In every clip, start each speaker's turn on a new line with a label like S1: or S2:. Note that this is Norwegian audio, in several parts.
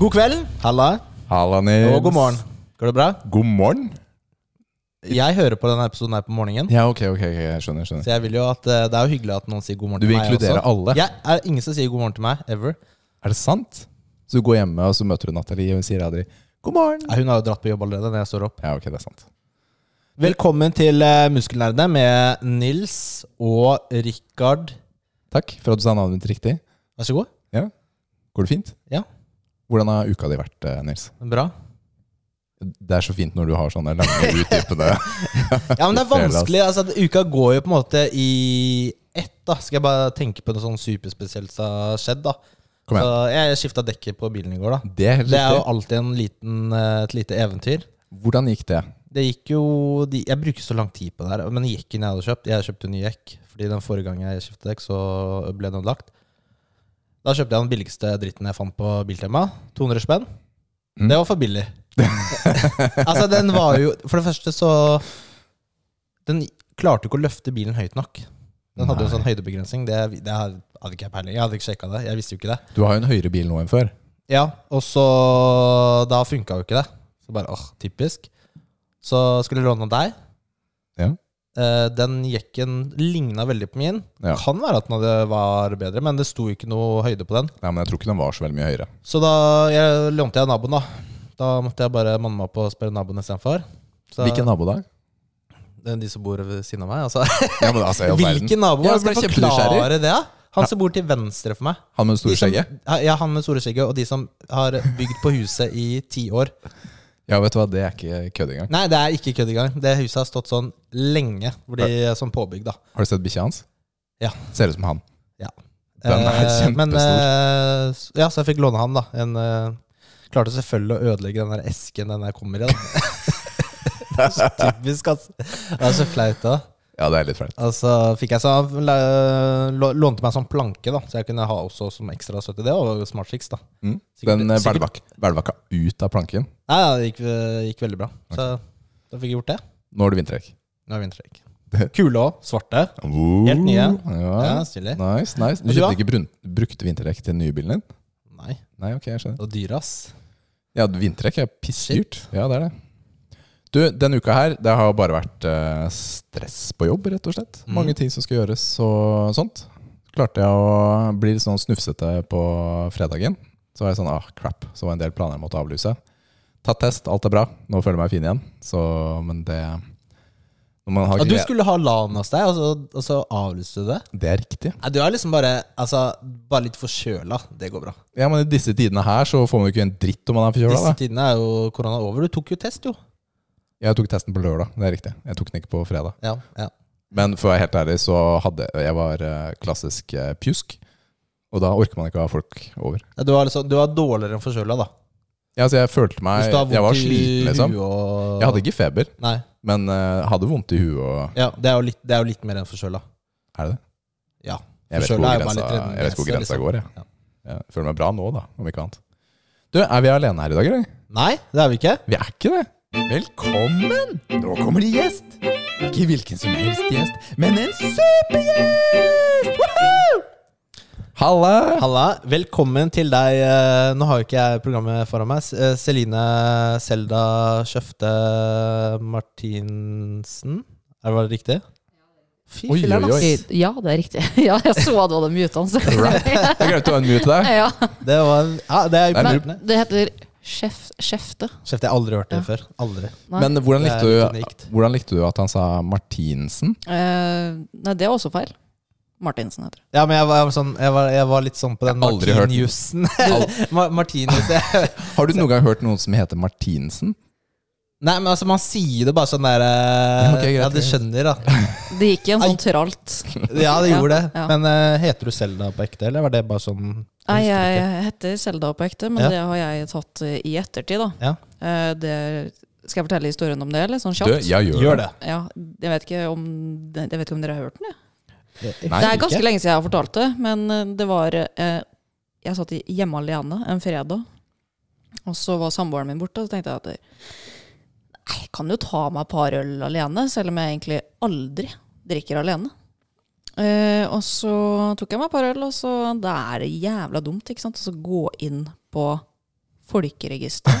S1: God kveld. Halla.
S2: Halla, Nils.
S1: Og god morgen. Går det bra?
S2: God morgen?
S1: Jeg hører på denne episoden her på morgenen.
S2: Ja, ok, ok, ok, jeg skjønner. jeg skjønner.
S1: Så jeg vil jo at eh, Det er jo hyggelig at noen sier god morgen
S2: Du vil
S1: til meg.
S2: inkludere alle?
S1: Jeg er ingen som sier god morgen til meg. Ever.
S2: Er det sant? Så du går hjemme, og så møter du Nathalie, og hun sier aldri 'god morgen'.
S1: Nei, Hun har jo dratt på jobb allerede når jeg står opp.
S2: Ja, ok, det er sant.
S1: Velkommen til eh, Muskelnerdene med Nils og Rikard.
S2: Takk for at du sa navnet mitt riktig.
S1: Vær så god.
S2: Ja. Går det fint?
S1: Ja.
S2: Hvordan har uka di vært, eh, Nils?
S1: Bra.
S2: Det er så fint når du har sånne lange, utdypende
S1: Ja, men det er
S2: Flere, ass.
S1: vanskelig. Altså, at uka går jo på en måte i ett. da Skal jeg bare tenke på noe sånn superspesielt som har skjedd, da.
S2: Kom igjen.
S1: Så jeg skifta dekket på bilen i går, da.
S2: Det er helt
S1: Det er jo
S2: riktig.
S1: alltid en liten, eh, et lite eventyr.
S2: Hvordan gikk det?
S1: Det gikk jo de, Jeg bruker så lang tid på det her. Men jekken jeg hadde kjøpt Jeg kjøpte ny jekk. Fordi den forrige gang jeg kjøpte dekk, så ble den ødelagt. Da kjøpte jeg den billigste dritten jeg fant på Biltema. 200 spenn.
S2: Mm.
S1: Det var for billig. altså, den var jo For det første så Den klarte jo ikke å løfte bilen høyt nok. Den hadde jo en sånn høydebegrensning. Det, det hadde ikke jeg peiling Jeg hadde ikke sjekka det. Jeg visste jo ikke det.
S2: Du har jo en høyere bil nå enn før.
S1: Ja, og så Da funka jo ikke det. Så bare åh, typisk. Så skulle jeg låne av deg.
S2: Ja.
S1: Eh, den jekken ligna veldig på min.
S2: Ja.
S1: Kan være at den hadde var bedre, men det sto jo ikke noe høyde på den.
S2: Nei, men jeg tror ikke den var så veldig mye høyere.
S1: Så da jeg, lånte jeg av naboen, da. Da måtte jeg bare manne meg opp og spørre naboen istedenfor. Så-
S2: Hvilken nabo da?
S1: Det er De som bor ved siden av meg, altså.
S2: Ja, men altså, i all verden.
S1: Hvilken nabo?
S2: Ja,
S1: Jeg
S2: jeg
S1: skal
S2: ble kjempenysgjerrig.
S1: forklare det. da. Han som bor til venstre for meg.
S2: Han med det
S1: De
S2: store
S1: som-
S2: skjegget?
S1: Ja, han med store skjegget, og de som har bygd på huset i ti år.
S2: Ja, vet du hva, det er ikke kødd engang.
S1: Nei, det er ikke kødd engang. Det huset har stått sånn lenge hvor de, som sånn påbygg. da
S2: Har du sett bikkja hans?
S1: Ja.
S2: Ser ut som han.
S1: ja.
S2: Den er
S1: Eh,
S2: kjempestor.
S1: Men, eh, s- ja, så jeg fikk låne han, da. En, eh, klarte selvfølgelig å ødelegge den der esken den der kommer i. da Det er så typisk, ass. Det er så flaut, da.
S2: Ja, det er litt flaut.
S1: Altså, fikk jeg så, han la- lå- lånte meg sånn planke, da så jeg kunne ha også som ekstra støtte. Det var jo smart triks, da.
S2: Mm.
S1: Sikkert-
S2: Den eh,
S1: sikkert-
S2: hvelvak- hvelvakka ut av planken.
S1: Nei, ja, det gikk, gikk veldig bra. Så da fikk jeg gjort det.
S2: Nå er det vinterdekk.
S1: Nå er det vinterdekk. Kule òg. Svarte. Helt nye.
S2: Ja.
S1: Ja, stilig.
S2: nice, nice. Du
S1: Og du, da?
S2: kjøpte ikke brun brukte vinterdekk til den nye bilen din?
S1: Nei.
S2: Nei, ok, jeg skjønner.
S1: Og dyre, ass.
S2: Ja, vinterdekk er pissdyrt. Ja, det er det. Du, denne uka her, det har bare vært eh, stress på jobb, rett og slett.
S1: Mm.
S2: Mange ting som skal gjøres og sånt. Så klarte jeg å bli litt sånn snufsete på fredagen. Så var jeg sånn, ah, crap. Så var det en del planer jeg måtte avlyse. Tatt test, alt er bra. Nå føler jeg meg fin igjen. Så, men det... Når man har
S1: Ja, du
S2: glede-
S1: skulle ha LAN hos deg, og så, og så avlyste du det?
S2: Det er riktig.
S1: Nei, du er liksom bare, altså, bare litt forkjøla. Det går bra.
S2: Ja, men I disse tidene her så får man jo ikke en dritt om man er
S1: Disse
S2: forkjøla. da.
S1: tidene er jo korona over. Du tok jo test, jo.
S2: Jeg tok testen på lørdag, det er riktig. Jeg tok den ikke på fredag.
S1: Ja, ja.
S2: Men for å være helt ærlig, så hadde jeg var eh, klassisk eh, pjusk. Og da orker man ikke å ha folk over.
S1: Ja, Du, var liksom, du var dårligere enn forkjøla, da.
S2: Ja, så jeg følte meg
S1: Hvis du har
S2: Jeg var
S1: vondt i
S2: sliten, liksom.
S1: huet og
S2: Jeg hadde ikke feber,
S1: Nei.
S2: men eh, hadde vondt i huet og
S1: Ja, det er jo litt, det er jo litt mer enn forkjøla.
S2: Er det det?
S1: Ja.
S2: Jeg vet
S1: Forkjøla
S2: hvor
S1: er jo bare
S2: grensa,
S1: litt redning-
S2: jeg vet hvor
S1: nese,
S2: grensa
S1: liksom.
S2: går, jeg.
S1: Ja.
S2: jeg. Føler meg bra nå, da, om ikke annet. Du, er vi alene her i dag, eller?
S1: Nei, det er vi ikke.
S2: Vi er ikke det. Velkommen! Nå kommer det gjest. Ikke hvilken som helst gjest, men en supergjest! Halla!
S1: Halla. Velkommen til deg. eh, Nå har jo ikke jeg programmet foran meg. S- eh, Celine Selda Kjøfte Martinsen. Er det var det riktig? Fy
S2: Oi,
S1: filler'n,
S2: oi, oi.
S1: ass.
S3: Ja, det er riktig. Ja, jeg så du hadde muta den.
S2: Jeg glemte å unmute deg.
S3: Ja.
S1: Det var ja, Det er
S2: Nei, men-
S1: imponerende.
S3: Det heter sjef, sjefte.
S1: Kjeft, jeg har aldri hørt det
S3: Ja.
S1: før. Aldri.
S3: Nei.
S2: Men hvordan
S1: Det er litt
S2: likte,
S1: unikt.
S2: du, hvordan likte du at han sa Martinsen?
S3: Eh, nei, det er også feil. Martinsen heter det.
S1: Ja, men jeg var, jeg var, sånn, jeg var, jeg var litt sånn på den
S2: Jeg har aldri hørt den.
S1: Martin-jussen. Ma- Martinus. jeg-
S2: Har du noen gang hørt noen som heter Martinsen?
S1: Nei, men altså, man sier det bare sånn der
S2: Ja,
S1: eh,
S2: ok, greit,
S1: Ja, du
S2: greit.
S1: skjønner, da.
S3: Det gikk i en
S1: Ai.
S3: sånn tralt.
S1: Ja, det
S3: Ja,
S1: gjorde det.
S3: ja.
S1: Men eh, heter du Selda på ekte, eller var det bare sånn
S3: Nei,
S1: husker
S3: jeg
S1: ikke.
S3: heter Selda på ekte, men
S1: Ja.
S3: det har jeg tatt eh, i ettertid, da.
S1: Ja.
S3: Eh, det, skal jeg fortelle historien om det, eller
S2: Du,
S3: sånn
S2: jeg
S3: kjapt?
S2: gjør,
S1: Gjør
S2: det.
S1: det.
S3: Ja, jeg vet ikke om, jeg vet ikke om dere har hørt den, jeg.
S2: Nei,
S3: det er ganske
S1: ikke.
S3: lenge siden jeg har fortalt det, men eh, det var eh, Jeg satt i- hjemme alene en fredag, og så var samboeren min borte, og så tenkte jeg at eh, Nei, jeg kan jo ta meg et par øl alene, selv om jeg egentlig aldri drikker alene. Eh, og så tok jeg meg et par øl, og så da er det jævla dumt ikke sant? å gå inn på Folkeregister.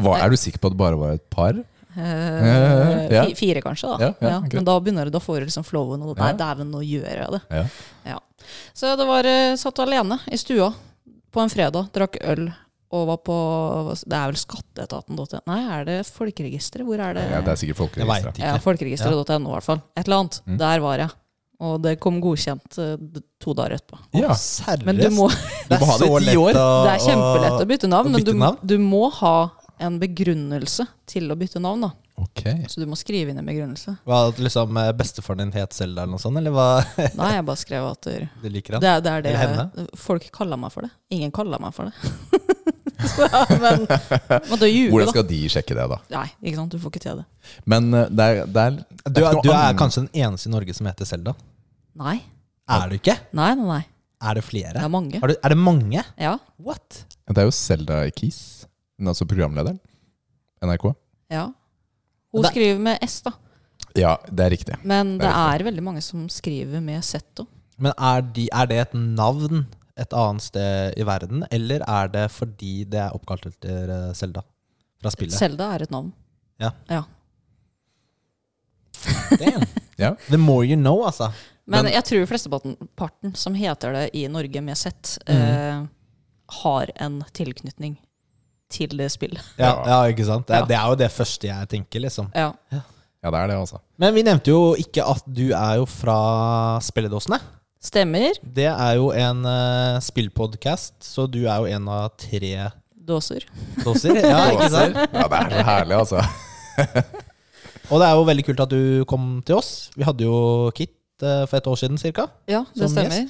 S2: Hva, er du sikker på at det bare var et par?
S3: Eh,
S2: Ja.
S3: fi- Fire, kanskje. da
S2: Ja, ja,
S3: Ja,
S2: greit.
S3: Men da begynner du, da får du liksom flowen. Og nei,
S2: Ja.
S3: dæven, nå gjør jeg det.
S2: Ja.
S3: Så det var eh, satt alene i stua på en fredag, drakk øl og var på Det er vel skatteetaten.no? Nei, er det Folkeregisteret? Hvor er det?
S2: Ja, det er sikkert
S1: Jeg veit
S2: folkeregisteret.
S1: ikke.
S3: Ja, folkeregisteret.no i hvert fall. Et eller annet.
S2: Mm.
S3: Der var jeg. Og det kom godkjent eh, d- to dager etterpå.
S2: Ja.
S1: Seriøst?
S3: Men du må,
S1: Det
S2: Du må ha det i
S1: så
S2: ti
S1: lett
S2: år.
S1: å-
S3: det er kjempelett å bytte navn,
S1: å
S3: men du,
S1: bytte navn?
S3: du må ha en begrunnelse til å bytte navn. da.
S2: Ok.
S3: Så du må skrive inn en begrunnelse.
S1: Hva, at liksom eh, Bestefaren din het Selda eller noe sånt, eller hva
S3: Nei, jeg bare skrev at det,
S1: du liker han?
S3: det, er- det er det
S1: Eller
S3: Folk kaller meg for det. Ingen kaller meg for det. Så, men måtte jo ljuge,
S2: Hvordan
S3: da.
S2: skal de sjekke det, da?
S3: Nei, ikke sant? du får ikke til det.
S2: Men eh, det er, det er,
S1: Du,
S2: det
S1: er-
S2: ikke noe
S1: du er
S2: annet.
S1: kanskje den eneste i Norge som heter Selda?
S3: Nei,
S1: Er du ikke?
S3: nei, nei. nei.
S1: Er det
S3: Det
S1: flere?
S3: er mange.
S1: Er, du, er det mange?
S3: Ja,
S1: What?
S2: Det er jo Selda Keys, altså programlederen. NRK.
S3: ja. Hun
S1: Det-
S3: skriver med S, da.
S2: Ja, det er riktig.
S3: Men
S2: Det
S3: det
S2: er
S3: er veldig mange som skriver med Z òg.
S1: Men er, de, er det et navn et annet sted i verden, eller er det fordi det er oppkalt etter eh, Selda? Fra spillet?
S3: Selda er et navn.
S1: Damn.
S2: Ja.
S1: The more you know, altså.
S3: Men,
S2: Men-
S3: jeg tror flesteparten som heter det i Norge med Z,
S2: Mhm.
S3: eh, har en tilknytning til det spillet.
S1: Ja, ja
S2: Ja.
S1: ikke sant? Det,
S3: Ja.
S1: det er jo det første jeg tenker, liksom.
S3: Ja.
S2: ja, det er det, altså.
S1: Men vi nevnte jo ikke at du er jo fra Spilledåsene.
S3: Stemmer.
S1: Det er jo en uh, spillpodkast, så du er jo en av tre
S3: Dåser.
S1: dåser. Ja, ikke sant?
S2: Ja, det er så herlig, altså.
S1: Og det er jo veldig kult at du kom til oss. Vi hadde jo Kit eh, for et år siden cirka.
S3: Ja, det
S1: Som
S3: stemmer.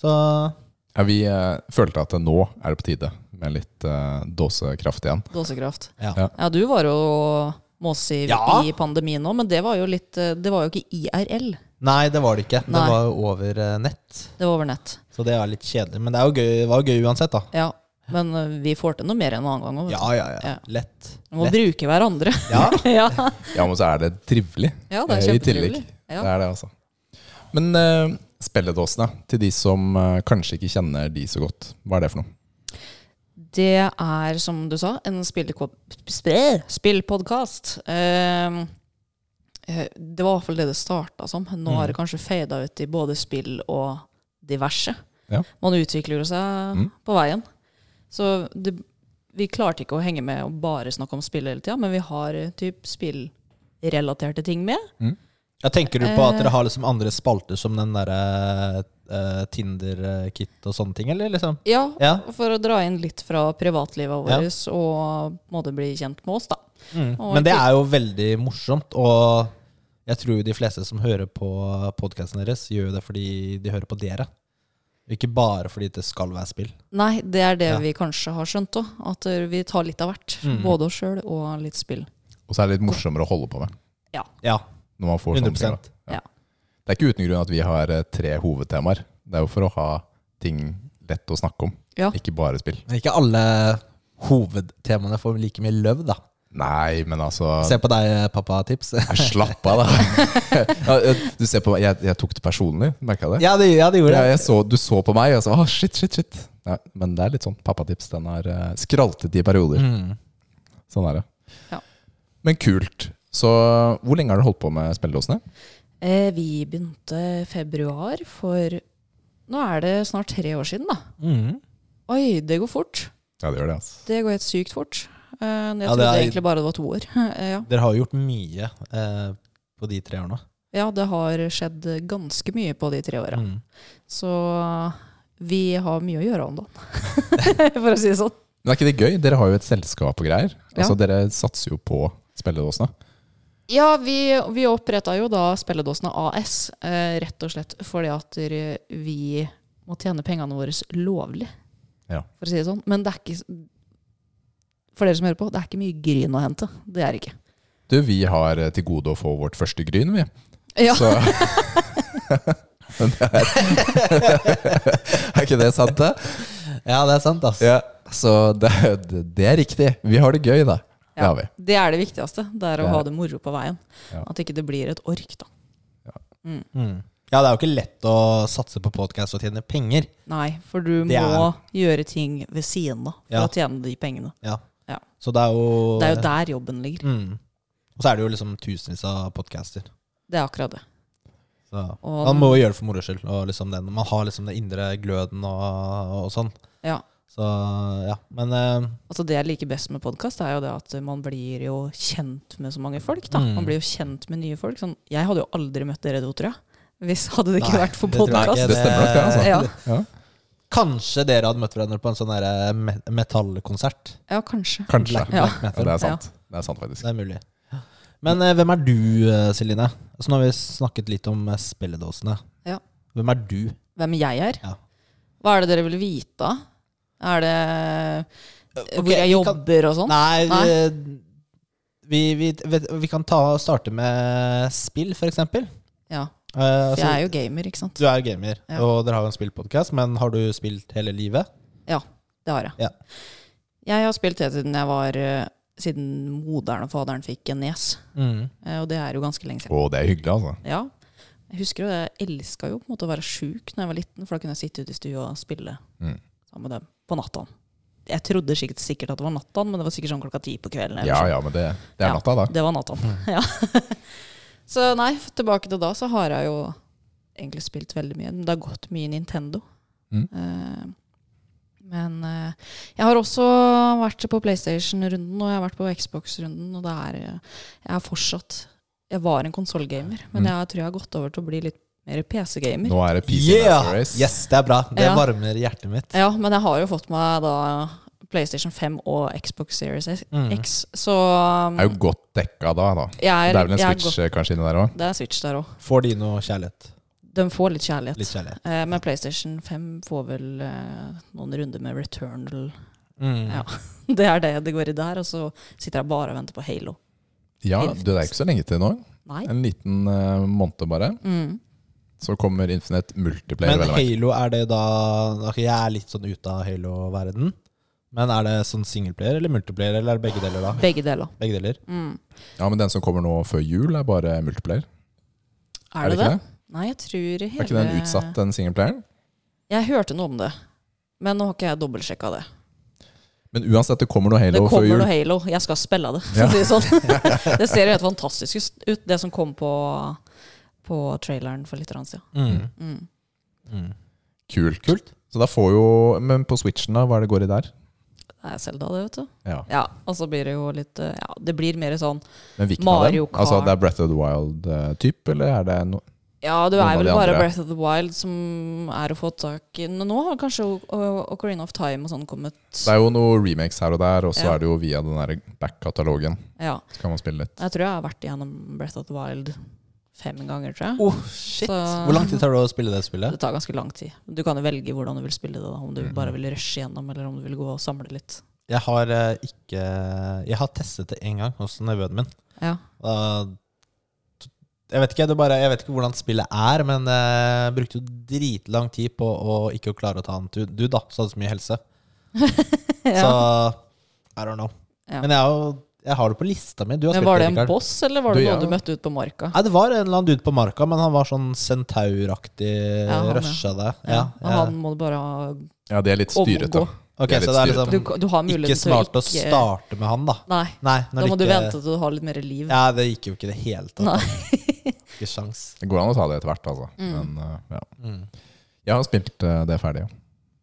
S1: Så
S2: Ja, vi eh, følte at nå er det på tide med litt eh, dåsekraft igjen.
S3: Dåsekraft.
S1: ja.
S2: Ja.
S3: Ja, du var jo måsiv
S1: Ja.
S3: i pandemien òg, men det var jo litt eh, Det var jo ikke IRL.
S1: Nei, det var det ikke.
S3: Nei.
S1: Det var jo over eh, nett.
S3: Det var over nett.
S1: Så det er litt kjedelig. Men det, er jo gøy, det var jo gøy uansett, da.
S3: Ja. Men eh, vi får til noe mer en annen gang òg.
S1: Ja, ja, ja.
S3: Ja.
S1: Lett.
S3: Vi må
S1: Lett.
S3: bruke hverandre.
S1: Ja.
S3: ja.
S2: Ja, men så er det trivelig.
S3: ja, det er
S2: eh, I tillegg.
S3: kjempetrivelig. Ja.
S2: Det er det, altså. Men eh, spilledåsene, til de som eh, kanskje ikke kjenner de så godt, hva er det for noe?
S3: Det er, som du sa, en spilleko- sp- spillpodkast. Ehm, eh, det var i hvert fall det det starta som. Nå har det kanskje fada ut i både spill og diverse.
S2: Ja.
S3: Man utvikler jo seg
S2: Mm.
S3: på veien. Så det, vi klarte ikke å henge med og bare snakke om spill hele tida, men vi har eh, typ spillrelaterte ting med.
S1: Ja, tenker du på at
S3: Eh.
S1: dere har liksom andre spalter som den derre eh, Tinder-kit og sånne ting, eller liksom?
S3: Ja,
S1: Ja.
S3: for å dra inn litt fra privatlivet
S1: Ja.
S3: vårt og på en måte bli kjent med oss, da.
S1: Mm.
S3: Og
S1: Men det
S3: ikke-
S1: er jo veldig morsomt, og jeg tror jo de fleste som hører på podkasten deres, gjør jo det fordi de hører på dere. Ikke bare fordi det skal være spill.
S3: Nei, det er det
S1: Ja.
S3: vi kanskje har skjønt òg. At eh, vi tar litt av hvert.
S1: Mm.
S3: Både oss sjøl og litt spill.
S2: Og så er det litt morsommere å holde på med.
S1: Ja,
S2: Når man får
S1: 100
S2: sånne ting. da. Det er ikke uten grunn at vi har eh, tre hovedtemaer. Det er jo for å ha ting lett å snakke om,
S3: Ja.
S2: ikke bare spill.
S1: Men ikke alle hovedtemaene får like mye løv, da.
S2: Nei, men altså
S1: Se på deg, pappa, tips.
S2: Ja, Slapp av, da. Ja, du ser på meg. Jeg, jeg tok det personlig, merka det.
S1: Ja, det, ja, det gjorde
S2: Ja,
S1: det.
S2: jeg så, du så på meg og sa ah, shit, shit, shit. Nei, men det er litt sånn pappatips. Den har eh, skraltet i perioder.
S1: Mm.
S2: Sånn er det.
S3: Ja.
S2: Men kult. Så hvor lenge har du holdt på med spilledåsene?
S3: Eh, vi begynte februar for Nå er det snart tre år siden, da.
S1: Mm.
S3: Oi, det går fort.
S2: Ja, det gjør det, altså.
S3: Det går helt sykt fort. Eh, jeg
S1: Ja, det
S3: trodde
S1: er-
S3: egentlig bare det var to år. Eh, ja.
S1: Dere har jo gjort mye eh, på de tre årene.
S3: ja, det har skjedd ganske mye på de tre åra.
S1: Mm.
S3: Så vi har mye å gjøre om dagen, for å si det sånn.
S2: Men er ikke det gøy? Dere har jo et selskap og greier.
S3: Ja.
S2: Altså, Dere satser jo på spilledåsene.
S3: Ja, vi, vi oppretta jo da Spelledåsene AS, eh, rett og slett fordi at eh, vi må tjene pengene våre lovlig,
S2: Ja.
S3: for å si det sånn. Men det er ikke s- For dere som hører på, det er ikke mye gryn å hente. Det er det ikke.
S2: Du, vi har eh, til gode å få vårt første gryn, vi.
S3: Ja,
S2: Så Men det er, er ikke det sant, det?
S1: Ja, det er sant, ass.
S2: Ja, så det, det, det er riktig. Vi har det gøy, da. Det
S3: Ja.
S2: har vi.
S3: Det er det viktigste. Det er å
S2: Ja.
S3: ha det moro på veien.
S2: Ja.
S3: At ikke det blir et ork, da.
S1: Mm. Ja, det er jo ikke lett å satse på podkast og tjene penger.
S3: Nei, for du
S1: Det
S3: må gjøre ting ved siden av for
S1: Ja.
S3: å tjene de pengene.
S1: Ja.
S3: Ja.
S1: Så det er jo
S3: Det er jo der jobben ligger.
S1: Mm. Og så er det jo liksom tusenvis av podcaster.
S3: Det er akkurat det.
S1: Så
S3: Og,
S1: man må jo gjøre det for moro skyld. Og liksom den, man har liksom den indre gløden og, og sånn.
S3: Ja.
S1: Så ja, men eh,
S3: altså det jeg liker best med podkast, er jo det at man blir jo kjent med så mange folk. da.
S1: Mm.
S3: Man blir jo kjent med nye folk. Sånn, jeg hadde jo aldri møtt dere to, tror jeg. Hvis hadde det ikke
S1: Nei,
S3: vært for
S1: det tror jeg
S2: Nei,
S1: ikke.
S3: podkast.
S2: det stemmer nok, det. altså.
S3: Ja.
S2: Ja.
S1: kanskje dere hadde møtt hverandre på en sånn der, eh, me- metallkonsert.
S3: ja, kanskje.
S2: Kanskje.
S1: Black,
S3: Ja.
S1: black
S2: Ja,
S1: metal.
S2: det er sant. Det er sant, faktisk.
S1: Det er mulig. Men eh, hvem er du, eh, Celine? Så nå har vi snakket litt om eh, spilledåsene.
S3: Ja.
S1: Hvem er du?
S3: Hvem jeg er?
S1: Ja.
S3: Hva er det dere vil vite? Er det eh,
S1: Ok,
S3: hvor jeg
S1: vi kan-
S3: jobber og sånn?
S1: Nei, eh,
S3: Nei.
S1: Vi, vi, vi, vi kan ta, starte med spill, for eksempel.
S3: Ja,
S1: Eh,
S3: for
S1: altså,
S3: jeg er jo gamer, ikke sant.
S1: Du er jo gamer,
S3: Ja.
S1: og dere har jo en spillpodkast, men har du spilt hele livet?
S3: Det har jeg.
S1: Ja.
S3: Jeg har spilt det siden jeg var eh, Siden moderen og faderen fikk en nies.
S1: Mm.
S3: Eh, Og det er jo ganske lenge siden.
S2: Å, det er hyggelig, altså.
S3: Ja. Jeg husker jo det, jeg elska jo på en måte å være sjuk når jeg var liten, for da kunne jeg sitte ute i stua og spille
S2: Mm.
S3: sammen med dem på natta. Jeg trodde sikkert, sikkert at det var natta, men det var sikkert sånn klokka ti på kvelden. eller
S2: Ja
S3: sånn.
S2: ja, men det, det er
S3: Ja.
S2: natta, da.
S3: Det var natta.
S2: Mm.
S3: Ja. så nei, tilbake til da, så har jeg jo egentlig spilt veldig mye. Men det har gått mye Nintendo.
S2: Mm.
S3: Eh, men eh, jeg har også vært på PlayStation-runden, og jeg har vært på Xbox-runden, og det er eh, Jeg er fortsatt Jeg var en konsollgamer, men
S2: Mm.
S3: jeg tror jeg har gått over til å bli litt mer PC-gamer.
S2: Nå er det PC Master Race.
S1: Yes, det er bra. Det
S3: Ja.
S1: varmer hjertet mitt.
S3: Ja, men jeg har jo fått meg da PlayStation 5 og Xbox Series
S1: Mm.
S3: X, så
S2: Er jo godt dekka da, da.
S3: jeg Mm. er,
S2: Det er vel en
S3: jeg er
S2: Switch eh, kanskje inni der òg?
S3: godt- Det er Switch der òg.
S1: Får de noe kjærlighet?
S3: De får litt kjærlighet.
S1: Litt kjærlighet.
S3: Eh, men PlayStation 5 får vel eh, noen runder med Returnal.
S1: Mm.
S3: Ja. Det er det det går i der, og så sitter jeg bare og venter på Halo.
S2: Ja, du, det er ikke så lenge til nå.
S3: Nei.
S2: En liten eh, måned bare.
S3: Mm.
S2: Så kommer Infinite Multiplayer.
S1: Men
S2: vel å merke.
S1: Halo, er det da ok, Jeg er litt sånn ute av Halo-verden. Men er det sånn singleplayer eller multiplayer, eller er det begge deler da?
S3: Begge deler.
S1: Begge deler.
S3: Mm.
S2: Ja, men den som kommer nå før jul, er bare multiplayer.
S3: Er,
S2: ikke
S3: det
S2: det?
S3: det? Nei, jeg tror hele
S2: Er ikke den utsatt, den singleplayeren?
S3: Jeg hørte noe om det, men nå har ikke jeg dobbeltsjekka det.
S2: Men uansett, det kommer noe
S3: Det
S2: Halo før
S3: kommer
S2: jul.
S3: noe Halo. Jeg skal spille det, for
S2: Ja.
S3: å si det sånn. det ser jo helt fantastisk ut, det som kom på, på traileren for litt grann siden.
S1: Mm.
S3: Mm.
S1: Mm.
S2: Kult. Så da får jo Men på Switchen, da? Hva er det går i der?
S3: Det er Selda, det, vet du.
S2: Ja.
S3: Ja, og så blir det jo litt eh, Ja, det blir mer sånn
S2: Men hvilken
S3: Mario
S2: av dem? Altså,
S3: Kart.
S2: det er Breath of the Wild-type, eller er det no
S3: Ja, du
S2: Noen
S3: er
S2: av
S3: vel
S2: de
S3: bare
S2: andre.
S3: Breath of the Wild som er å få tak i. Men nå har kanskje O- O- Ocarina of Time og sånn kommet.
S2: Det er jo noen remakes her og der, og så
S3: Ja.
S2: er det jo via den der back-katalogen.
S3: Ja,
S2: Så kan man spille litt.
S3: jeg tror jeg har vært igjennom Breath of the Wild fem ganger, tror jeg.
S1: Oh, shit.
S3: Så-
S1: Hvor lang tid tar det å spille det spillet?
S3: Det tar ganske lang tid. Du kan jo velge hvordan du vil spille det. da Om du
S2: Mm.
S3: bare vil rushe gjennom, eller om du vil gå og samle litt.
S1: Jeg har eh, ikke Jeg har testet det én gang hos nevøen min.
S3: Ja,
S1: Da- jeg vet, ikke, det er bare, jeg vet ikke hvordan spillet er, men eh, jeg brukte jo dritlang tid på å ikke å klare å ta en tur. Du, da, så hadde så mye helse. Så
S3: ja.
S1: I don't know.
S3: Ja.
S1: Men jeg, er jo, jeg har det på lista mi. Du har
S3: Men
S1: spilt
S3: Var det en
S1: Rikard.
S3: boss, eller var
S2: Du,
S3: det
S2: ja.
S3: noen du møtte ut på marka?
S1: Nei, det var en eller annen dude på marka, men han var sånn centauraktig.
S3: Ja, han, ja.
S1: rusha det.
S3: Ja,
S1: Ja,
S3: og Han må du bare
S2: Ja, det er litt styret,
S3: omgå.
S2: da.
S1: Ok,
S2: Det er litt
S1: så det er
S2: styret.
S3: Du,
S1: liksom
S3: du har
S1: ikke
S3: muligheten til å
S1: smart
S3: ikke
S1: å starte med han, da.
S3: Nei,
S1: Nei, når
S3: da må
S1: det
S3: du
S1: ikke,
S3: vente til du har litt mer liv.
S1: Ja, det gikk jo ikke i det hele tatt.
S3: Nei.
S1: Ikke sjans.
S2: Det går an å ta det etter hvert, altså.
S3: Mm.
S2: Men eh, ja.
S1: Mm.
S2: Jeg har spilt eh, det ferdig, ja.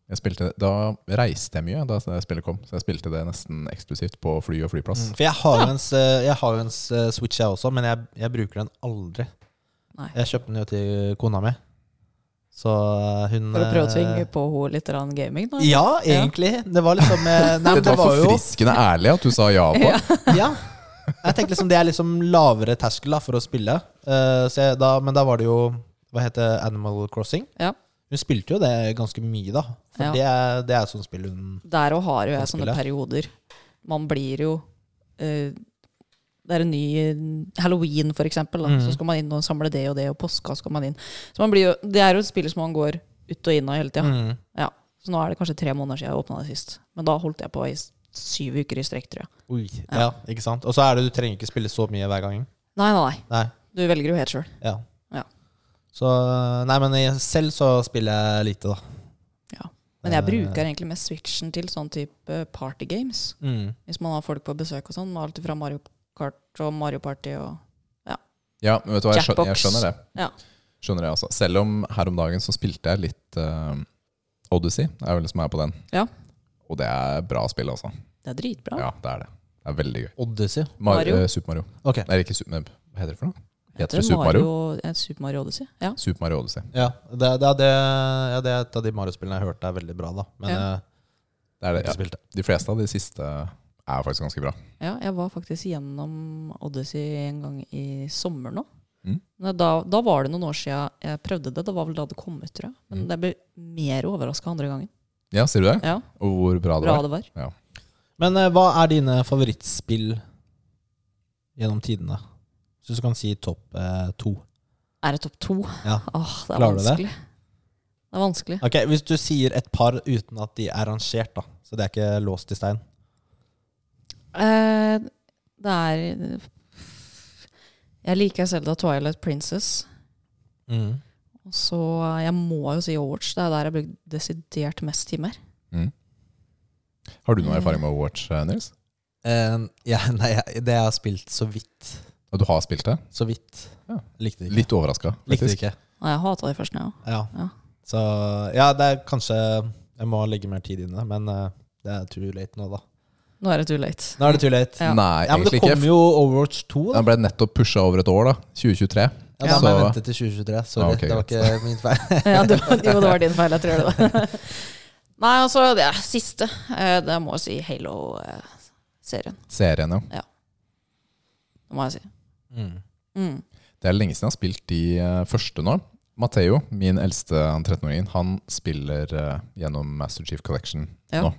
S2: Jeg spilte, da reiste jeg mye da spillet kom, så jeg spilte det nesten eksklusivt på fly og flyplass.
S1: Mm, For jeg har, jo en, s- jeg har jo en s- eh, Switch, jeg også, men jeg, jeg bruker den aldri.
S3: Nei.
S1: Jeg kjøpte den jo til kona mi. Så hun
S3: For å prøve å
S1: eh,
S3: tvinge på henne litt grann gaming, da?
S1: Ja, egentlig. Det var liksom eh, Nei, men
S2: Det
S1: det
S2: var
S1: var jo
S2: forfriskende ærlig at du sa ja på.
S3: Ja.
S1: Ja. Jeg tenkte liksom det er liksom lavere terskel da, for å spille. Eh, så jeg, da, men da var det jo Hva heter det? Animal Crossing?
S3: Ja.
S1: Hun spilte jo det ganske mye, da. For
S3: Ja.
S1: det, er, det er sånn spill hun
S3: Der òg har jo
S1: Kan
S3: jeg sånne
S1: spille.
S3: perioder. Man blir jo eh, Det er en ny halloween, for eksempel. Da.
S1: Mm.
S3: Så skal man inn og samle det og det, og påska skal man inn. Så man blir jo, det er jo et spill som man går ut og inn av hele tida.
S1: Mm.
S3: Så nå er det kanskje tre måneder siden jeg åpna det sist. Men da holdt jeg på i s- syv uker i strekk, tror jeg.
S1: Oi. Ja. ikke sant? Og så er det du trenger ikke spille så mye hver gang.
S3: Nei, nei, nei.
S1: Nei.
S3: Du velger jo helt sjøl.
S1: Ja.
S3: Ja.
S1: Så Nei, men jeg, selv så spiller jeg lite, da. Eh,
S3: Men jeg bruker egentlig mest switchen til sånn type partygames.
S1: Mm.
S3: Hvis man har folk på besøk og sånn. med Alt fra Mario Kart og Mario Party og
S2: Ja, men vet du hva, jeg skjønner, jeg
S3: Jackbox.
S2: skjønner det.
S3: Ja.
S2: Skjønner det altså. Selv om her om dagen så spilte jeg litt eh, Odyssey, er vel det som er på den.
S3: Ja.
S2: Og det er bra spill, altså.
S3: Det er dritbra.
S2: Ja, det er det. Det er veldig gøy.
S1: Odyssey.
S2: Mar
S3: Mario?
S2: eh, Super Mario.
S1: Ok.
S2: Nei, ikke Super Mario. Hva heter det for noe?
S3: Heter
S2: Heter det Super Mario?
S3: eh, Super Mario Odyssey. Ja.
S2: Super Mario Odyssey.
S1: Ja, det, det, er det, ja, det er et av de Mario-spillene jeg hørte er veldig bra, da. Men
S3: Ja.
S1: eh,
S2: Det er
S1: jeg har
S2: det.
S1: ikke spilt det.
S2: Ja. De fleste av de siste er faktisk ganske bra.
S3: ja, jeg var faktisk gjennom Odyssey en gang i sommer nå.
S2: Mm.
S3: Men Da, da var det noen år siden jeg prøvde det. Da var vel da det kom ut, tror jeg. Men
S2: Mm.
S3: jeg ble mer overraska andre gangen.
S2: Ja, sier du det?
S3: Ja,
S2: Og hvor bra det
S3: Bra
S2: var?
S3: det var.
S1: Men eh, hva er dine favorittspill gjennom tidene? Så du kan si topp eh, to.
S3: Er det topp to?
S1: Ja.
S3: Åh, det er
S1: Klarer du det?
S3: vanskelig. Det er vanskelig.
S1: Ok, Hvis du sier et par uten at de er rangert, da. Så det er ikke låst i stein.
S3: Eh, det er Jeg liker Zelda Twilight Princess.
S1: Mm.
S3: Og så eh, jeg må jo si Overwatch. Det er der jeg har brukt desidert mest timer.
S2: Mm. Har
S3: Mm.
S2: du noe erfaring med Overwatch, eh, Nils?
S1: Eh, ja, nei, jeg- det jeg har spilt så vidt.
S2: Ja, Du har spilt det?
S1: Så vidt.
S2: Ja.
S1: Likte det ikke.
S2: Litt overraska,
S1: Likte det
S2: faktisk.
S1: ikke.
S3: Nei, jeg hata det først, jeg òg.
S1: Ja.
S3: Ja.
S1: Så ja, det er kanskje Jeg må legge mer tid inn i det, men eh, det er too late nå, da.
S3: Nå er det too late.
S1: Nå er det too late.
S3: Ja.
S2: Nei,
S1: Ja, men det
S2: egentlig ikke.
S1: kommer jo Overwatch 2, da.
S2: Den ble nettopp pusha over et år, da. 2023.
S1: Ja, da
S2: Så-
S1: må jeg vente til 2023. Sorry,
S2: Ah, ok,
S1: det var ikke min feil.
S3: ja, det var, jo, det var din feil. Jeg tror det. Nei, altså, det er siste. Eh, Det må jeg si Halo-serien.
S2: Serien, ja.
S3: Det må jeg si. Mm.
S2: Det er lenge siden jeg har spilt de eh, første nå. Matheo, min eldste han 13-åringen, han spiller eh, gjennom Master Chief Collection
S3: Ja.
S2: nå.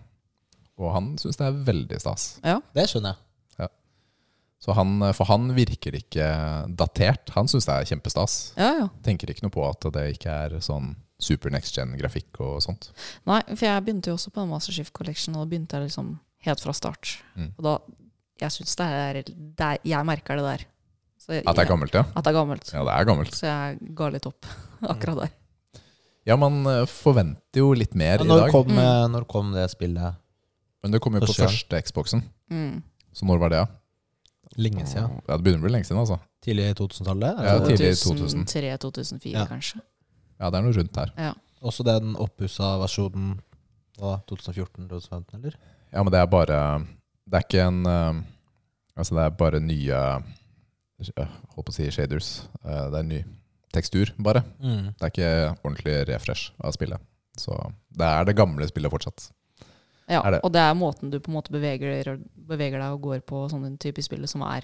S2: Og han syns det er veldig stas.
S1: Det skjønner jeg.
S2: Så han, eh, for han virker ikke datert. Han syns det er kjempestas.
S3: Ja, ja.
S2: Tenker ikke noe på at det ikke er sånn super next gen-grafikk og sånt.
S3: Nei, for jeg begynte jo også på den Master Chief Collection, og da begynte jeg liksom helt fra start.
S2: Mm.
S3: Og da Jeg syns det er det er- Jeg merker det der. Så jeg-
S2: At det er gammelt, ja.
S3: At det er gammelt.
S2: Ja, det er gammelt.
S3: Så jeg ga litt opp akkurat der.
S2: Ja, man eh, forventer jo litt mer
S1: Men
S2: i
S1: Når
S2: dag.
S1: kom, eh, når kom det spillet?
S2: Men det kom jo på
S1: Første gang.
S2: første Xboxen.
S3: Mm.
S2: Så når var det, da?
S1: Lenge siden.
S2: Ja, det begynner å bli lenge siden, altså.
S1: Tidlig i 2000-tallet?
S2: Ja,
S3: Mm.
S1: eller?
S2: tidlig. i 2000.
S3: 2003-2004,
S1: Ja.
S3: kanskje.
S2: Ja, det er noe rundt her.
S1: Også den oppussa versjonen var 2014-2015, eller?
S2: Ja, men det er bare Det er ikke en eh, Altså, det er bare nye eh, Holdt på å si shaders. Eh, Det er ny tekstur, bare.
S1: Mm.
S2: Det er ikke ordentlig refresh av spillet. Så det er det gamle spillet fortsatt.
S3: Ja,
S2: Er det-
S3: Og det er måten du på en måte beveger, beveger deg og går på sånne typer spill som er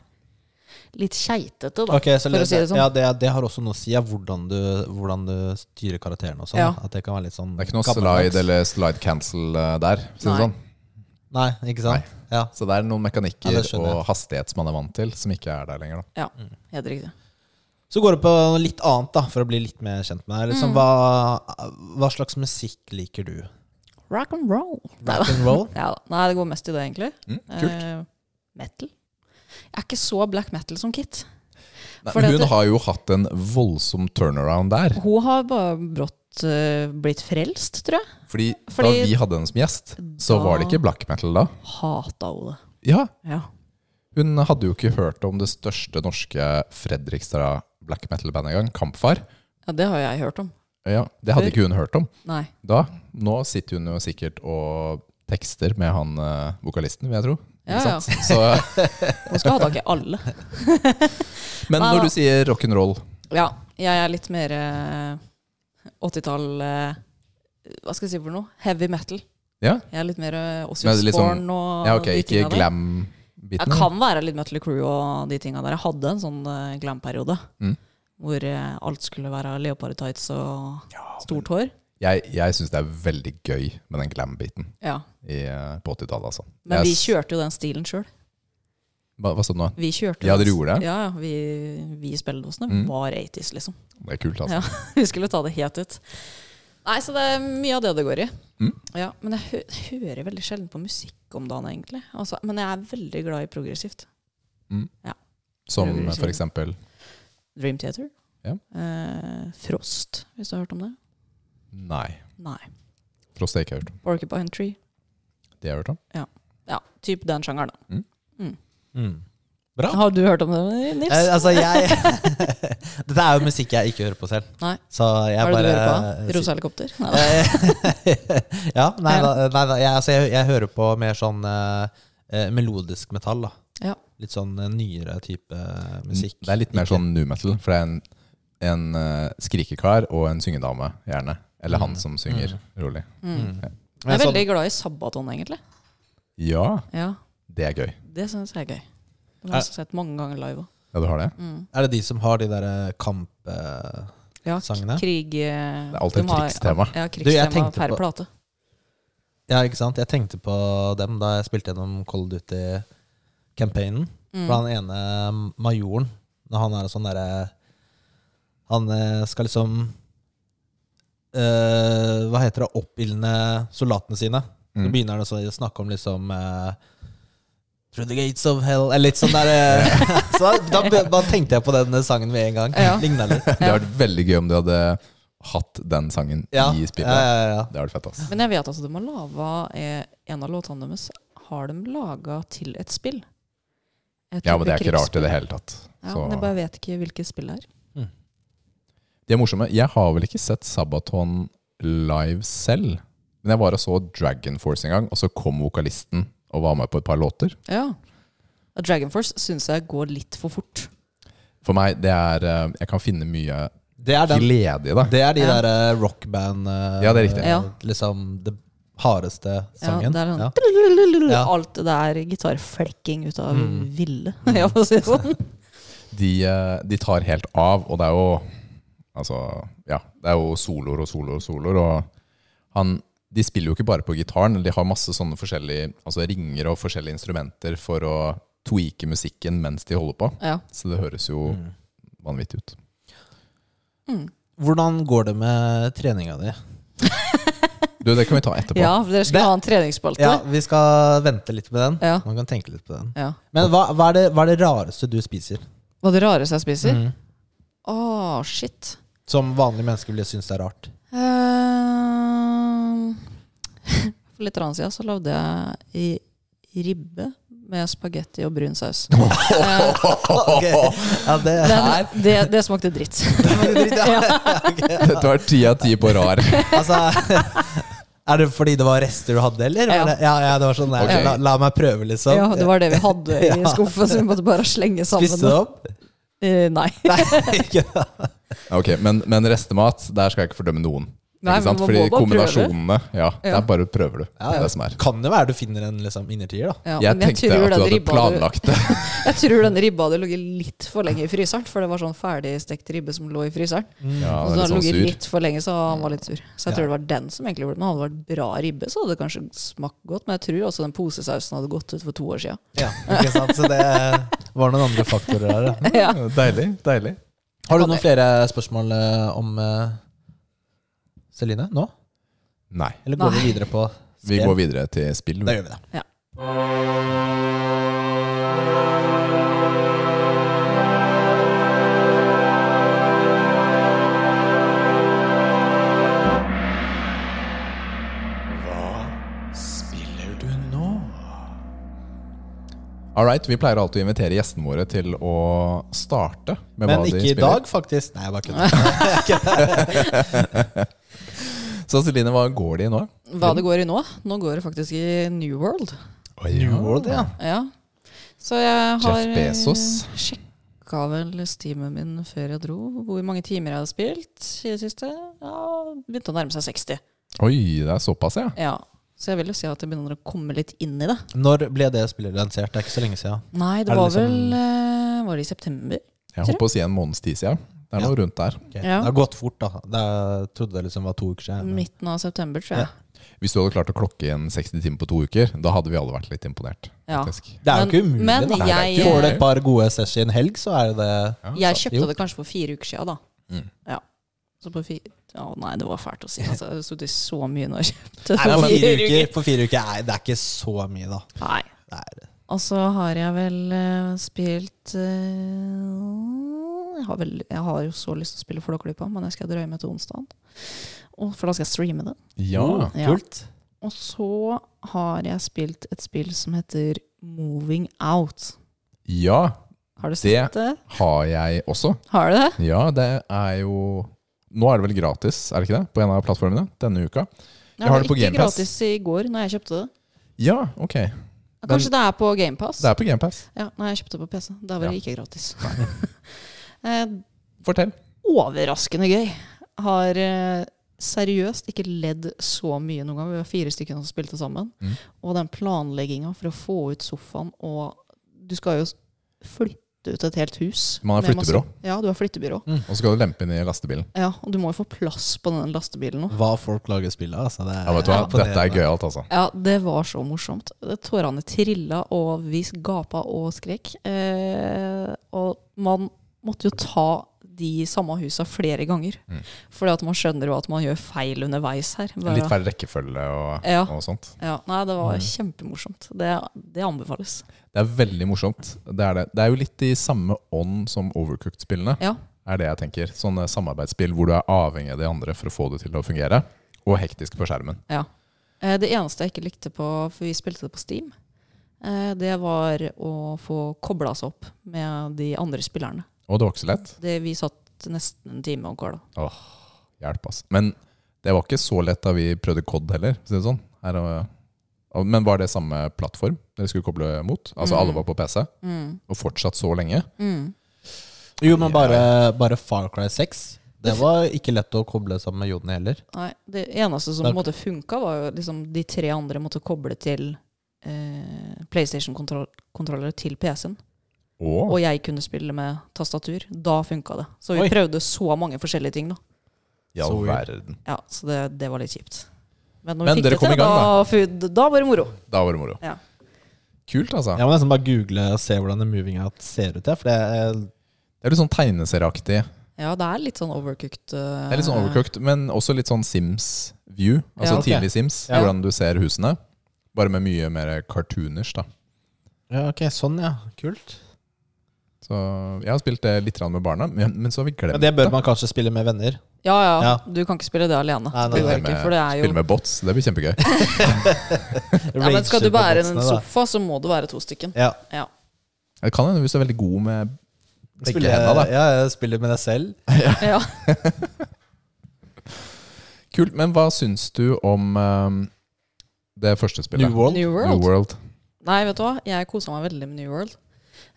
S3: litt keitete, da.
S1: Ok, så
S3: for å si det sånn.
S1: Ja, det, det har også noe å si, ja, hvordan du, hvordan du styrer karakterene og sånn.
S3: Ja.
S1: At det kan være litt sånn
S2: Det er ikke noe
S1: gammeldags.
S2: slide eller slide cancel eh, der. Si det
S3: Nei.
S2: sånn.
S1: Nei, ikke sant? Ja.
S2: Så det er noen mekanikker
S1: Ja, det skjønner jeg.
S2: og hastighet som man er vant til, som ikke er der lenger. Da.
S3: Helt riktig.
S1: Så går det på noe litt annet, da, for å bli litt mer kjent med deg. Liksom,
S3: Mm.
S1: hva, hva slags musikk liker du?
S3: Rock and roll. Nei da.
S1: Rock and roll?
S3: Ja, da. Nei, det går mest i det, egentlig.
S2: Mm, kult.
S3: Eh, metal. Jeg er ikke så black metal som Kit.
S2: Nei,
S3: for det
S2: hun
S3: at-
S2: har jo hatt en voldsom turnaround der.
S3: Hun har bare brått eh, blitt frelst, tror jeg.
S2: Fordi,
S3: Fordi-
S2: da vi hadde henne som gjest, så
S3: Da-
S2: var det ikke black metal da.
S3: Hata hun det.
S2: Ja,
S3: Ja.
S2: Hun hadde jo ikke hørt om det største norske Fredrikstad black metal-bandet engang, Kampfar.
S3: det har jeg hørt om.
S2: Ja, det hadde ikke hun hørt om.
S3: Nei.
S2: Da, Nå sitter hun jo sikkert og tekster med han eh, vokalisten, vil jeg tro.
S3: Ja,
S2: Ikke sant? Så,
S3: Hun skal ha tak i alle.
S2: men
S3: Nei, da.
S2: når du sier rock'n'roll
S3: Ja, jeg er litt mer eh, 80-tall eh, Hva skal jeg si for noe? Heavy metal.
S2: Ja.
S3: Jeg er litt mer uh, Ossie
S2: Men litt
S3: Sporn
S2: sånn-
S3: og
S2: ja, ok,
S3: de
S2: Ikke
S3: tinga der. Jeg
S2: glam-biten?
S3: kan være litt Mutley Crew og de tinga der. Jeg hadde en sånn eh, glam-periode
S2: Mm.
S3: hvor eh, alt skulle være leopard tights og stort hår.
S2: Jeg, jeg syns det er veldig gøy med den glam-biten
S3: Ja.
S2: i, eh, på 80-tallet, altså.
S3: Men
S2: Jeg
S3: vi
S2: s-
S3: kjørte jo den stilen sjøl.
S2: Hva, hva sa du nå?
S3: Vi kjørte jo
S2: Ja,
S3: den
S2: dere
S3: s-
S2: gjorde det?
S3: Ja, ja, vi, vi i spilledåsene
S2: Mm.
S3: var 80s, liksom.
S2: Det er kult, altså.
S3: Ja. Vi skulle ta det helt ut. Nei, så det er mye av det det går i.
S2: Mm.
S3: Ja, men jeg hø hører veldig sjelden på musikk om dagen, egentlig. Altså, men jeg er veldig glad i progressivt.
S2: Som
S3: Prøver å
S2: eh,
S3: si
S2: for
S3: det.
S2: eksempel
S3: Dream Theater.
S2: Ja.
S3: Eh, frost, hvis du har hørt om det?
S2: Nei.
S3: Nei.
S2: Frost har jeg ikke hørt om.
S3: Porcupine Tree.
S2: Det har jeg hørt om. Mm.
S3: Ja, typ den sjangeren. da.
S1: Mm.
S2: Ja.
S3: Har du hørt om det, Nils?
S1: Eh, altså, jeg Dette er jo musikk jeg ikke hører på selv.
S3: Nei.
S1: Så jeg
S3: Hva er det
S1: bare Eh,
S3: du hører på? Rosa helikopter? Nei, da.
S1: ja, nei
S3: Ja.
S1: da. Nei, da jeg, altså, jeg, jeg hører på mer sånn eh, eh, melodisk metall. da.
S3: Ja.
S1: Litt sånn eh, nyere type musikk.
S2: Mm, Det er litt mer
S1: Ikke-
S2: sånn nu metal, for det er en, en eh, skrikekar og en syngedame, gjerne. Eller han
S1: Mm.
S2: som synger rolig.
S3: Mm.
S1: Mm.
S3: Jeg
S1: Men
S3: er
S1: sånn-
S3: veldig glad i Sabaton, egentlig.
S2: Ja,
S3: Ja,
S2: det er gøy.
S3: Det syns jeg er gøy. Det har
S1: Er-
S3: jeg sett mange ganger live òg.
S2: Ja, du har det?
S3: Mm.
S1: Er det de som har de derre kamp... eh,
S3: Ja,
S1: Sangene?
S3: krig eh,
S2: Det er alltid
S3: de
S2: et
S3: har-
S2: krigstema.
S3: Ja,
S1: jeg
S3: krigstema
S1: tenkte
S3: per
S1: på-
S3: plate.
S1: ja, ikke sant? Jeg tenkte på dem da jeg spilte gjennom Cold Duty-campaignen.
S3: Mm.
S1: For han ene um, majoren, når han er sånn derre Han eh, skal liksom eh, Hva heter det? Oppildne soldatene sine. Så
S2: Mm.
S1: begynner han også å snakke om liksom eh, Through the gates of hell Eller litt sånn der eh, Så da, da, da tenkte jeg på den sangen med en gang.
S3: Ja.
S1: Ligna litt.
S2: Det hadde vært veldig gøy om du hadde hatt den sangen
S1: Ja.
S2: i spillet.
S1: Ja, ja, ja.
S2: Det hadde vært fett, ass.
S3: Men jeg vet altså, de har laga En av låtene deres har de laga til et spill. Et
S2: Ja, men det er ikke rart i det
S3: krigsspill.
S2: hele tatt.
S3: Ja,
S2: Så-
S3: men jeg bare vet ikke hvilket spill det er.
S2: De er morsomme. Jeg har vel ikke sett Sabaton live selv. Men jeg var og så Dragon Force en gang, og så kom vokalisten og var med på et par låter.
S3: Ja. Og Dragon Force syns jeg går litt for fort.
S2: For meg, det er eh, Jeg kan finne mye
S1: Det er den.
S2: glede i det.
S1: Det er de
S3: Ja.
S1: der eh, rockband eh,
S2: Ja, det er riktig.
S1: eh,
S3: Ja.
S1: Liksom det hardeste sangen.
S3: det er
S1: Ja.
S3: sånn-
S1: Ja.
S3: Alt det der gitarflekking ut av
S1: Mm.
S3: ville, ja, for å si det sånn.
S2: De, eh, de tar helt av, og det er jo Altså, ja. Det er jo soloer og soloer og soloer, og han De spiller jo ikke bare på gitaren, de har masse sånne forskjellige altså ringer og forskjellige instrumenter for å tweake musikken mens de holder på.
S3: Ja.
S2: Så det høres jo
S1: Mm.
S2: vanvittig ut.
S3: Mm.
S1: Hvordan går det med treninga di?
S2: Du, det kan vi ta etterpå.
S3: ja, for dere skal
S1: Det-
S3: ha en treningsspalte.
S1: Ja, vi skal vente litt med den.
S3: Ja.
S1: Man kan tenke litt på den.
S3: Ja.
S1: Men hva, hva, er, det, hva er det rareste du spiser?
S3: Hva det rareste jeg spiser?
S1: Mm.
S3: Å, shit.
S1: Som vanlige mennesker vil synes det er rart.
S3: Eh, For litt rann siden så lagde jeg i ribbe med spagetti og brun saus. Eh,
S1: Ok. Ja, det
S3: Men det, det smakte dritt. ja.
S2: Dette var ti av ti på rar.
S1: Altså Er det fordi det var rester du hadde, eller?
S3: Ja.
S1: Var det- Ja, ja, det var sånn der,
S2: Ok.
S1: la, la meg prøve, liksom.
S3: ja, det sånn. var det vi hadde i skuffen, så vi måtte bare slenge sammen.
S1: Spiste du opp?
S3: Eh, nei.
S1: Nei, ikke da.
S2: Ok, Men, men restemat, der skal jeg ikke fordømme noen.
S3: Nei, men
S2: ikke sant?
S3: man
S2: Fordi
S3: må bare
S2: kombinasjonene ja,
S3: Ja.
S2: Der bare prøver du.
S1: Ja,
S2: Det
S1: ja.
S2: er det som er.
S1: Kan det være du finner en liksom, innertier, da?
S3: Ja,
S2: Jeg
S3: men
S2: tenkte
S3: tror
S2: at du
S3: den
S2: hadde
S3: ribba
S2: planlagt det.
S3: Jeg tror den ribba hadde ligget litt for lenge i fryseren, for det var sånn ferdigstekt ribbe som lå i fryseren.
S1: Mm.
S2: Ja,
S3: og
S2: det
S3: så
S2: er litt
S3: hadde den
S2: sånn
S3: ligget
S2: sur.
S3: litt for lenge, så han var litt sur. Så jeg
S1: Ja.
S3: tror det var den som egentlig gjorde det. Men hadde det vært bra ribbe, så hadde det kanskje smakt godt. Men jeg tror også den posesausen hadde gått ut for to år siden.
S1: Ja, ikke sant? Så det var noen andre faktorer der. da.
S3: Ja.
S2: Deilig. deilig
S1: Har du noen flere spørsmål eh, om eh, Celine nå?
S2: Nei.
S1: Eller går
S3: Nei.
S1: vi videre på
S2: Vi går videre til spill.
S1: Da gjør vi det.
S3: Ja.
S2: Hva spiller du nå? All right, vi pleier alltid å invitere gjestene våre til å starte med
S1: Men
S2: hva de
S1: ikke
S2: spiller.
S1: i dag, faktisk. Nei, jeg bare kødder.
S2: Så Celine, hva går de i nå?
S3: Hva det går i nå? Nå går det faktisk i New World.
S1: New World, ja.
S3: Ja. Så jeg har
S2: Jeff Bezos.
S3: sjekka vel steamen min før jeg dro, hvor mange timer jeg hadde spilt i det siste. Ja, Begynte å nærme seg 60.
S2: Oi, det er såpass, ja.
S3: Ja. Så jeg vil jo si at jeg begynner å komme litt inn i det.
S1: Når ble det spillet lansert? Det er ikke så lenge siden.
S3: Nei, det
S1: Er det
S3: var
S1: liksom-
S3: vel eh, Var det i september?
S2: Jeg holdt på å si en måneds tid siden. Det er
S1: Ja.
S2: noe rundt der.
S1: Ok.
S3: Ja.
S1: Det har gått fort, da. Det jeg trodde det liksom var to uker siden. men-
S3: Midten av september, tror jeg.
S2: Hvis du hadde klart å klokke inn 60 timer på to uker, da hadde vi alle vært litt imponert.
S3: Ja.
S2: faktisk.
S1: Det er jo
S3: Men-
S1: ikke umulig,
S3: men
S1: da.
S3: jeg-
S1: Får du et par gode sesj i en helg, så er jo det
S3: Jeg
S1: sant.
S3: kjøpte
S1: Jo.
S3: det kanskje for fire uker siden, da.
S2: Mm.
S3: Ja. Så på fire Å nei, det var fælt å si. Altså, jeg har sittet så mye når jeg kjøpte det
S1: Nei,
S3: for
S1: men
S3: fire
S1: fire
S3: uker.
S1: uker, På fire uker er det er ikke så mye, da.
S3: Nei.
S1: Det er
S3: Og så har jeg vel eh, spilt eh, Jeg har, vel, jeg har jo så lyst til å spille Flåklypa, men jeg skal drøye meg til onsdag. For da skal jeg streame det.
S2: Ja.
S3: Ja.
S1: Kult.
S3: Og så har jeg spilt et spill som heter Moving Out.
S2: ja,
S3: Har du
S2: Det-
S3: sett det?
S2: har jeg også.
S3: Har du det?
S2: Ja, det er jo Nå er det vel gratis, er det ikke det? På en av plattformene denne uka. Jeg har det på
S3: ikke
S2: Game Pass.
S3: gratis i går når jeg kjøpte det.
S2: Ja, ok.
S3: Ja, Kanskje det er på GamePass?
S2: Det er på GamePass.
S3: Ja, nei, jeg kjøpte det på PC. Da var det ikke gratis. Eh,
S2: Fortell.
S3: Overraskende gøy. Har eh, seriøst ikke ledd så mye noen gang. Vi var fire stykker som spilte sammen.
S2: Mm.
S3: Og den planlegginga for å få ut sofaen og Du skal jo s- flytte ut et helt hus.
S2: Man har
S3: med masse-
S2: flyttebyrå. Mm.
S3: Ja, du har flyttebyrå.
S2: Og så skal du lempe inn i lastebilen.
S3: Ja, og du må jo få plass på den lastebilen nå.
S1: Hva folk lager spill av, altså. Det er
S2: Ja, vet du hva?
S1: imponerende.
S2: Dette er gøyalt, altså.
S3: Ja, det var så morsomt. Tårene trilla, og vi gapa og skrek. Eh, og man måtte jo ta de samme husa flere ganger.
S2: Mm.
S3: Fordi at man skjønner jo at man gjør feil underveis her. Bare-
S2: Litt Mm. færre rekkefølge og,
S3: Ja.
S2: og sånt.
S3: Ja, nei, det var kjempemorsomt. Det, det anbefales.
S2: Det er veldig morsomt. Det er, det. det er jo litt i samme ånd som Overcooked-spillene.
S3: Ja.
S2: Er det jeg tenker. Sånne samarbeidsspill hvor du er avhengig av de andre for å få det til å fungere. Og hektisk på skjermen.
S3: Eh, det eneste jeg ikke likte på, for vi spilte det på Steam, eh, det var å få kobla seg opp med de andre spillerne.
S2: Og det var ikke så lett.
S3: Det, vi satt nesten en time og kåla.
S2: Hjelp, ass. Men det var ikke så lett da vi prøvde COD heller. for å Si det sånn. Her, og- og- men var det samme plattform dere skulle koble mot? Altså
S3: Mm.
S2: alle var på PC, og fortsatt så lenge?
S3: Mm.
S1: Jo, men bare, bare Far Cry 6. Det var ikke lett å koble sammen med Jodny heller.
S3: Nei, det eneste som
S1: Det er-
S3: på en måte funka, var jo liksom de tre andre måtte koble til eh, PlayStation-kontrollere til PC-en.
S2: Åh.
S3: Og jeg kunne spille med tastatur. Da funka det. Så vi
S1: Oi.
S3: prøvde så mange forskjellige ting, da.
S2: I all
S1: Så weird.
S2: verden.
S3: Ja, så det, det var litt kjipt. Men når
S2: Men
S3: vi fikk
S2: dere
S3: det
S2: kom
S3: til,
S2: i gang,
S3: da, fu- da var det moro.
S2: Da var det moro.
S3: Ja.
S2: Kult, altså.
S1: Jeg må nesten bare google og se hvordan det moving out ser ut. Ja, for det er,
S2: Det er litt sånn tegneserieaktig.
S3: Ja, det er litt sånn overcooked. eh,
S2: Det er litt sånn overcooked, men også litt sånn Sims-view. Altså
S3: Ja,
S1: ok.
S2: tidlig Sims,
S1: Ja.
S2: hvordan du ser husene. Bare med mye mer cartooners, da.
S1: ja, ok, sånn ja. Kult.
S2: Så jeg har spilt det litt grann med barna, men, men så har vi glemt
S1: Men det bør man kanskje spille med venner.
S3: Ja, ja,
S1: Ja.
S3: Du kan ikke spille det alene.
S1: Nei, nei,
S3: det går
S2: nei.
S3: ikke, for det er jo
S2: Spille med bots, det blir kjempegøy.
S3: ja, men Skal
S1: Rager
S3: du
S1: på
S3: bære en
S1: botsene, da.
S3: sofa, så må du være to stykken.
S1: Ja.
S3: Ja.
S2: Det kan hende hvis du er veldig god med begge
S1: Spille,
S2: hendene, da.
S1: ja, jeg spiller med deg selv.
S3: ja.
S2: Kult, men hva syns du om eh, det første spillet?
S1: New World.
S3: New
S2: New
S3: World.
S2: World.
S3: Nei, vet du hva? Jeg kosa meg veldig med New World.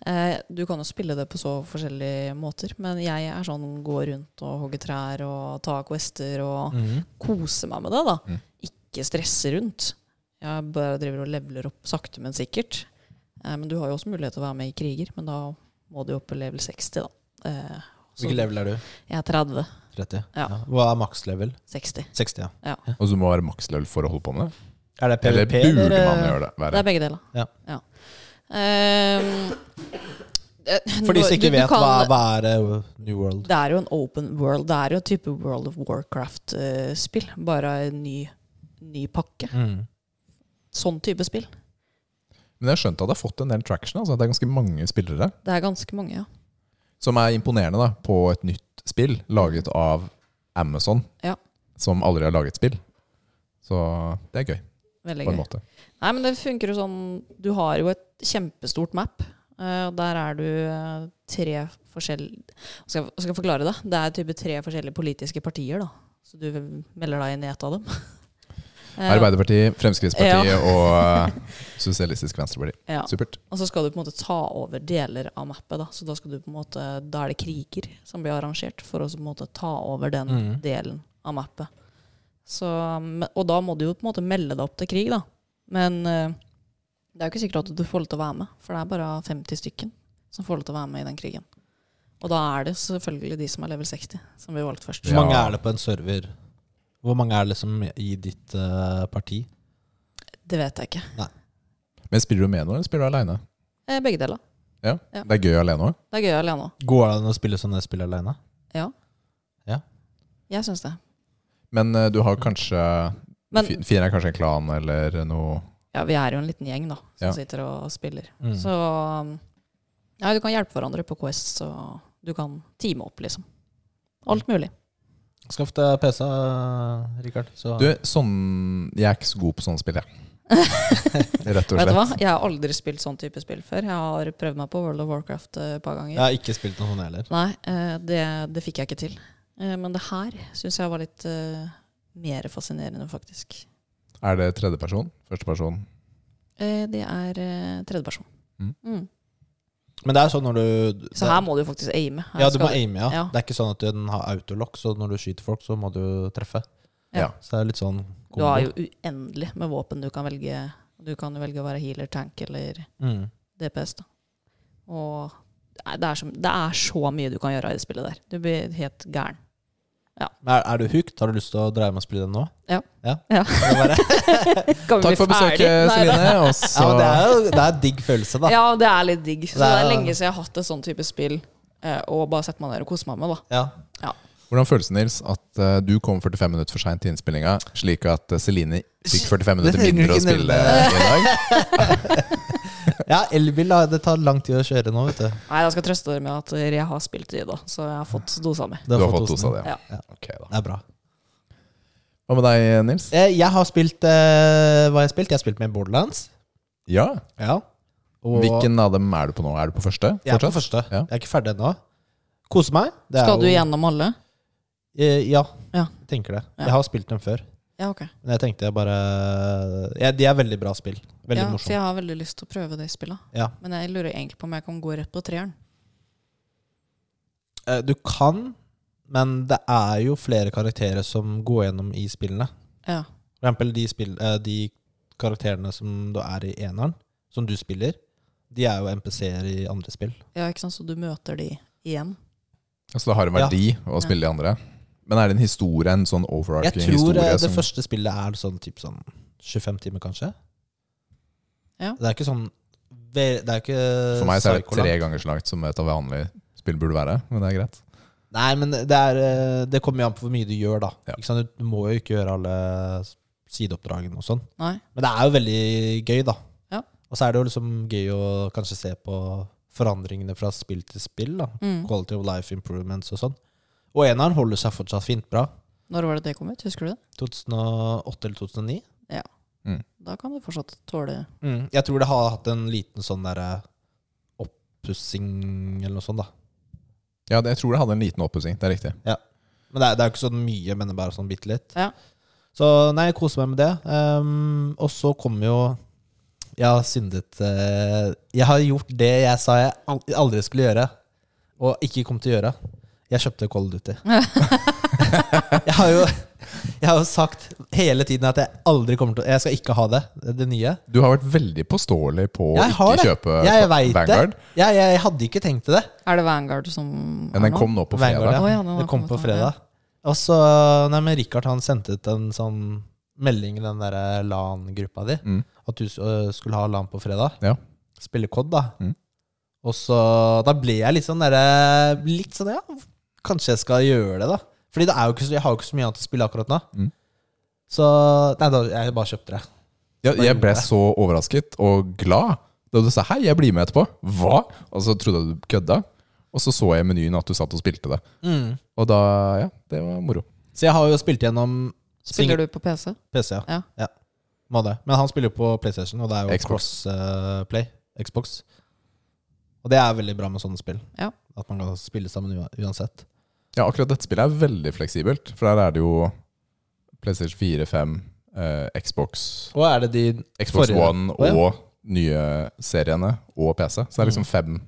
S3: Eh, du kan jo spille det på så forskjellige måter, men jeg er sånn gå rundt og hogge trær og ta quester og
S1: Mhm.
S3: kose meg med det, da.
S2: Mm.
S3: Ikke stresse rundt. Jeg bare driver og leveler opp sakte, men sikkert. Eh, men du har jo også mulighet til å være med i kriger, men da må du jo opp på level 60, da. Eh, så
S1: Hvilken level er du?
S3: jeg er 30.
S1: 30?
S3: Ja.
S1: Hva er maks level?
S3: 60.
S1: 60, ja.
S2: Og så må du være makslevel for å holde på med det?
S1: Er det
S2: Eller
S1: PVP?
S2: burde man gjøre det?
S3: Det
S2: Være?
S3: er begge deler.
S1: Ja.
S3: Ehm, det-
S1: For de som
S3: du-
S1: ikke
S3: du
S1: vet,
S3: kan-
S1: hva, hva er eh, New World?
S3: Det er jo en open world. Det er jo en type World of Warcraft-spill. Bare en ny, ny pakke.
S1: Mm.
S3: Sånn type spill.
S2: Men jeg har skjønt at det har fått en del traction. Altså. Det er ganske mange spillere
S3: Det er ganske mange, ja.
S2: som er imponerende da, på et nytt spill laget av Amazon,
S3: Ja.
S2: som aldri har laget spill. Så det er gøy,
S3: Veldig
S2: på en
S3: gøy.
S2: måte.
S3: Nei, men det funker jo sånn Du har jo et kjempestort map. eh, og der er du eh, tre forskjellige skal, jeg- skal jeg forklare det? Det er type tre forskjellige politiske partier, da. Så du melder deg inn i ett av dem. Eh,
S2: Arbeiderpartiet, Fremskrittspartiet og eh, Sosialistisk Venstreparti.
S3: ja.
S2: Supert.
S3: Og så skal du på en måte ta over deler av mappet. Da Så da, skal du på en måte, da er det kriger som blir arrangert for å så på en måte ta over den
S2: Mm.
S1: Mhm.
S3: delen av mappet. Så, men- og da må du jo på en måte melde deg opp til krig, da. Men eh, det er jo ikke sikkert at du får lov til å være med, for det er bare 50 stykken som får lov til å være med i den krigen. Og da er det selvfølgelig de som er level 60, som blir valgt først.
S1: Hvor
S2: Ja.
S1: mange er det på en server? Hvor mange er det liksom i ditt eh, parti?
S3: Det vet jeg ikke.
S2: Men spiller du med noen, eller spiller du aleine?
S3: Eh, Begge deler.
S2: Ja.
S3: Ja.
S2: Det er gøy alene òg.
S3: Det er gøy alene òg.
S1: Går det an å spille sånne spill alene?
S3: Jeg syns det.
S2: Men eh, du har kanskje
S3: Men
S2: fi- Fire er kanskje en klan eller noe
S3: ja, vi er jo en liten gjeng da som
S2: Ja.
S3: sitter og spiller.
S1: Mm.
S3: Så um, ja, du kan hjelpe hverandre på Quest og du kan time opp, liksom. Alt
S1: Mm.
S3: mulig.
S1: Skaff deg PC, Rikard. Så
S2: Du, sånn, jeg er ikke så god på sånne spill, jeg. Rett og
S3: Vet du hva?
S2: slett.
S3: Jeg har aldri spilt sånn type spill før. Jeg har prøvd meg på World of Warcraft eh, et par ganger.
S1: Jeg har ikke spilt noe sånt heller.
S3: Nei, eh, det, det fikk jeg ikke til. Eh, Men det her syns jeg var litt eh, mer fascinerende, faktisk.
S2: Er det tredjeperson? Førsteperson?
S3: Eh, Det er eh, tredjeperson.
S2: Mm.
S3: Mm.
S1: Men det er sånn når du
S3: Så her må du faktisk aime. Her
S1: Ja, du
S3: skal
S1: må aime, ja.
S3: ja.
S1: Det er ikke sånn at den har autolock, så når du skyter folk, så må du treffe.
S3: Ja.
S1: Så det er litt sånn
S3: Du har jo uendelig med våpen du kan velge. Du kan jo velge å være healer, tank eller
S1: mm.
S3: DPS. da. Og nei, det er, så, det er så mye du kan gjøre i det spillet der. Du blir helt gæren.
S1: Men er, er du hooked? Har du lyst til å dreie med å spille den nå?
S3: Ja.
S1: ja.
S3: Ja.
S1: Det, er bare,
S3: Kan vi
S2: Takk
S3: bli
S2: for besøket,
S3: ferdig? Nei, da-
S2: Celine. Og så
S1: ja, men det er jo det er en digg følelse, da.
S3: Ja, det er litt digg. Så
S1: Det
S3: det
S1: er-
S3: er lenge siden jeg har hatt et sånn type spill. eh, Og bare sett meg ned og kose meg med, da.
S1: Ja.
S2: Hvordan føles det, Nils, at eh, du kom 45 minutter for seint til innspillinga, slik at eh, Celine fikk 45 minutter
S1: trenger du
S2: mindre å
S1: ikke
S2: spille
S1: nevne.
S2: i dag?
S1: ja, elbil da, det tar lang tid å kjøre nå, vet du.
S3: Nei, jeg skal trøste dere med at jeg har spilt i det, da. Så jeg har fått dosa mi.
S2: Du har fått dosa
S1: det.
S2: di? Ja.
S3: Ja.
S2: Ok, da.
S1: Det er bra.
S2: Hva med deg, Nils?
S1: Eh, Jeg har spilt eh, Hva har jeg spilt? Jeg har spilt med Borderlands.
S2: Ja.
S1: Ja. Og
S2: Hvilken av dem er du på nå? Er du på første?
S1: Jeg er på første.
S2: fortsatt? Ja.
S1: Jeg er ikke ferdig ennå. Kose meg. Det er
S3: Skal du
S1: jo-
S3: gjennom alle?
S1: Eh, Ja,
S3: Ja.
S1: jeg tenker det.
S3: Ja.
S1: Jeg har spilt dem før.
S3: Ja, ok.
S1: Men jeg tenkte jeg bare ja, De er veldig bra spill. Veldig
S3: ja, For
S1: morsomt.
S3: jeg har veldig lyst til å prøve det spillet.
S1: Ja.
S3: Men jeg lurer egentlig på om jeg kan gå rett på treeren.
S1: Eh, Du kan, men det er jo flere karakterer som går gjennom i spillene.
S3: Ja.
S1: For eksempel de, spill, eh, de karakterene som du er i eneren, som du spiller, de er jo NPC-er i andre spill.
S3: ja, ikke sant? Så du møter de igjen.
S2: Så det har en verdi å spille de andre? Men er det en historie, en sånn
S1: Jeg
S2: overarching
S1: tror
S2: historie?
S1: eh, det
S2: som-
S1: første spillet er sånn, typ sånn 25 timer, kanskje.
S3: Ja.
S1: Det er ikke sånn ve- det er ikke
S2: For meg så er det
S1: psykolangt.
S2: tre ganger så langt som et av vanlige spill burde være. Men det er greit.
S1: Nei, men det, er, eh, det kommer jo an på hvor mye du gjør, da.
S2: Ja.
S1: Ikke sant? Du må jo ikke gjøre alle sideoppdragene og sånn.
S3: Nei.
S1: Men det er jo veldig gøy, da.
S3: Ja.
S1: Og så er det jo liksom gøy å kanskje se på forandringene fra spill til spill. da
S3: Mm.
S1: Quality of life improvements og sånn. Og eneren holder seg fortsatt fint bra.
S3: Når var det det kom ut? Husker du det?
S1: 2008 eller 2009.
S3: Da kan du fortsatt tåle
S1: Mm. Jeg tror det har hatt en liten sånn derre oppussing eller noe sånt, da.
S2: Ja, det, jeg tror det hadde en liten oppussing. Det er riktig.
S1: Men det er, det er jo ikke så mye, men det er bare sånn bitte litt.
S3: Ja.
S1: Så nei, jeg koser meg med det. Ehm, og så kommer jo Jeg har syndet eh, Jeg har gjort det jeg sa jeg al- aldri skulle gjøre, og ikke kom til å gjøre. Jeg kjøpte Cold Duty. jeg, har jo, jeg har jo sagt hele tiden at jeg aldri kommer til å Jeg skal ikke ha det, det nye.
S2: Du har vært veldig påståelig på å
S1: Jeg har
S2: ikke
S1: det.
S2: kjøpe
S1: Jeg vet
S2: Vanguard.
S1: det. Jeg, jeg hadde ikke tenkt til det.
S3: Er det Vanguard som
S2: Men den kom nå på fredag.
S1: Vanguard, ja.
S3: Å, ja, den har
S1: det kom
S3: kommet
S1: på
S3: nå,
S1: fredag. Og så Nei, men Richard han sendte ut en sånn melding i den derre LAN-gruppa di.
S2: Mm.
S1: At du øh, skulle ha LAN på fredag.
S2: Ja.
S1: Spille COD, da.
S2: Mm.
S1: Og så Da ble jeg litt sånn derre Litt sånn, ja, kanskje jeg skal gjøre det, da. Fordi det er jo ikke så, jeg har jo ikke så mye annet å spille akkurat nå.
S2: Mm.
S1: Så Nei, da, jeg bare kjøpte det.
S2: Ja, jeg ble
S1: gjorde det.
S2: så overrasket og glad da du sa 'hei, jeg blir med etterpå'. Hva? Og så trodde jeg du kødda. Og så så jeg i menyen at du satt og spilte det.
S3: Mm.
S2: Og da Ja, det var moro.
S1: Så jeg har jo spilt gjennom
S3: Spiller du på PC?
S1: PC, ja.
S3: Ja.
S1: Må det. Men han spiller jo på PlayStation, og det er jo
S2: Xbox.
S1: crossplay. Xbox. Og det er veldig bra med sånne spill.
S3: Ja.
S1: At man kan spille sammen ua- uansett.
S2: Ja, akkurat dette spillet er veldig fleksibelt, for der er det jo PlayStation 4, 5, eh, Xbox,
S1: Og er det de
S2: Xbox
S1: Forrige.
S2: One
S1: Å, ja. Mm.
S2: og nye seriene og PC. Så det er liksom fem,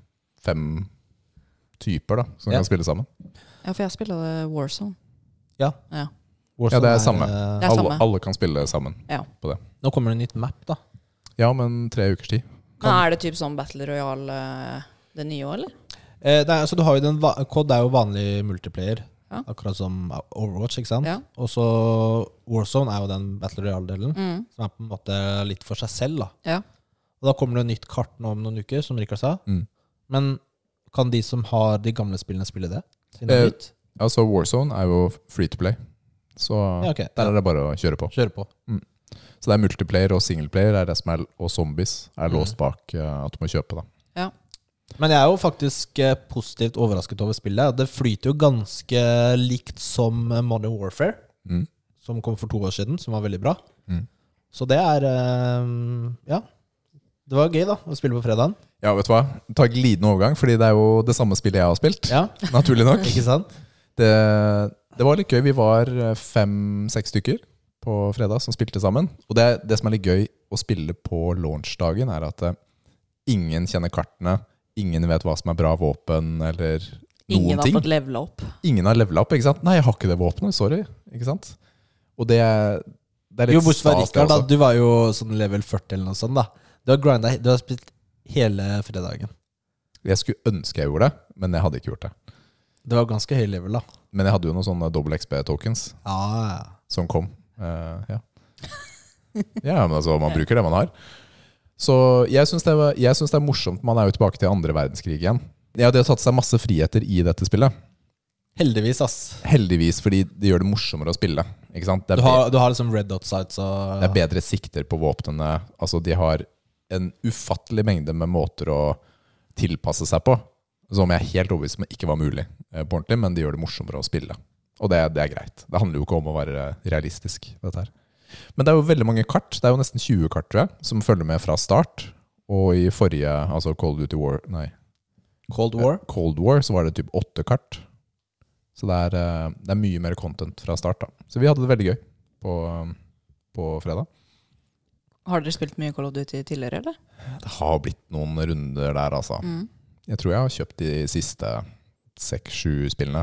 S2: fem typer da, som
S1: Ja.
S2: kan spille sammen.
S3: Ja, for jeg spiller det Warzone.
S2: Ja, det er samme.
S1: eh,
S3: Det er
S2: Alle,
S3: samme.
S2: alle kan spille sammen.
S1: Nå kommer det en nytt map, da.
S2: Ja, men tre ukers tid.
S3: Men er det typ sånn Battle Royale eh, det nye òg, eller?
S1: Eh, det er, så du har jo den va- Cod er jo vanlig multiplayer,
S3: Ja.
S1: akkurat som Overwatch. ikke sant?
S3: Ja.
S1: Og så Warzone er jo den battle royale-delen,
S3: Mm.
S1: som er på en måte litt for seg selv. da.
S3: Ja.
S1: Og da kommer det nytt kart nå om noen uker, som Rikard sa.
S2: Mm.
S1: Men kan de som har de gamle spillene, spille det? Siden det
S2: Eh,
S1: er nytt?
S2: Ja, så Warzone er jo free to play. Så
S1: Ja, ok.
S2: der er det bare å kjøre på.
S1: Kjøre på.
S2: Så det er multiplayer og singleplayer er det som er, og zombies er
S1: Mm.
S2: låst bak eh, at du må kjøpe. da.
S1: Men jeg er jo faktisk eh, positivt overrasket over spillet. Det flyter jo ganske likt som eh, Modern Warfare,
S2: Mm.
S1: som kom for to år siden, som var veldig bra.
S2: Mm.
S1: Så det er eh, Ja. Det var gøy, da, å spille på fredagen.
S2: Ja, vet du hva? Ta glidende overgang, fordi det er jo det samme spillet jeg har spilt.
S1: Ja,
S2: Naturlig nok.
S1: ikke sant?
S2: Det, det var litt gøy. Vi var eh, fem-seks stykker på fredag som spilte sammen. Og det, det som er litt gøy å spille på launchdagen, er at eh, ingen kjenner kartene. Ingen vet hva som er bra våpen, eller noen
S3: Ingen har
S2: ting.
S3: fått levela opp.
S2: Ingen har levela opp. ikke sant? 'Nei, jeg har ikke det våpenet. Sorry.' Ikke sant? Og det, er- det er litt
S1: Jo, bortsett fra
S2: stas, det
S1: Rikard, da.
S2: også.
S1: Du var jo sånn level 40 eller noe sånt, da. Du har grinda Du har spilt hele fredagen.
S2: Jeg skulle ønske jeg gjorde det, men jeg hadde ikke gjort det.
S1: Det var ganske høy level, da.
S2: Men jeg hadde jo noen sånne double XB-tokens
S1: Ja, ja.
S2: som kom. Eh, ja. ja, men altså, man bruker det man har. Så jeg syns det, var- jeg syns det er morsomt. Man er jo tilbake til andre verdenskrig igjen. Ja, De har tatt seg masse friheter i dette spillet.
S1: Heldigvis, ass.
S2: Heldigvis, fordi det gjør det morsommere å spille. Ikke sant? Det er
S1: Du har, du har liksom red dot sights og
S2: Det er bedre sikter på våpnene. Altså, de har en ufattelig mengde med måter å tilpasse seg på. Som jeg er helt overbevist om ikke var mulig eh, på ordentlig, men de gjør det morsommere å spille. Og det, det er greit. Det handler jo ikke om å være realistisk, dette her. Men det er jo veldig mange kart. Det er jo nesten 20 kart, tror jeg, som følger med fra start. Og i forrige, altså Cold Duty War Nei,
S1: Cold War.
S2: eh, Cold War så var det typ åtte kart. Så det er, eh, det er mye mer content fra start, da. Så vi hadde det veldig gøy på, på fredag.
S3: Har dere spilt mye Call of Duty tidligere, eller?
S2: Det har blitt noen runder der, altså.
S3: Mm.
S2: Jeg tror jeg har kjøpt de siste seks-sju spillene.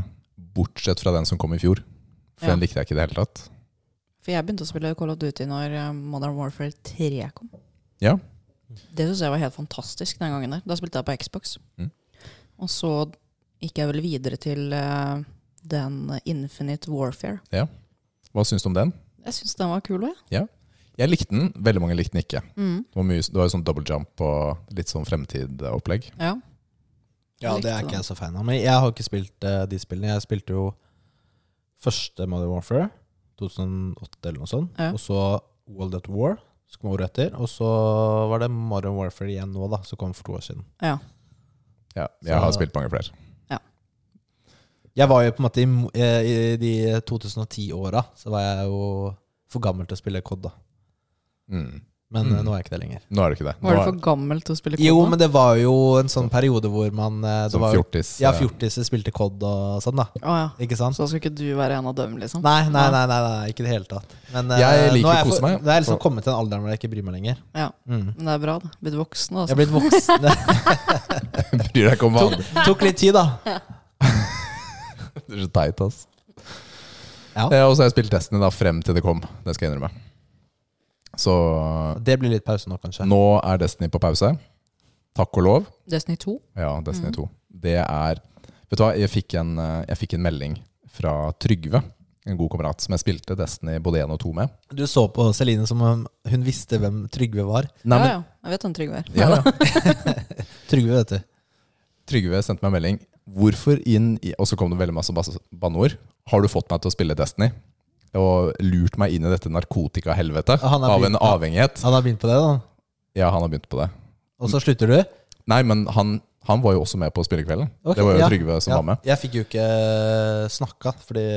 S2: Bortsett fra den som kom i fjor. For
S3: Ja.
S2: den likte jeg ikke i det hele tatt.
S3: For jeg begynte å spille Call of Duty når eh, Modern Warfare 3 kom.
S2: Ja.
S3: Det syns jeg var helt fantastisk den gangen der. Da spilte jeg på Xbox.
S2: Mm.
S3: Og så gikk jeg vel videre til eh, den Infinite Warfare.
S2: Hva syns du om den?
S3: Jeg syns den var kul òg, jeg.
S2: Jeg likte den. Veldig mange likte den ikke.
S3: Mm.
S2: Det var, mye, det var jo sånn double jump og litt sånn fremtidopplegg.
S3: Ja.
S1: Ja, det er ikke jeg så fan av. Men jeg har ikke spilt eh, de spillene. Jeg spilte jo første Modern Warfare, 2008 eller noe sånt.
S3: Ja.
S1: Og så World at War, som kom året etter. Og så var det Modern Warfare igjen nå, da, som kom for to år siden.
S3: Ja.
S2: Ja, jeg har
S1: Så-
S2: spilt mange flere.
S1: Jeg var jo på en måte i, mo- eh, i de 2010-åra, så var jeg jo for gammel til å spille COD, da.
S2: Mm.
S1: Men eh,
S2: Mm.
S1: nå er jeg ikke det lenger.
S2: Nå er det ikke det. Nå
S3: Var du
S2: er-
S3: for gammel til å spille
S1: Jo,
S3: Call
S1: men det var jo en sånn periode hvor man eh, det
S2: som
S1: var, jo-
S2: fjortis.
S1: Ja,
S2: eh,
S1: fjortiser spilte COD og sånn, da.
S3: Å ja.
S1: Ikke sant?
S3: Så da skulle ikke du være en av dem, liksom?
S1: Nei, nei, nei, nei, nei, ikke i det hele tatt. Men eh,
S2: Jeg liker
S1: nå er jeg
S2: å kose
S1: for-
S2: meg.
S1: Det er liksom kommet til en alder hvor jeg ikke bryr meg lenger.
S3: Ja.
S1: Mm.
S3: Men det er bra, da. Blitt voksen,
S1: Jeg
S3: altså.
S1: er blitt voksen. Det
S2: Bryr deg ikke om vanlig.
S1: tok litt tid, da.
S2: Det er så teit, ass.
S1: Ja.
S2: Eh, Og så har jeg spilt testene da frem til det kom. Det skal jeg innrømme. Så
S1: Det blir litt pause nå, kanskje.
S2: Nå er Destiny på pause. Takk og lov.
S3: Destiny 2.
S2: Ja, Destiny 2. Det er Vet du hva, jeg fikk, en, eh, jeg fikk en melding fra Trygve, en god kamerat, som jeg spilte Destiny både 1 og 2 med.
S1: Du så på Celine som om hun visste hvem Trygve var.
S2: Nei,
S3: ja,
S2: men,
S3: ja. Jeg vet hvem Trygve er.
S2: ja, ja.
S1: Trygve, vet du.
S2: Trygve sendte meg en melding. Hvorfor inn i Og så kom det veldig masse bas- banneord. Har du fått meg til å spille Destiny? Og lurt meg inn i dette narkotikahelvetet
S1: Han har
S2: av en
S1: begynt- ja.
S2: avhengighet.
S1: Han har begynt på det, da.
S2: Ja, han har begynt på det.
S1: Og så slutter du?
S2: Nei, men han, han var jo også med på spillekvelden.
S1: Ok,
S2: det var jo
S1: ja,
S2: Trygve som
S1: Ja.
S2: var med.
S1: Jeg fikk jo ikke eh, snakka, fordi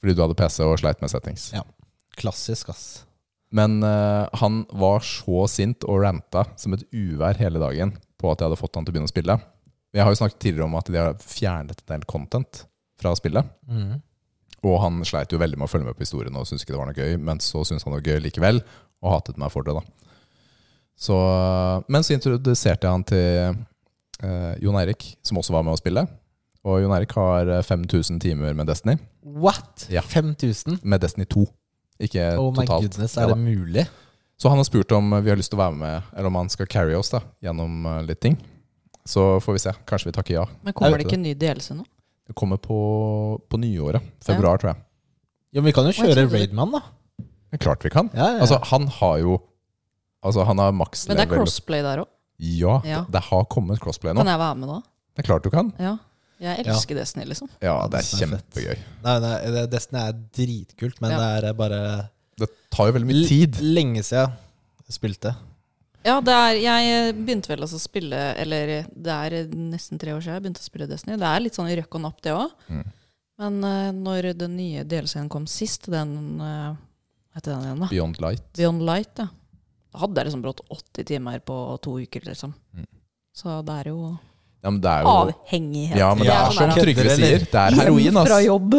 S2: Fordi du hadde PC og sleit med settings.
S1: Ja. Klassisk, ass.
S2: Men eh, han var så sint og ranta som et uvær hele dagen på at jeg hadde fått han til å begynne å spille. Jeg har jo snakket tidligere om at de har fjernet en del content fra spillet.
S1: Mm.
S2: Og han sleit jo veldig med å følge med på historien og syntes ikke det var noe gøy. Men så syntes han det var gøy likevel, og hatet meg for det, da. Så, men så introduserte jeg han til eh, Jon Eirik, som også var med å spille. Og Jon Eirik har eh, 5000 timer med Destiny.
S1: What?!
S2: Ja.
S1: 5000?
S2: Med Destiny 2. Ikke
S1: Oh my
S2: totalt.
S1: goodness,
S2: Ja
S1: er
S2: da.
S1: det mulig?
S2: Så han har spurt om vi har lyst til å være med, eller om han skal carry oss da, gjennom eh, litt ting. Så får vi se. Kanskje vi takker ja.
S3: Men kommer
S2: Jeg
S3: det
S2: vet
S3: ikke en ny DLC nå?
S2: Det kommer på, på nyåret. Februar, tror jeg.
S1: Jo, men vi kan jo
S3: Hva
S1: kjøre
S3: trodde du?
S1: Raidman, da.
S2: Men klart vi kan.
S1: Ja, ja, ja.
S2: Altså, han har jo Altså, han har maks
S3: Men det er
S2: level.
S3: crossplay der òg.
S2: Ja,
S3: Ja.
S2: Det, det har kommet crossplay nå.
S3: Kan jeg være med da?
S2: Det er klart du kan.
S3: Ja. Jeg elsker Destiny, liksom.
S2: Ja, det er
S1: Destiny er fett.
S2: kjempegøy.
S1: Nei, nei, det- Destiny er dritkult, men
S3: Ja.
S1: det er bare
S2: Det tar jo veldig mye tid.
S1: L- Lenge siden jeg spilte.
S3: Ja, det er, jeg begynte vel altså å spille Eller det er eh, nesten tre år siden jeg begynte å spille Destiny. Det er litt sånn i røkk og napp, det òg.
S2: Mm.
S3: Men eh, når den nye delscenen kom sist, den eh, Hva heter den igjen, da?
S2: Beyond Light.
S3: Beyond Light, da. Da hadde jeg liksom brått 80 timer på to uker, liksom.
S2: Mm.
S3: Så det er jo
S2: Ja, men det er jo
S3: avhengighet.
S2: ja, men det
S1: Ja,
S2: er som
S1: sånn er det.
S2: Trygve sier. Det er
S3: Hjem
S2: heroin,
S3: Fra
S2: ass.
S3: jobb.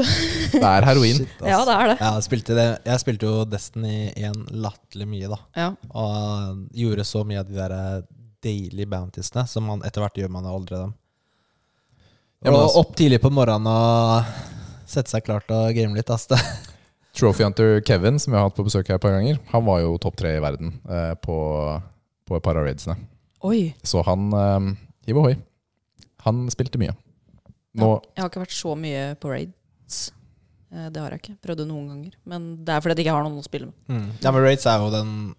S2: Det er heroin.
S1: Shit, ass.
S3: Ja, det er det.
S1: Jeg spilte, det. jeg spilte jo Destiny 1 latterlig mye, da.
S3: Ja.
S1: Og eh, gjorde så mye av de der eh, daily bountiesene som man etter hvert gjør man jo aldri dem.
S2: Ja, men
S1: og
S2: altså-
S1: opp tidlig på morgenen og sette seg klar til å game litt. Ass. Det-
S2: Trophy Hunter Kevin, som jeg har hatt på besøk her et par ganger, han var jo topp tre i verden eh, på, på et par av raidsene.
S3: Oi.
S2: Så han eh, Hiv ohoi. Han spilte mye. Nå
S3: Jeg har ikke vært så mye på raids. Eh, Det har jeg ikke. Prøvde noen ganger. Men det er fordi jeg ikke har noen å spille med.
S2: Mm.
S1: Ja, men Raids er jo den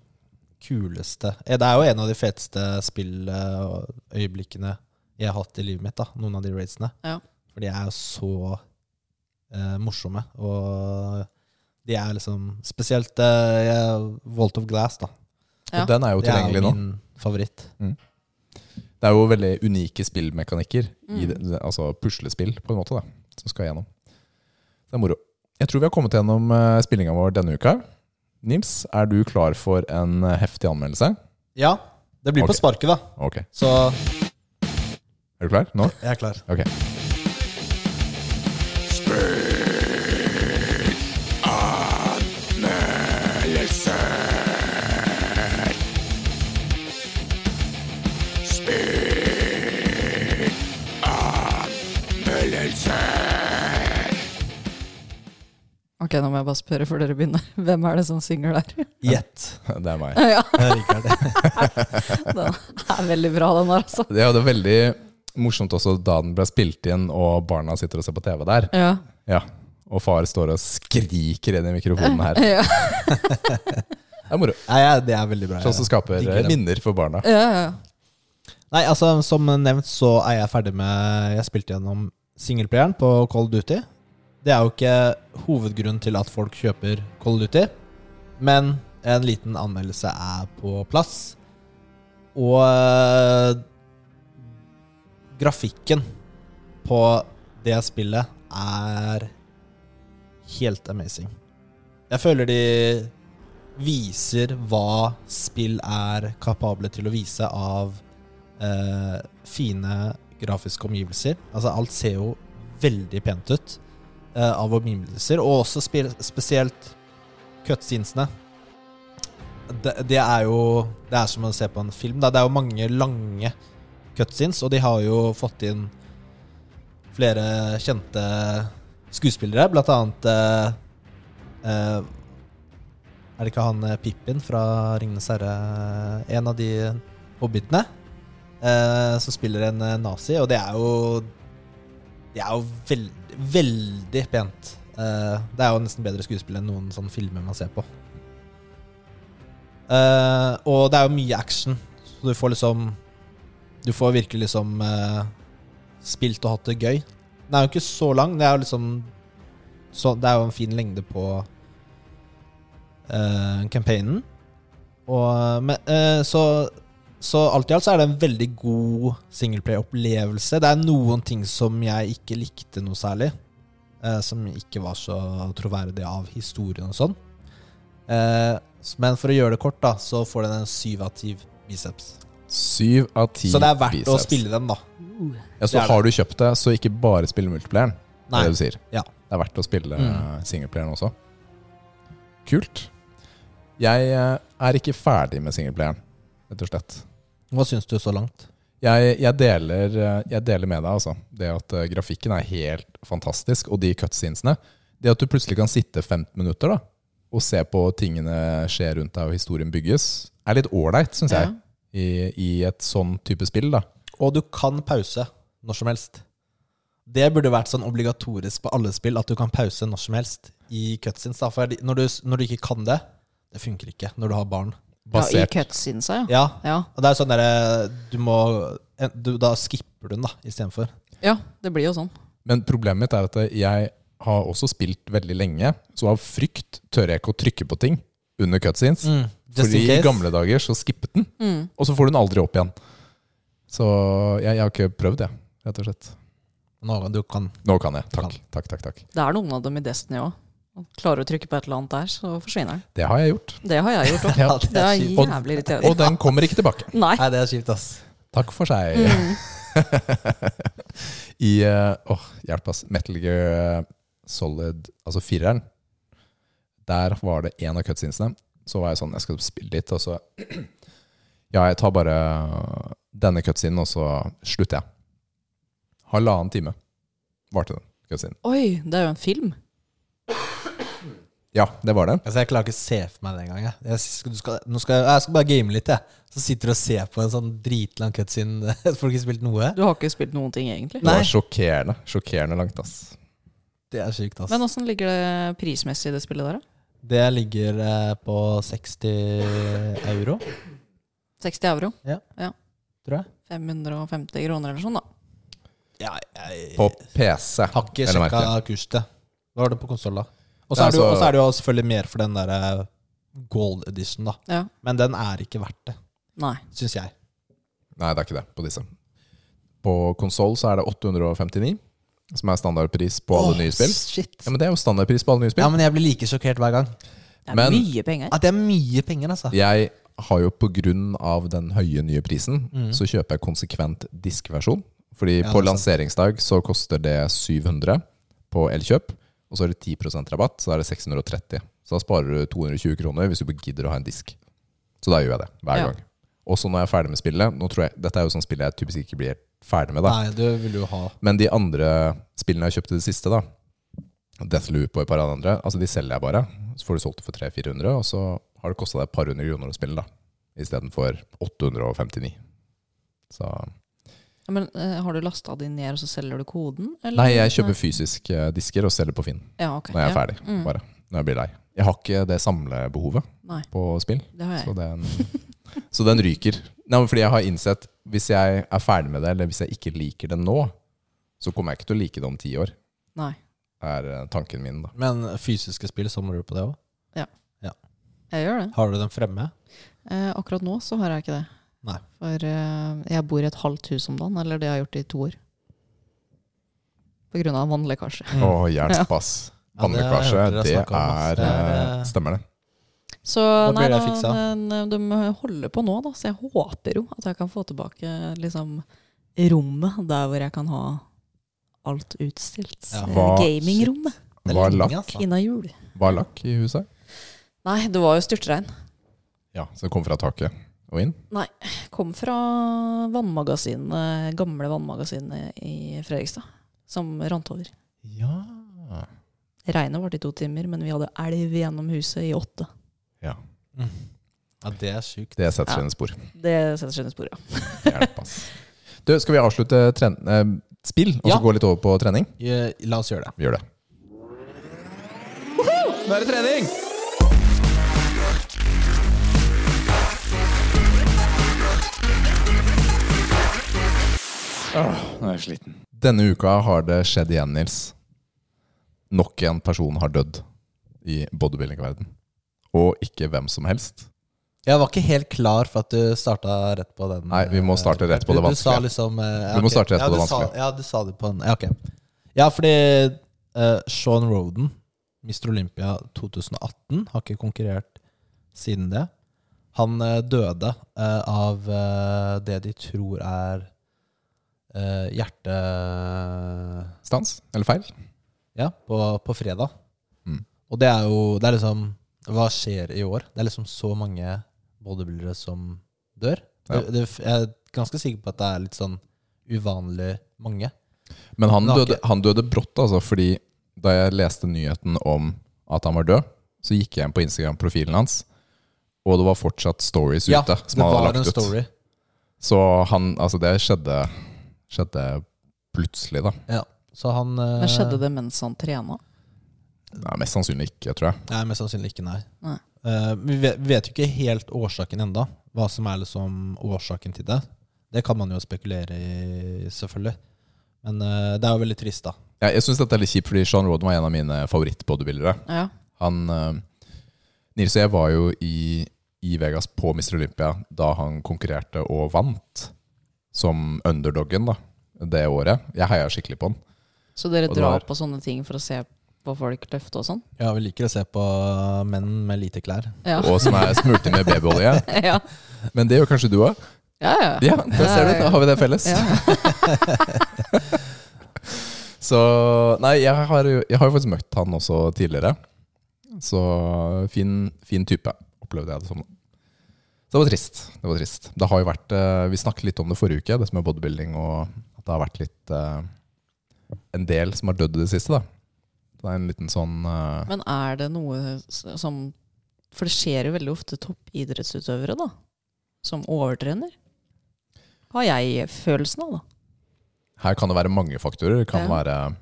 S1: kuleste Eh, Det er jo en av de feteste spilløyeblikkene jeg har hatt i livet mitt, da. Noen av de raidsene.
S3: Ja.
S1: For de er jo så eh, morsomme. Og de er liksom Spesielt eh, Walt of Glass, da.
S3: Ja.
S2: Den er jo
S1: Det er
S2: tilgjengelig
S1: jo
S2: nå.
S1: min favoritt.
S2: Det er jo veldig unike spillmekanikker. I
S3: Mm.
S2: det, det- altså puslespill, på en måte, da, som skal gjennom. Det er moro. Jeg tror vi har kommet gjennom uh, spillinga vår denne uka. Nils, er du klar for en eh, heftig anmeldelse?
S1: Ja, det blir
S2: Ok.
S1: på sparket, da.
S2: Ok.
S1: Så
S2: Er du klar nå?
S1: jeg er klar.
S2: Ok.
S3: Ok, nå må jeg bare spørre før dere begynner. Hvem er det som synger der?
S1: Gjett.
S2: Det er meg.
S3: Ja,
S1: Rikard.
S3: den er veldig bra, den der, altså.
S2: Ja, det er veldig morsomt også da den ble spilt inn, og barna sitter og ser på TV der.
S3: Ja.
S2: Ja. Og far står og skriker inn i mikrofonen her.
S3: Ja,
S2: Det er moro.
S1: Nei, ja, det er veldig bra.
S2: Sånn som skaper
S1: Digger dem.
S2: minner for barna.
S3: ja, ja.
S1: Nei, altså Som nevnt så er jeg ferdig med Jeg spilte gjennom singelplayeren på Cold Duty. Det er jo ikke hovedgrunnen til at folk kjøper Cold Duty, men en liten anmeldelse er på plass. Og øh, grafikken på det spillet er helt amazing. Jeg føler de viser hva spill er kapable til å vise av eh, fine grafiske omgivelser. Altså Alt ser jo veldig pent ut eh, av omgivelser, og også spe spesielt cutscenesene. Det, det er jo Det er som å se på en film. Da. Det er jo mange lange cutscenes, og de har jo fått inn flere kjente skuespillere, blant annet eh, eh, Er det ikke han eh, Pippin fra Ringenes herre En av de hobbitene? eh, som spiller en eh, nazi, og det er jo Det er jo veld, veldig pent. Eh, det er jo nesten bedre skuespill enn noen sånne filmer man ser på. Eh, og det er jo mye action, så du får liksom Du får virkelig liksom eh, spilt og hatt det gøy. Den er jo ikke så lang, det er jo liksom så, Det er jo en fin lengde på eh, campaignen. Og, men, eh, så så alt i alt så er det en veldig god singleplay-opplevelse. Det er noen ting som jeg ikke likte noe særlig. Eh, som ikke var så troverdig av historien og sånn. Eh, s- men for å gjøre det kort, da, så får den en syv av ti biceps.
S2: Syv av ti
S1: Så det er verdt å
S2: biceps.
S1: spille dem, da.
S2: Ja,
S1: Det er
S2: så
S1: det.
S2: har du kjøpt det, så ikke bare spille multiplayeren. Det
S1: Nei.
S2: er det du sier.
S1: Ja.
S2: Det er verdt å spille
S1: Mm.
S2: eh, singleplayeren også. Kult. Jeg eh, er ikke ferdig med singleplayeren, rett og slett.
S1: Hva syns du så langt?
S2: Jeg, jeg, deler, jeg deler med deg altså. det at eh, grafikken er helt fantastisk, og de cutscenesene. Det at du plutselig kan sitte 15 minutter da, og se på tingene skje rundt deg, og historien bygges, er litt ålreit, syns
S3: Ja.
S2: jeg, i, i et sånn type spill. da.
S1: Og du kan pause når som helst. Det burde vært sånn obligatorisk på alle spill at du kan pause når som helst i cutscenes. Da. For de- når du, s- når du ikke kan det, det funker ikke når du har barn.
S3: ja I
S2: Basert,
S3: cutscenes, ja.
S1: Ja,
S3: ja.
S1: Og det er jo sånn derre Du må en- du, Da skipper du den, da, istedenfor.
S3: Ja, det blir jo sånn.
S2: men problemet mitt er at jeg har også spilt veldig lenge, så av frykt tør jeg ikke å trykke på ting under cutscenes.
S1: Mm, Just
S2: Fordi
S1: in case.
S2: i gamle dager så skippet den,
S3: Mm.
S2: og så får du den aldri opp igjen. Så jeg, jeg har ikke prøvd, jeg, rett og slett.
S1: Nå, du kan.
S2: Nå kan jeg.
S1: Kan.
S2: Takk, takk, takk. takk.
S3: Det er noen av dem i Destiny òg. Klarer å trykke på et eller annet der, så forsvinner den.
S2: Det har jeg gjort.
S3: Det har jeg gjort òg.
S1: Ja, det
S3: Det
S1: er
S3: er
S1: kjipt.
S3: jævlig irriterende.
S2: Og den kommer ikke tilbake.
S3: Nei.
S1: Nei, det er kjipt, ass.
S2: Takk for seg.
S3: Mm.
S2: I eh, Åh, hjelp, ass. Metal Gear eh, Solid, altså fireren. Der var det én av cutscenesene. Så var jeg sånn Jeg skal spille litt, og så Ja, jeg tar bare eh, denne cutscenen, og så slutter jeg. Halvannen time varte den cutscenen.
S3: Oi, det er jo en film.
S2: Ja, det var det.
S1: Altså, jeg klarer ikke å se for meg det engang. Jeg. Jeg, skal- du skal, nå skal, jeg- jeg skal bare game litt, jeg. Så sitter du og ser på en sånn dritlang cutscene. Får ikke spilt noe.
S3: Du har ikke spilt noen ting, egentlig.
S2: Det
S1: Nei.
S2: var sjokkerende. Sjokkerende langt, ass.
S1: Det er sjukt, ass.
S3: Men åssen ligger det prismessig i det spillet der, da?
S1: Det ligger eh, på 60 euro,
S3: 60 euro?
S1: tror jeg.
S3: 550 kroner eller sånn, da.
S1: Ja, jeg
S2: På PC.
S1: har ikke
S2: vel å merke.
S1: sjekka kurset. Hva var det på konsoll, da? Og så
S2: Det er
S1: er, det jo-
S2: altså-
S1: og så er det jo selvfølgelig mer for den derre gold edition, da.
S3: Ja.
S1: Men den er ikke verdt det,
S3: Nei.
S1: syns jeg.
S2: Nei, det er ikke det på disse. På konsoll så er det 859, som er standardpris på alle
S1: Åh,
S2: nye spill.
S1: Shit.
S2: Ja, men Det er jo standardpris på alle nye
S1: Ja,
S2: spill.
S1: men jeg blir like sjokkert hver gang.
S3: Det er
S2: Men-
S3: mye penger.
S1: At det er mye penger, altså.
S2: Jeg har jo på grunn av den høye nye prisen,
S1: Mm.
S2: så kjøper jeg konsekvent diskversjon. Fordi
S1: Ja,
S2: på
S1: det er sant.
S2: lanseringsdag så koster det 700 på Elkjøp, og så er det 10 rabatt, så er det 630. Så da sparer du 220 kroner hvis du gidder å ha en disk. Så da gjør jeg det hver
S3: Ja.
S2: gang. Også når jeg er ferdig med spillet. Nå tror jeg, dette er jo sånn spill jeg typisk ikke blir ferdig med. da.
S1: Nei, du vil jo ha
S2: Men de andre spillene jeg kjøpte det siste, da Deathloop og et par av de andre, altså de selger jeg bare. Så får du solgt det for 300-400, og så har det kosta deg et par hundre kroner å spille, da. Istedenfor 859. Så
S3: Ja, Men eh, har du lasta de ned, og så selger du koden? Eller?
S2: Nei, jeg kjøper fysisk eh, disker og selger på Finn
S3: Ja, ok.
S2: når jeg er
S3: ja.
S2: ferdig.
S3: Mm.
S2: Bare. Når jeg blir lei. Jeg har ikke det samlebehovet
S3: Nei.
S2: på spill,
S3: Det har
S2: så
S3: jeg.
S2: den, så den ryker. Nei, men fordi jeg har innsett hvis jeg er ferdig med det, eller hvis jeg ikke liker det nå, så kommer jeg ikke til å like det om ti år,
S3: Nei.
S2: er eh, tanken min, da.
S1: Men fysiske spill, så må du på det òg.
S3: Jeg gjør det.
S1: Har du den fremme?
S3: Eh, akkurat nå så har jeg ikke det.
S1: Nei.
S3: For eh, jeg bor i et halvt hus om dagen, eller det har jeg gjort i to år. På grunn av vannlekkasje.
S1: Mm.
S2: Å, hjelp, ass.
S1: Ja, det har jeg
S2: Vannlekkasje,
S1: hørt dere
S2: det
S1: snakke om, ass.
S2: er
S1: Det
S2: eh,
S1: er, eh,
S2: Stemmer det.
S3: Så
S1: Da blir
S3: nei,
S1: det
S3: da,
S1: fiksa.
S3: men, eh, de holder på nå, da, så jeg håper jo at jeg kan få tilbake liksom, rommet der hvor jeg kan ha alt utstilt.
S1: Ja.
S3: Eh,
S2: Hva-
S3: Gamingrommet
S1: Det er
S2: Var
S1: lenge,
S2: lakk,
S1: altså.
S3: innan jul.
S2: var lakk i huset?
S3: Nei, det var jo styrtregn.
S2: Ja, som kom fra taket og inn?
S3: Kom fra vannmagasinet, gamle vannmagasinet i Fredrikstad, som rant over.
S2: Ja.
S3: Regnet varte i to timer, men vi hadde elv gjennom huset i åtte.
S1: Mm. Ja, det er sjukt.
S2: Det setter
S3: Ja.
S2: sine spor.
S3: Det setter sine spor, ja.
S2: Hjelp, ass. Du, skal vi avslutte tren eh, spill, og så
S1: Ja.
S2: gå litt over på trening?
S1: Eh, La oss gjøre det.
S2: Vi gjør det. Nå er det trening! nå er jeg sliten. Denne uka har det skjedd igjen, Nils. Nok en person har dødd i bodybuilding-verden. Og ikke hvem som helst.
S1: Jeg var ikke helt klar for at du starta rett på den. eh,
S2: Nei, vi må starte rett på det
S1: Du- Du sa
S2: vanskelige.
S1: liksom eh,
S2: Vi må
S1: ok.
S2: starte rett
S1: ja,
S2: på det
S1: du sa-
S2: vanskelige.
S1: Ja, du sa det på en Ja, ok. Ja, fordi eh, Sean Roden, Mr. Olympia 2018, har ikke konkurrert siden det. Han eh, døde eh, av eh, det de tror er eh, hjerte...
S2: Stans? Eller feil?
S1: Ja, på, på fredag.
S2: Mm.
S1: Og det er jo Det er liksom Hva skjer i år? Det er liksom så mange bodybuildere som dør.
S2: Ja.
S1: Det, det, jeg er ganske sikker på at det er litt sånn uvanlig mange.
S2: Men
S1: Men
S2: han
S1: han har
S2: døde, han døde brått, altså, fordi da jeg leste nyheten om at han var død, så gikk jeg inn på Instagram-profilen hans, og det var fortsatt stories ute som
S1: det
S2: han
S1: var
S2: hadde
S1: en
S2: lagt ut.
S1: story.
S2: Så han, altså det skjedde, skjedde plutselig, da.
S1: Så han eh,
S3: Men skjedde det mens han trena?
S2: Nei, mest sannsynlig ikke, tror jeg.
S1: Nei, mest sannsynlig ikke, nei.
S3: Nei.
S1: Eh, vi vet, vi vet jo ikke helt årsaken enda Hva som er liksom årsaken til det. Det kan man jo spekulere i, selvfølgelig. Men eh, det er jo veldig trist, da.
S2: Jeg, jeg syns dette er litt kjipt, fordi Sean Roden var en av mine favorittbodybuildere.
S3: Ja.
S2: Han eh, Nils og jeg var jo i i Vegas på Mr. Olympia da han konkurrerte og vant som underdoggen da, det året. Jeg heia skikkelig på han.
S3: Så dere
S2: Og det
S3: drar
S2: var-
S3: på sånne ting for å se på folk løfte og sånn?
S1: Ja, vi liker å se på menn med lite klær.
S3: Ja.
S2: Og som er smurt inn med babyolje.
S3: ja.
S2: Men det gjør kanskje du òg.
S3: ja, ja.
S2: Ja, det ser du. Da har vi det felles.
S3: Ja.
S2: Så Nei, jeg har, jo- jeg har jo faktisk møtt han også tidligere. Så fin, fin type, opplevde jeg det som. Så det var trist. Det var trist. Det har jo vært, eh, vi snakket litt om det forrige uke, det som er bodybuilding, og at det har vært litt eh, En del som har dødd i det siste, da. Det er en liten sånn eh,
S3: Men er det noe s- som For det skjer jo veldig ofte toppidrettsutøvere, da. Som overtrener. Har jeg følelsen av, da.
S2: Her kan det være mange faktorer. Det Kan
S3: Ja.
S2: være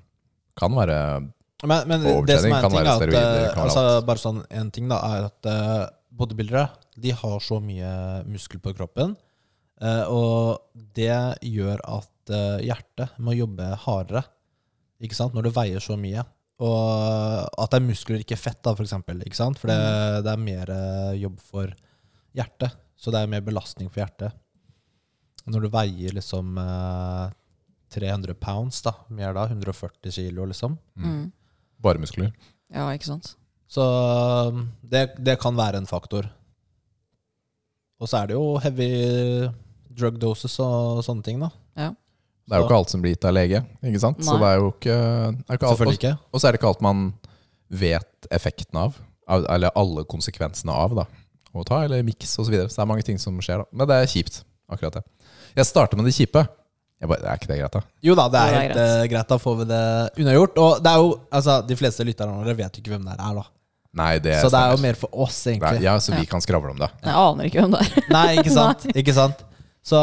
S2: kan være
S1: Men, men
S2: Og
S1: det som er
S2: overtrening
S1: en
S2: kan
S1: ting,
S2: være
S1: er at
S2: steroider,
S1: eh,
S2: kan være
S1: altså,
S2: alt.
S1: Bare sånn en ting, da, er at eh, bodybuildere de har så mye muskel på kroppen. eh, og det gjør at eh, hjertet må jobbe hardere Ikke sant? når det veier så mye. Og at det er muskler, ikke fett, da, for eksempel. Ikke sant? For det,
S2: Mm.
S1: det er mer eh, jobb for hjertet. Så det er mer belastning for hjertet. Når du veier liksom eh, 300 pounds, da, mer da, 140 kilo, liksom.
S3: Mm.
S2: bare muskler.
S3: Ja, ikke sant?
S1: Så um, det, det kan være en faktor. Og så er det jo heavy drug doses og sånne ting, da.
S2: Det er jo
S1: Så-
S2: ikke alt som blir gitt av lege. ikke sant? Så
S3: Nei.
S2: det er jo ikke, det er ikke alt,
S1: Selvfølgelig ikke.
S2: Og så er det ikke alt man vet effekten av, av- eller alle konsekvensene av, da. Å ta eller miks osv. Så, videre. så det er mange ting som skjer, da. Men det er kjipt, akkurat det. Jeg starter med det kjipe. Jeg bare, er ikke det greit, da?
S1: Jo da, det er
S3: Det er
S1: helt eh, greit. Da får vi det unnagjort. Og det er jo, altså, de fleste lytterne våre vet jo ikke hvem det her er, da.
S2: Nei, det
S1: så det er jo
S2: stemmer.
S1: mer for oss,
S2: Nei,
S1: egentlig.
S2: Ja, så vi kan skravle om det.
S3: Jeg aner ikke hvem det er.
S1: Nei, ikke sant? Ikke sant? Så,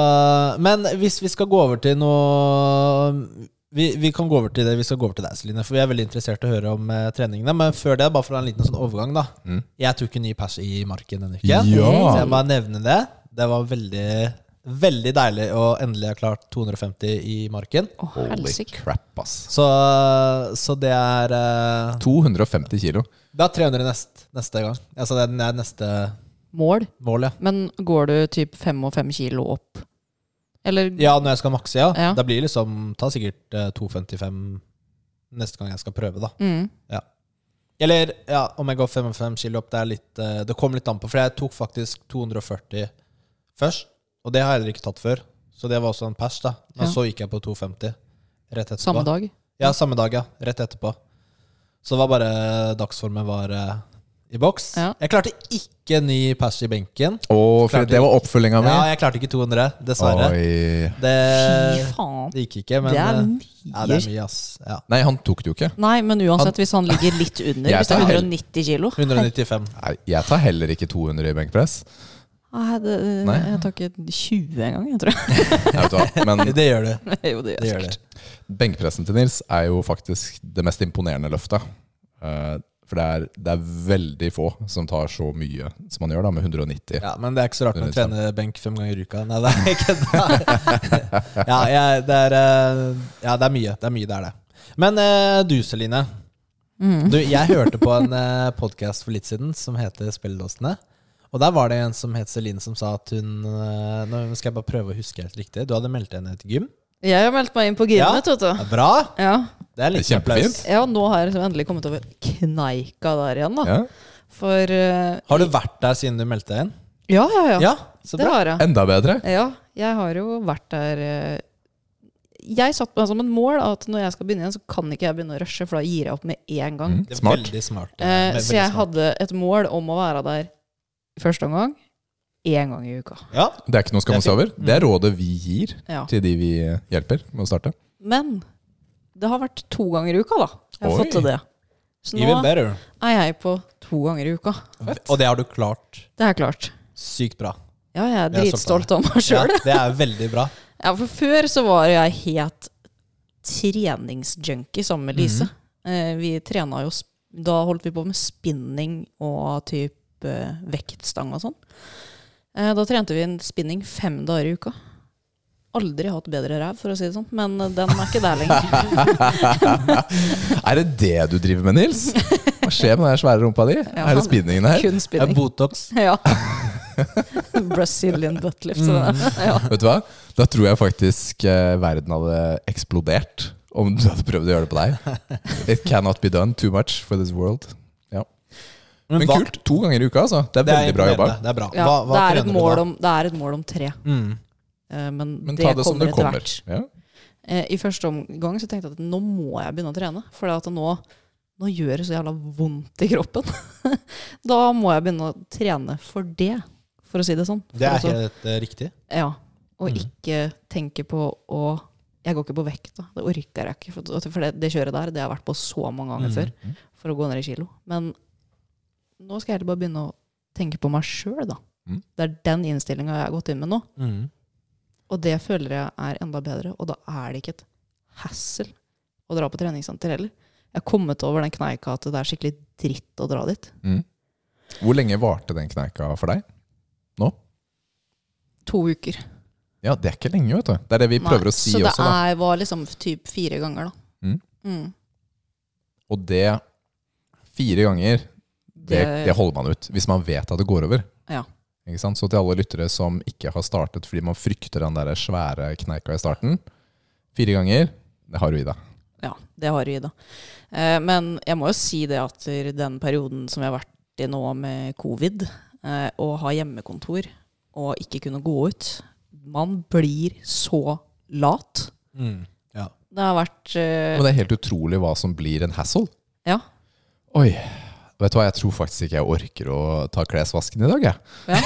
S1: men hvis vi skal gå over til noe vi, vi kan gå over til det, vi skal gå over til deg, Celine, for vi er veldig interessert i å høre om eh, treningene. Men før det, bare for å ha en liten sånn overgang, da.
S2: Mm.
S1: Jeg tok en ny pers i marken denne
S2: Ja.
S1: uken. Så jeg bare nevner det. Det var veldig, veldig deilig å endelig ha klart 250 i marken.
S3: Å,
S2: Holy
S3: helsike.
S2: crap, ass.
S1: Så, så det er eh,
S2: 250 kilo.
S1: Det er 300 nest, neste gang. Altså det er det er neste
S3: Mål.
S1: mål, ja.
S3: Men går du typ fem og fem kilo opp? Eller
S1: Ja, når jeg skal makse, ja.
S3: Ja.
S1: Da blir det liksom Ta sikkert eh, 255 neste gang jeg skal prøve, da.
S3: Mm.
S1: Eller ja, om jeg går 55 kilo opp, det er litt eh, Det kommer litt an på, for jeg tok faktisk 240 først. Og det har jeg heller ikke tatt før. Så det var også en pers, da. Men
S3: Ja.
S1: så gikk jeg på 250 rett etterpå.
S3: Samme dag?
S1: Ja, samme dag, ja. Rett etterpå. Så det var bare dagsformen var eh, i boks.
S3: Ja.
S1: Jeg klarte ikke ny pers i benken.
S2: Å, for det var oppfølginga mi.
S1: Ja, jeg klarte ikke 200, dessverre.
S2: Oi.
S1: Det, Eh,
S3: Fy faen.
S1: det gikk ikke, men
S3: det er
S1: eh, ja, det
S3: mye.
S1: er mye, ass. Ja.
S2: Nei, han tok det jo ikke.
S3: Nei, men uansett, hvis han ligger litt under,
S2: Jeg
S3: hvis det
S2: tar
S3: er
S2: hell.
S3: 190 kilo
S1: 195.
S2: Nei, jeg tar heller ikke 200 i benkpress.
S3: Nei, det,
S2: Nei.
S3: jeg tar ikke 20 engang, jeg tror jeg.
S2: Nei, vet du hva, Men
S1: Det gjør du.
S3: jo, det
S1: Det
S3: gjør
S1: gjør
S3: jeg
S1: du.
S3: sikkert.
S2: Benkpressen til Nils er jo faktisk det mest imponerende løftet. Eh, For det er, det er veldig få som tar så mye som man gjør, da, med 190.
S1: Ja, men det er ikke så rart når man
S2: Understand.
S1: trener benk fem ganger i uka. Nei, det er ikke det. Ja, jeg, det er, eh, ja, det er mye. Det er mye, det er det. Men eh, du, Celine.
S3: Mm.
S1: Du, jeg hørte på en podkast for litt siden som heter Spelledåsene. Og der var det en som het Celine som sa at hun eh, Nå skal jeg bare prøve å huske helt riktig. Du hadde meldt deg ned til gym.
S3: Jeg har meldt meg inn på
S1: Ja.
S3: gymmet, vet du.
S1: Ja, bra!
S3: Ja.
S1: Det er litt
S2: Det er
S1: applaus.
S2: kjempefint.
S3: ja, og nå har jeg liksom endelig kommet over kneika der igjen, da.
S2: Ja.
S3: For eh,
S1: Har du vært der siden du meldte deg inn?
S3: Ja, ja, ja.
S1: så
S3: det
S1: bra.
S3: har jeg.
S2: Enda bedre!
S3: Ja, jeg har jo vært der eh, Jeg satte meg som et mål at når jeg skal begynne igjen, så kan ikke jeg begynne å rushe, for da gir jeg opp med en gang.
S2: Mm,
S1: Det er
S2: smart.
S1: Veldig smart. eh,
S3: Eh,
S1: veldig
S3: så jeg
S1: smart.
S3: hadde et mål om å være der i første omgang én gang i uka.
S1: ja.
S2: Det er ikke noe å skamme seg over. Det er rådet vi gir
S3: Ja.
S2: til de vi hjelper med å starte.
S3: Men det har vært to ganger i uka, da. Jeg har
S2: Oi.
S3: fått til det. Så nå
S1: Even better.
S3: er jeg på to ganger i uka.
S1: Og det har du klart
S3: Det er klart.
S1: sykt bra.
S3: Ja, jeg er
S1: Jeg er stolt
S3: dritstolt av meg sjøl.
S1: Ja, det er veldig bra.
S3: Ja, for før så var jeg helt treningsjunkie sammen med Lise. Eh, vi trena jo sp- Da holdt vi på med spinning og type eh, vektstang og sånn. Eh, da trente vi en spinning fem dager i uka. Aldri hatt bedre ræv, for å si det sånn, men eh, den er ikke der lenger.
S2: Er det det du driver med, Nils? Hva skjer med den svære rumpa di?
S3: Ja,
S2: Er det spinningen her?
S3: Kun
S1: Det er
S3: spinning.
S1: Botox.
S3: Ja. Brazilian buttlift. Mm. Ja.
S2: Vet du hva? Da tror jeg faktisk eh, verden hadde eksplodert om du hadde prøvd å gjøre det på deg. It cannot be done too much for this world. Men
S1: hva-
S2: kult! To ganger i uka, altså. Det er
S1: Det er
S2: veldig bra jobba.
S1: imponerende. Det er bra.
S3: Ja,
S1: Hva, hva
S3: det, er et
S1: trener
S3: mål
S1: du da?
S3: om, det er et mål om tre,
S1: Mm.
S3: eh, men,
S2: Men
S3: det,
S2: ta det som
S3: kommer
S2: det
S3: etter
S2: kommer.
S3: hvert.
S2: Ja.
S3: Eh, I første omgang så tenkte jeg at nå må jeg begynne å trene, for at nå, nå gjør det så jævla vondt i kroppen. da må jeg begynne å trene for det, for å si det sånn.
S1: Det er
S3: for å så-
S1: helt eh, riktig.
S3: ja, og
S1: Mm.
S3: ikke tenke på å Jeg går ikke på vekta. Det orker jeg ikke. For, for det, det kjøret der, det har jeg vært på så mange ganger
S1: Mm.
S3: før for å gå ned i kilo. Men nå skal jeg heller bare begynne å tenke på meg sjøl, da.
S2: Mm.
S3: Det er den innstillinga jeg har gått inn med nå.
S1: Mm.
S3: Og det føler jeg er enda bedre. Og da er det ikke et hassle å dra på treningssenter heller. Jeg har kommet over den kneika at det er skikkelig dritt å dra dit.
S2: Mm. Hvor lenge varte den kneika for deg?
S3: To uker.
S2: Ja, det er ikke lenge, vet du. Det er det vi prøver
S3: Nei,
S2: å si
S3: så det
S2: også, da.
S3: er, var liksom typ fire ganger, da.
S2: Mm.
S3: Mm.
S2: Og det fire ganger, det,
S3: Det-
S2: det holder man ut. Hvis man vet at det går over.
S3: Ja.
S2: Ikke sant? Så til alle lyttere som ikke har startet fordi man frykter den der svære kneika i starten. Fire ganger, det har du i deg.
S3: Ja, det har vi da. Eh, men jeg må jo si det at i den perioden som vi har vært i nå med covid, eh, å ha hjemmekontor og ikke kunne gå ut Man blir så lat.
S1: Mm. Ja.
S3: Det har vært eh,
S2: Men det er helt utrolig hva som blir en hassle.
S3: Ja.
S2: Oi. Vet du hva, jeg tror faktisk ikke jeg orker å ta klesvasken i dag, jeg.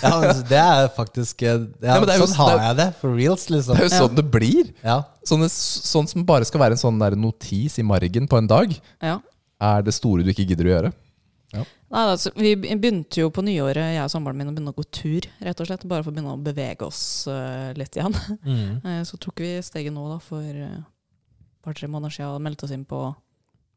S1: ja, men det er faktisk eh, ja,
S2: Nei, men det er jo-
S1: Sånn har
S2: det er-
S1: jeg det, for reals,
S2: Det
S1: liksom.
S2: er jo sånn det blir.
S1: Ja.
S2: Sånn, sånn som bare skal være en sånn der notis i margen på en dag,
S3: Ja.
S2: er det store du ikke gidder å gjøre.
S3: Nei, altså, vi begynte jo på nyåret, jeg og samboeren min, å begynne å gå tur, rett og slett. Bare for å begynne å bevege oss eh, litt igjen.
S1: Mm.
S3: Eh, så tok vi steget nå, da, for eh, et par-tre måneder siden, og meldte oss inn på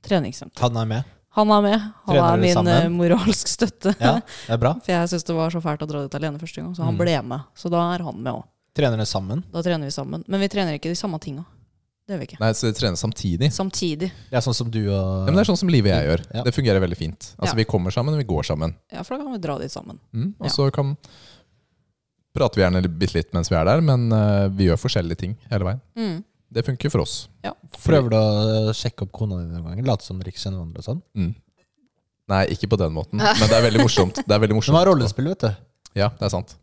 S3: treningssenter.
S1: Han er med.
S3: Han er med. Han
S1: Trener
S3: er
S1: dere
S3: min eh,
S1: sammen?
S3: moralsk støtte.
S1: Ja, det er bra.
S3: For jeg syns det var så fælt å dra dit alene første gang, så han
S1: Mm.
S3: ble med. Så da er han med òg.
S1: Trener dere sammen?
S3: Da trener vi sammen. Men vi trener ikke de samme tinga. Det gjør vi ikke.
S2: Nei, så trene samtidig.
S3: Samtidig.
S1: Det er sånn som du
S2: Ja,
S1: og
S2: men det er sånn som livet jeg gjør.
S1: Ja.
S2: Det fungerer veldig fint. Altså,
S3: Ja.
S2: Vi kommer sammen, og vi går sammen.
S3: Ja, for da kan vi dra dit sammen.
S2: Mm, og
S3: Ja.
S2: så kan prater vi gjerne bitte litt mens vi er der, men eh, vi gjør forskjellige ting hele veien.
S3: Mm.
S2: Det funker for oss.
S3: Ja.
S1: Prøver du å sjekke opp kona di noen ganger? Late som dere ikke kjenner hverandre og sånn?
S2: Mm. Nei, ikke på den måten, men det er veldig morsomt. Det er veldig
S1: Hun
S2: morsomt.
S1: har rollespill, vet du.
S2: Ja, det er sant.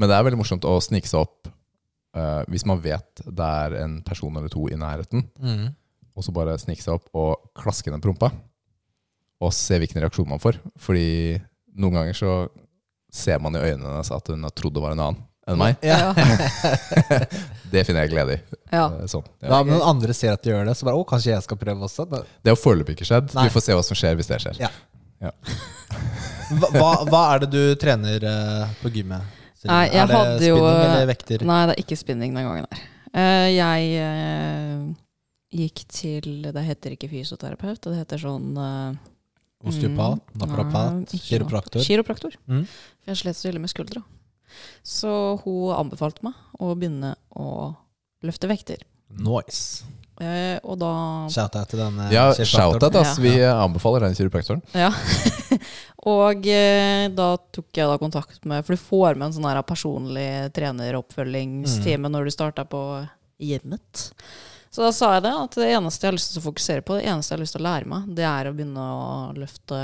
S2: Men det er veldig morsomt å snike seg opp eh, hvis man vet det er en person eller to i nærheten,
S1: Mm.
S2: og så bare snike seg opp og klaske ned prompa, og se hvilken reaksjon man får. Fordi noen ganger så ser man i øynene hennes at hun har trodd det var en annen enn meg.
S1: Ja.
S2: Det finner jeg glede i.
S3: Ja.
S2: Eh, Sånn. Ja.
S1: Ja, men noen andre ser at du gjør det, så bare å, kanskje jeg skal prøve også. Men
S2: Det har foreløpig ikke skjedd.
S1: Nei.
S2: Vi får se hva som skjer hvis det skjer.
S1: Ja. Hva, hva- hva er det du trener eh, på gymmet? Silje?
S3: Nei, jeg
S1: er det
S3: hadde jo- eh,
S1: spinning eller vekter?
S3: Nei, det er ikke spinning den gangen her. Eh, jeg eh, gikk til Det heter ikke fysioterapeut, det heter sånn eh,
S1: Osteopat,
S3: Mm. Nei,
S1: naprapat,
S3: ikke
S1: kiropraktor?
S3: Kiropraktor.
S1: Mm.
S3: For jeg slet så ille med skuldra. Så hun anbefalte meg å begynne å løfte vekter.
S1: Nice.
S3: Eh, og da
S1: Shout-out til den eh,
S2: Ja,
S1: kiropraktoren.
S2: shout-out. ass.
S3: Ja.
S2: Vi eh, anbefaler den kiropraktoren.
S3: Ja. og eh, da tok jeg da kontakt med For du får med en sånn her personlig treneroppfølgingstime når du starter på hjemmet. Så da sa jeg det, at det eneste jeg har lyst til å fokusere på, det eneste jeg har lyst til å lære meg, det er å begynne å løfte,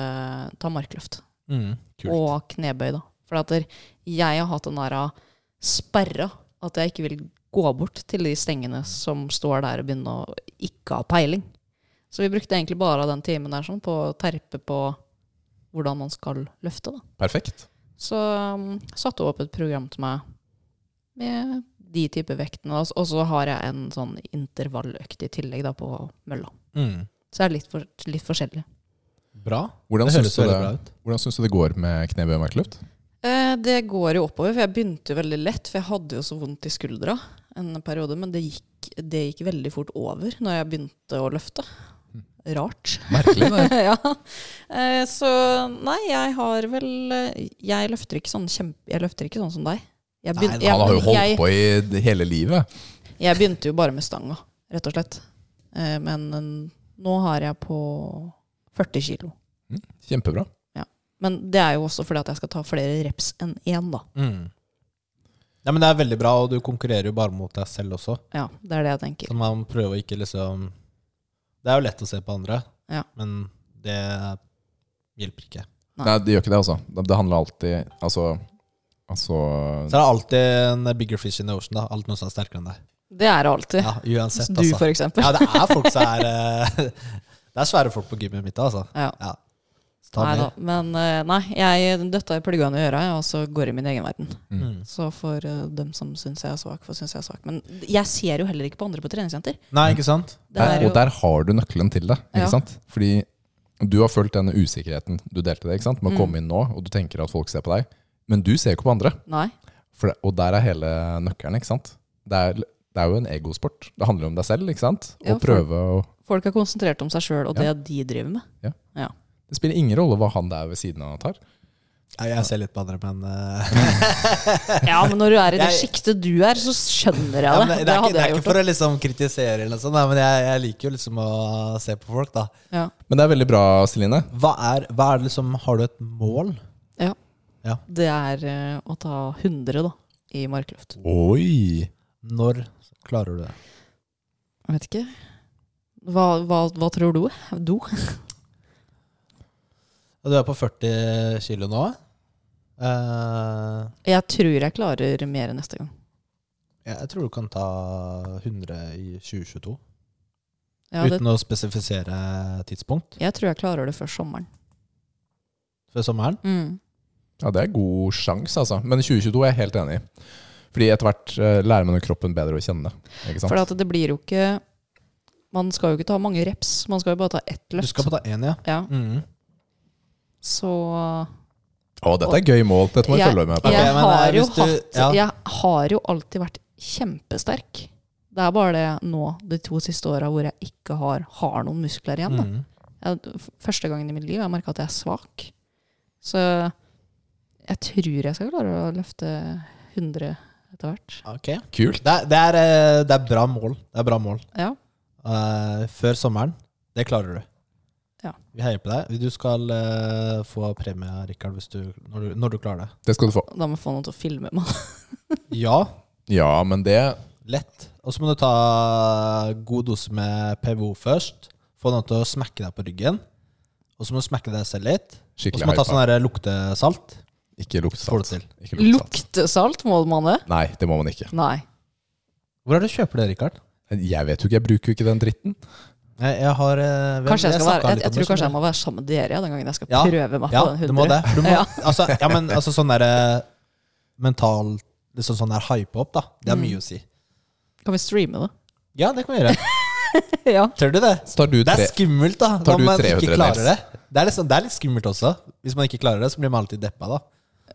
S3: ta markløft.
S1: Mm, kult.
S3: Og knebøy, da. For at der- jeg har hatt den der sperra at jeg ikke vil gå bort til de stengene som står der og begynne å ikke ha peiling. Så vi brukte egentlig bare den timen der sånn på å terpe på hvordan man skal løfte, da.
S2: Perfekt.
S3: Så um, satte hun opp et program til meg med de type vektene. og s- Og så har jeg en sånn intervalløkt i tillegg da på mølla.
S1: Mm.
S3: Så det er litt, for, litt forskjellig.
S1: Bra.
S2: Hvordan
S1: Det høres
S2: syns du,
S1: veldig
S2: det-
S1: bra ut.
S2: hvordan syns du det går med knebøy og markløft?
S3: Eh, Det går jo oppover, for jeg begynte jo veldig lett, for jeg hadde jo så vondt i skuldra en periode, men det gikk, det gikk veldig fort over når jeg begynte å løfte.
S2: Hm.
S3: Rart.
S2: Merkelig, det.
S3: ja. Eh, Så nei, jeg har vel eh, Jeg løfter ikke sånn kjempe... Jeg løfter ikke sånn som deg. Jeg
S1: Nei,
S3: begyn-
S1: nei,
S2: Han har jo holdt
S3: jeg,
S2: på i d- hele livet.
S3: jeg, jeg begynte jo bare med stanga, rett og slett. Eh, Men eh, nå har jeg på 40 kilo.
S2: Kjempebra.
S3: Ja. Men det er jo også fordi at jeg skal ta flere reps enn én, da.
S1: Mm. Ja, men det er veldig bra, og du konkurrerer jo bare mot deg selv også.
S3: Ja, det er det jeg tenker.
S1: Så man prøver å ikke liksom Det er jo lett å se på andre,
S3: Ja.
S1: men det hjelper ikke.
S3: Nei.
S2: Nei, det gjør ikke det, altså. Det det handler alltid Altså, altså
S1: Så er det alltid en bigger fish in the ocean. da Alt noe som er sterkere enn deg.
S3: Det er det alltid.
S1: Ja, uansett,
S3: du,
S1: altså.
S3: for eksempel.
S1: Ja, det er folk som er eh, Det er svære folk på gymmet mitt, altså.
S3: Ja.
S1: Ja. Så ta
S3: Nei da.
S1: mer.
S3: Men eh, nei, jeg døtta i pluggene i øra, jeg, og så går i min egen verden.
S1: Mm.
S3: Så for eh, dem som syns jeg er svak, for syns jeg er svak. Men jeg ser jo heller ikke på andre på treningssenter.
S1: Nei, ikke sant?
S3: Det er
S2: der,
S3: jo,
S2: Og der har du nøkkelen til det, ikke
S3: Ja.
S2: sant? Fordi du har følt denne usikkerheten du delte det, ikke sant? Med å
S3: Mm.
S2: komme inn nå, og du tenker at folk ser på deg. Men du ser jo ikke på andre.
S3: nei.
S2: For det, og der er hele nøkkelen, ikke sant? Det er, det er jo en egosport. Det handler jo om deg selv, ikke sant?
S3: Ja,
S2: Og
S3: for-
S2: prøve å
S3: Folk er konsentrert om seg sjøl og det de driver med.
S2: Det spiller ingen rolle hva han der ved siden av tar.
S1: Ja, jeg ser litt på andre, men eh,
S3: Ja, men når du er i det
S1: Jeg-
S3: sjiktet du er, så skjønner
S1: ja,
S3: jeg
S1: men
S3: det.
S1: det,
S3: Det
S1: er ikke,
S3: hadde
S1: det er
S3: jeg
S1: ikke
S3: gjort.
S1: for å liksom kritisere, eller noe sånt, nei, men jeg, jeg liker jo liksom å se på folk, da.
S3: Ja.
S2: Men det er veldig bra, Celine.
S1: Hva er, hva er det liksom Har du et mål?
S3: Ja.
S1: Ja.
S3: Det er eh, å ta 100 da, i markløft.
S2: Oi!
S1: Når klarer du det?
S3: Jeg vet ikke. Hva, hva, hva tror du? Du?
S1: Du er på 40 kilo nå. Eh,
S3: Jeg tror jeg klarer mer neste gang.
S1: jeg tror du kan ta 100 i 2022.
S3: Ja, det,
S1: uten å spesifisere tidspunkt
S3: jeg tror jeg klarer det før sommeren.
S1: før sommeren.
S2: Ja, det er god sjanse, altså. Men 2022 er jeg helt enig i. Fordi etter hvert eh, lærer man jo kroppen bedre å kjenne. Ikke sant?
S3: For at det blir jo ikke Man skal jo ikke ta mange reps, man skal jo bare ta ett
S1: Du
S3: løft.
S1: skal på ta én, ja.
S3: ja.
S1: Mhm.
S3: Så
S2: Å, dette er gøy mål. Dette må vi
S3: Jeg-
S2: følge med på.
S1: Ok,
S3: jeg,
S1: men, eh,
S3: har jo
S1: hvis du-
S3: hatt,
S1: ja.
S3: jeg har jo alltid vært kjempesterk. Det er bare det nå, de to siste åra, hvor jeg ikke har, har noen muskler igjen. Da.
S1: Mhm.
S3: Jeg, f- første gangen i mitt liv har jeg merka at jeg er svak. Så jeg tror jeg skal klare å løfte 100 etter hvert.
S1: Ok.
S2: Kult.
S1: Det, er- det, er, eh, det er bra mål. Det er bra mål.
S3: Ja.
S1: Eh, før sommeren. Det klarer du.
S3: Ja.
S1: Vi heier på deg. Du skal eh, få premie, Rikard, hvis du, når, du, når du klarer det.
S2: Det skal du få.
S3: Da må jeg få noen til å filme meg.
S1: Ja,
S2: Ja, men det
S1: lett. Og så må du ta god dose med PVO først. Få noen til å smekke deg på ryggen. Og så må du smekke deg selv litt. Og så
S2: Skikkelig
S1: må du ta
S2: hypa.
S1: sånn her luktesalt.
S2: Ikke
S1: Så får du
S2: luktesalt.
S1: til.
S2: Ikke luktesalt.
S3: Luktesalt, må man det?
S2: Nei, det må man ikke.
S3: Nei.
S1: Hvor er det du kjøper det, Rikard?
S2: Jeg vet jo ikke, jeg bruker jo ikke den dritten.
S1: Jeg, jeg har eh, vi-
S3: Kanskje jeg,
S1: vi
S3: skal
S1: har snakket
S3: være, jeg,
S1: litt om det,
S3: jeg tror kanskje jeg
S1: skjønner
S3: må være sammen med dere ja, den gangen jeg skal
S1: Ja,
S3: prøve meg
S1: ja,
S3: på den
S1: du må
S3: 100.
S1: det. Du må,
S3: Ja.
S1: altså, ja, men altså sånn derre mental liksom Sånn der hype opp, da. Det er
S3: Mm.
S1: mye å si.
S3: Kan vi streame det?
S1: Ja, det kan vi gjøre.
S3: ja.
S1: Tør du det?
S2: Så tar du
S1: Det er
S2: tre
S1: skummelt, da.
S2: Tar
S1: Om
S2: du
S1: man ikke
S2: 300
S1: klarer
S2: reps?
S1: det. Det er, liksom, det er litt skummelt også. Hvis man ikke klarer det, så blir man alltid deppa, da.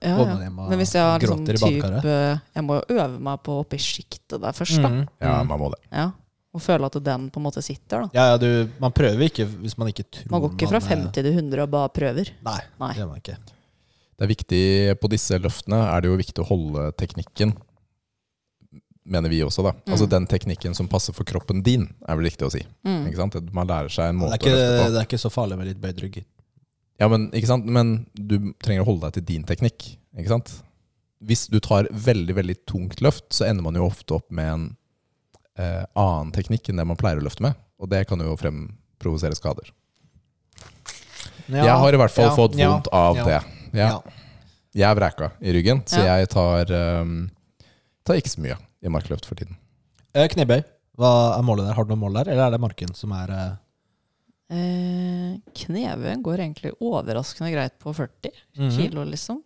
S3: Ja,
S1: Våkner
S3: ja.
S1: hjem og
S3: Men hvis jeg har liksom
S1: gråter i
S3: typ,
S1: badekaret.
S3: eh, Jeg må jo øve meg på oppe i sjiktet der først, da.
S1: Mm.
S2: Ja, man må det.
S3: Ja. Og føle at den på en måte sitter, da.
S1: Ja, ja, du, man prøver ikke hvis man ikke tror
S3: Man går ikke fra
S1: eh,
S3: 50 til 100 og bare prøver.
S1: Nei,
S3: Nei.
S1: det gjør man ikke.
S2: Det er viktig På disse løftene er det jo viktig å holde teknikken, mener vi også, da.
S1: Mm.
S2: Altså den teknikken som passer for kroppen din, er vel riktig å si.
S3: Mm.
S2: Ikke sant? Man lærer seg en
S1: Det er,
S2: måte
S1: ikke,
S2: å løfte på.
S1: det er ikke så farlig med litt bøyd rygg.
S2: Ja, men, ikke sant? men du trenger å holde deg til din teknikk, ikke sant? Hvis du tar veldig, veldig tungt løft, så ender man jo ofte opp med en eh, annen teknikk enn det man pleier å løfte med. Og det kan jo fremprovosere skader. jeg har i hvert fall
S1: ja,
S2: fått
S1: ja,
S2: vondt av
S1: ja,
S2: det. Jeg,
S1: Ja.
S2: jeg er vreka i ryggen, så
S3: Ja.
S2: jeg tar, ehm, tar ikke så mye i markløft for tiden.
S1: Eh, Knebøy, hva er målet der? Har du noe mål der, eller er det marken som er eh,
S3: Eh, Knebøyen går egentlig overraskende greit på 40
S1: mhm.
S3: kilo, liksom.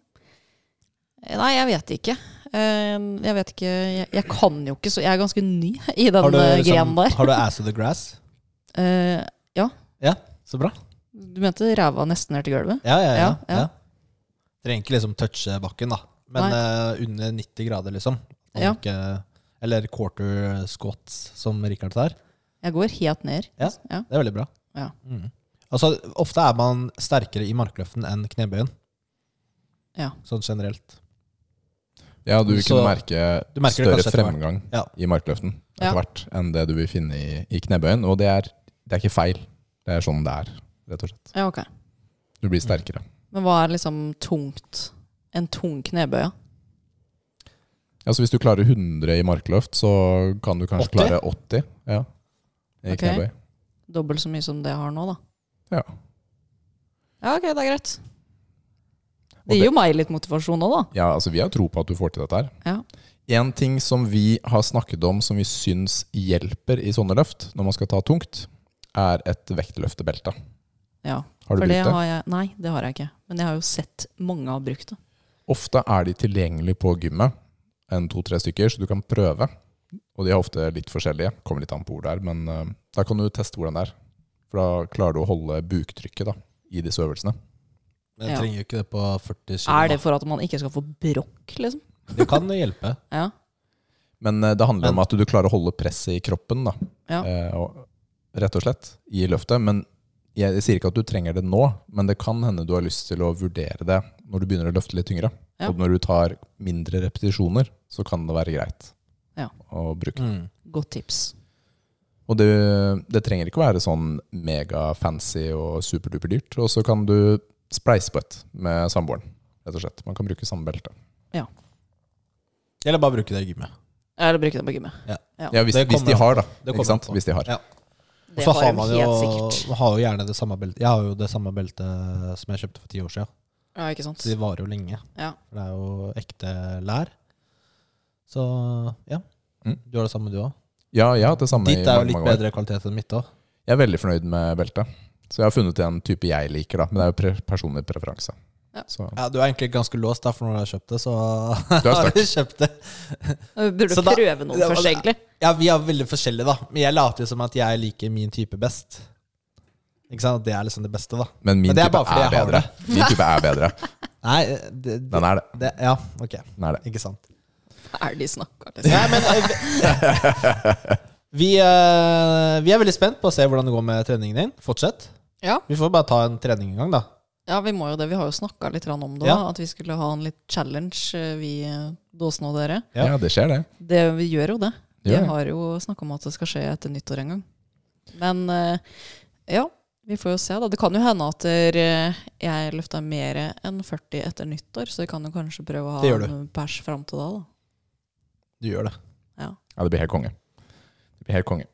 S3: Eh, Nei, jeg vet ikke. Eh, jeg vet ikke jeg, jeg kan jo ikke så Jeg er ganske ny i den
S1: Har du,
S3: eh,
S1: liksom,
S3: grenen der.
S1: har du ass of the grass?
S3: Eh,
S1: Så bra.
S3: du mente ræva nesten ned til gulvet?
S1: Ja, ja, ja.
S3: Ja, ja.
S1: ja. Trenger ikke liksom touche bakken, da. Men eh, under 90 grader, liksom. Om
S3: Ja.
S1: Ikke, eller quarter squats, som Richard tar.
S3: Jeg går helt ned.
S1: Ja.
S3: ja.
S1: Det er veldig bra.
S3: Ja.
S1: Mm. Altså, ofte er man sterkere i markløften enn knebøyen.
S3: Ja.
S1: Sånn generelt.
S2: Ja, du vil
S1: Så-
S2: kunne merke
S1: Du merker det
S2: større
S1: kanskje etter hvert.
S2: fremgang
S1: Ja.
S2: i markløften etter
S3: Ja.
S2: hvert enn det du vil finne i, i knebøyen. Og det er, det er ikke feil. Det er sånn det er, rett og slett.
S3: ja, ok.
S2: Du blir sterkere.
S3: Men hva er liksom tungt? En tung knebøye?
S2: Altså Hvis du klarer 100 i markløft, så kan du kanskje
S1: 80?
S2: klare 80. Ja. I
S3: Ok.
S2: knebøy.
S3: Dobbelt så mye som det jeg har nå, da.
S2: Ja.
S3: Ja, ok, det er greit.
S2: Og
S3: Det gir jo meg litt motivasjon òg, da.
S2: ja, altså Vi har tro på at du får til dette her.
S3: Ja.
S2: En ting som vi har snakket om som vi syns hjelper i sånne løft, når man skal ta tungt, er et vektløftebelte.
S3: Ja,
S2: Har du
S3: for det
S2: brukt det?
S3: har jeg Nei, det har jeg ikke. Men jeg har jo sett mange har brukt det.
S2: Ofte er de tilgjengelige på gymmet, en to-tre stykker, så du kan prøve. Og de er ofte litt forskjellige. Kommer litt an på hvor det er, men eh, da kan du teste hvordan det er. For da klarer du å holde buktrykket da, i disse øvelsene.
S1: Men jeg
S3: Ja.
S1: trenger jo ikke det på 40 kg.
S3: Er det for at man ikke skal få brokk, liksom?
S1: Det kan hjelpe.
S3: Ja.
S2: Men eh, det handler
S1: Men-
S2: om at du klarer å holde presset i kroppen, da.
S3: Ja.
S2: Eh, og, rett og slett, i løftet. Men jeg, jeg sier ikke at du trenger det nå, men det kan hende du har lyst til å vurdere det når du begynner å løfte litt tyngre.
S3: Ja.
S2: Og når du tar mindre repetisjoner, så kan det være greit
S3: Ja.
S2: å bruke.
S1: Mm.
S3: Godt tips.
S2: Og det, det trenger ikke være sånn mega fancy og superduper dyrt. Og så kan du spleise på et med samboeren, rett og slett. Man kan bruke samme belte.
S1: Eller bare bruke det i gymmet.
S3: Eller bruke den på gymmet. Ja.
S2: Ja, hvis,
S1: Det
S2: hvis de
S1: kommer
S2: har, da.
S1: Det
S2: Ikke
S1: kommer
S2: sant?
S1: an på.
S2: Hvis de har.
S1: Ja. Og
S3: Det
S1: så
S3: har
S1: har
S3: de
S1: man
S3: helt
S1: jo,
S3: sikkert.
S1: har jo gjerne det samme beltet. Jeg har jo det samme beltet som jeg kjøpte for ti år siden.
S3: Ja, ikke sant.
S1: Så de varer jo lenge.
S3: Ja.
S1: For det er jo ekte lær. Så ja.
S2: Mm.
S1: Du har det samme, du òg.
S2: Ja, jeg har hatt det samme
S1: Ditt er jo
S2: i mange,
S1: litt
S2: mange år.
S1: bedre kvalitet enn mitt òg.
S2: Jeg er veldig fornøyd med beltet. Så jeg har funnet en type jeg liker, da. Men det er jo pre personlig preferanse.
S3: Ja.
S2: Så
S1: Ja, du er egentlig ganske låst, da, for når du har kjøpt det, så
S2: Du er
S1: har du kjøpt det.
S3: Du burde
S1: Så da-
S3: prøve noe
S1: det var-
S3: først, egentlig.
S1: Ja, vi er veldig forskjellige, da. Men jeg later jo som at jeg liker min type best. Ikke sant? At det er liksom det beste, da.
S2: Men min
S1: Men det er bare
S2: type
S1: fordi
S2: er
S1: jeg har
S2: bedre. Min type er bedre.
S1: Nei, det, det,
S2: Den er det.
S1: det Ja, ok.
S2: Den er det.
S1: Ikke sant.
S3: Hva er det de snakker liksom?
S1: Nei, men eh, vi- vi, eh, vi er veldig spent på å se hvordan det går med treningen din. Fortsett.
S3: Ja.
S1: Vi får bare ta en trening en gang, da.
S3: ja, vi må jo det. Vi har jo snakka litt grann om det,
S1: Ja.
S3: at vi skulle ha en litt challenge, eh, vi eh, Dåsen og dere.
S1: Ja.
S2: Ja, det skjer, det.
S3: Det, vi gjør jo det.
S2: Det
S3: Vi
S2: gjør det.
S3: har jo snakka om at det skal skje etter nyttår en gang. Men eh, ja, vi får jo se. da. Det kan jo hende at der, eh, jeg løfta mer enn 40 etter nyttår, så vi kan jo kanskje prøve å
S1: Det
S3: ha
S1: gjør du.
S3: en pers fram til da. da.
S1: Du gjør det.
S2: Ja, det blir helt konge. Det blir helt konge.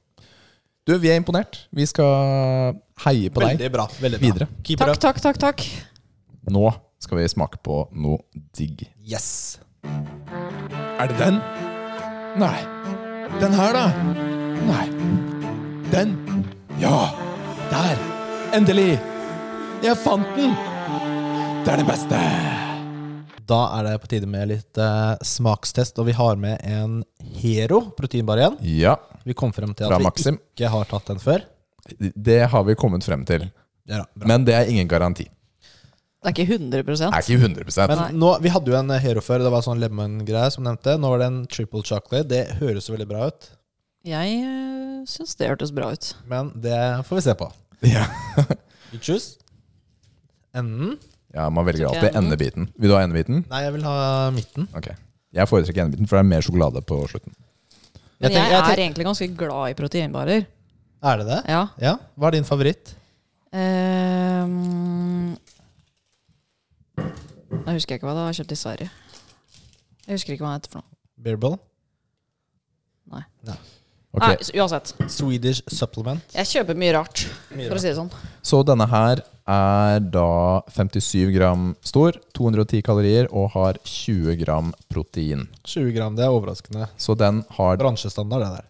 S2: Du, vi er imponert. Vi skal heie på deg
S1: Veldig bra. Veldig bra.
S2: videre.
S1: Keep
S3: Takk,
S1: it up.
S3: takk, takk. takk.
S2: Nå skal vi smake på noe digg.
S1: Yes.
S2: Er det den? Nei. Den her, da? Nei. Den? Ja! Der! Endelig! Jeg fant den! Det er det beste!
S1: Da er det på tide med litt eh, smakstest, og vi har med en Hero proteinbar igjen.
S2: Ja,
S1: Vi kom frem til
S2: Fra
S1: at vi
S2: Maxim.
S1: ikke har tatt den før.
S2: det har vi kommet frem til.
S1: Ja, bra.
S2: Men det er ingen garanti.
S3: Det er ikke 100
S2: Det er ikke 100
S1: Men nå, vi hadde jo en Hero før, det var sånn lemon-greie som nevnte. Nå var det en triple chocolate. Det høres jo veldig bra ut,
S3: Jeg uh, syns det hørtes bra ut.
S1: men det får vi se på.
S2: Ja.
S1: You choose. Enden.
S2: ja, man velger
S3: Skal ikke
S2: alltid
S3: enden?
S2: endebiten. Vil du ha endebiten?
S1: Nei, jeg vil ha midten.
S2: Ok. Jeg foretrekker endebiten, for det er mer sjokolade på slutten.
S3: Men
S1: Jeg tenker-
S3: jeg,
S1: jeg
S3: er egentlig ganske glad i proteinbarer.
S1: Er det det?
S3: Ja.
S1: Ja. Hva er din favoritt?
S3: Ehm, jeg husker ikke hva det var jeg kjøpte i Sverige. Jeg husker ikke hva det heter for noe.
S1: Beerball?
S2: Ok,
S3: Nei, s- uansett.
S1: Swedish supplement?
S3: Jeg kjøper mye rart, for å si det sånn.
S2: Så denne her er da 57 gram stor, 210 kalorier og har 20 gram protein.
S1: 20 gram, det er overraskende.
S2: Så den har
S1: Bransjestandard, det der.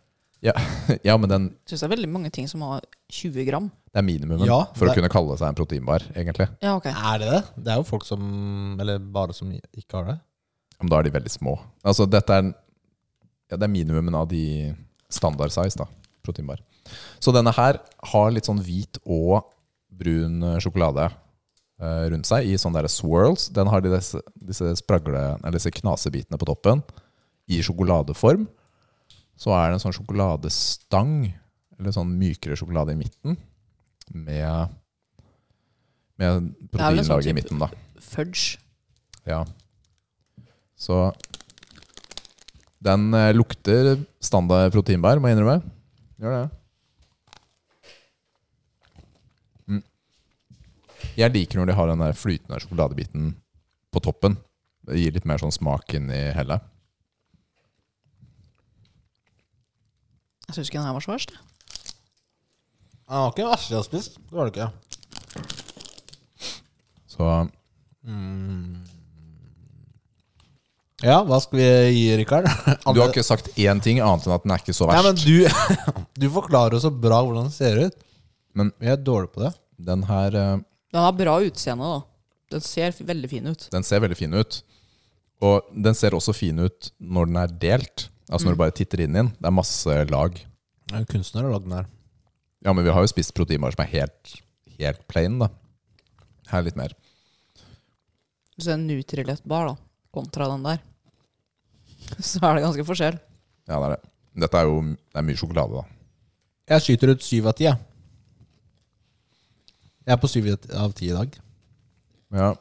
S2: Ja, men den
S3: Jeg synes det er veldig mange ting som har 20 gram.
S2: det er minimumen
S1: Ja,
S2: for
S1: det-
S2: å kunne kalle seg en proteinbar, egentlig.
S3: Ja, ok.
S1: Er det det? Det er jo folk som Eller bare som ikke har det.
S2: Men da er de veldig små. Altså, dette er ja, Det er minimumen av de standard size, da. Proteinbar. Så denne her har litt sånn hvit og brun eh, sjokolade eh, rundt seg i sånne der swirls. Den har de disse, disse spragle, eller disse knasebitene på toppen i sjokoladeform. Så er det en sånn sjokoladestang, eller sånn mykere sjokolade i midten, med, med
S3: er vel en sånn
S2: proteinlaget i
S3: type-
S2: midten, da.
S3: Fudge.
S2: Ja. Så den eh, lukter standard proteinbær, må jeg innrømme. Gjør det. Mm. Jeg liker når de har den der flytende sjokoladebiten på toppen. Det gir litt mer sånn smak inn i hellet.
S3: Jeg syns ikke den her var så verst. jeg.
S1: Den var ikke den verste jeg har spist. Det var det ikke.
S2: Så
S1: Ja, hva skal vi gi, Rikard?
S2: du har ikke sagt én ting annet enn at den er ikke så
S1: Nei,
S2: verst.
S1: men du, du forklarer jo så bra hvordan det ser ut.
S2: Men-
S1: vi er dårlige på det.
S2: Den her eh,
S3: Den har bra utseende, da. Den ser f- veldig fin ut.
S2: den ser veldig fin ut. Og den ser også fin ut når den er delt. Altså
S1: Mm.
S2: når du bare titter inn i den. Det er masse lag.
S1: Det er jo kunstner har lagd den her.
S2: Ja, men vi har jo spist proteinbar som er helt, helt plain, da. Her litt mer.
S3: Hvis det er en Nutrilett-bar da, kontra den der, så er det ganske forskjell.
S2: Ja, det er det. Dette er jo det er mye sjokolade, da.
S1: Jeg skyter ut syv av ti, jeg. Jeg er på syv av ti i dag.
S2: Ja.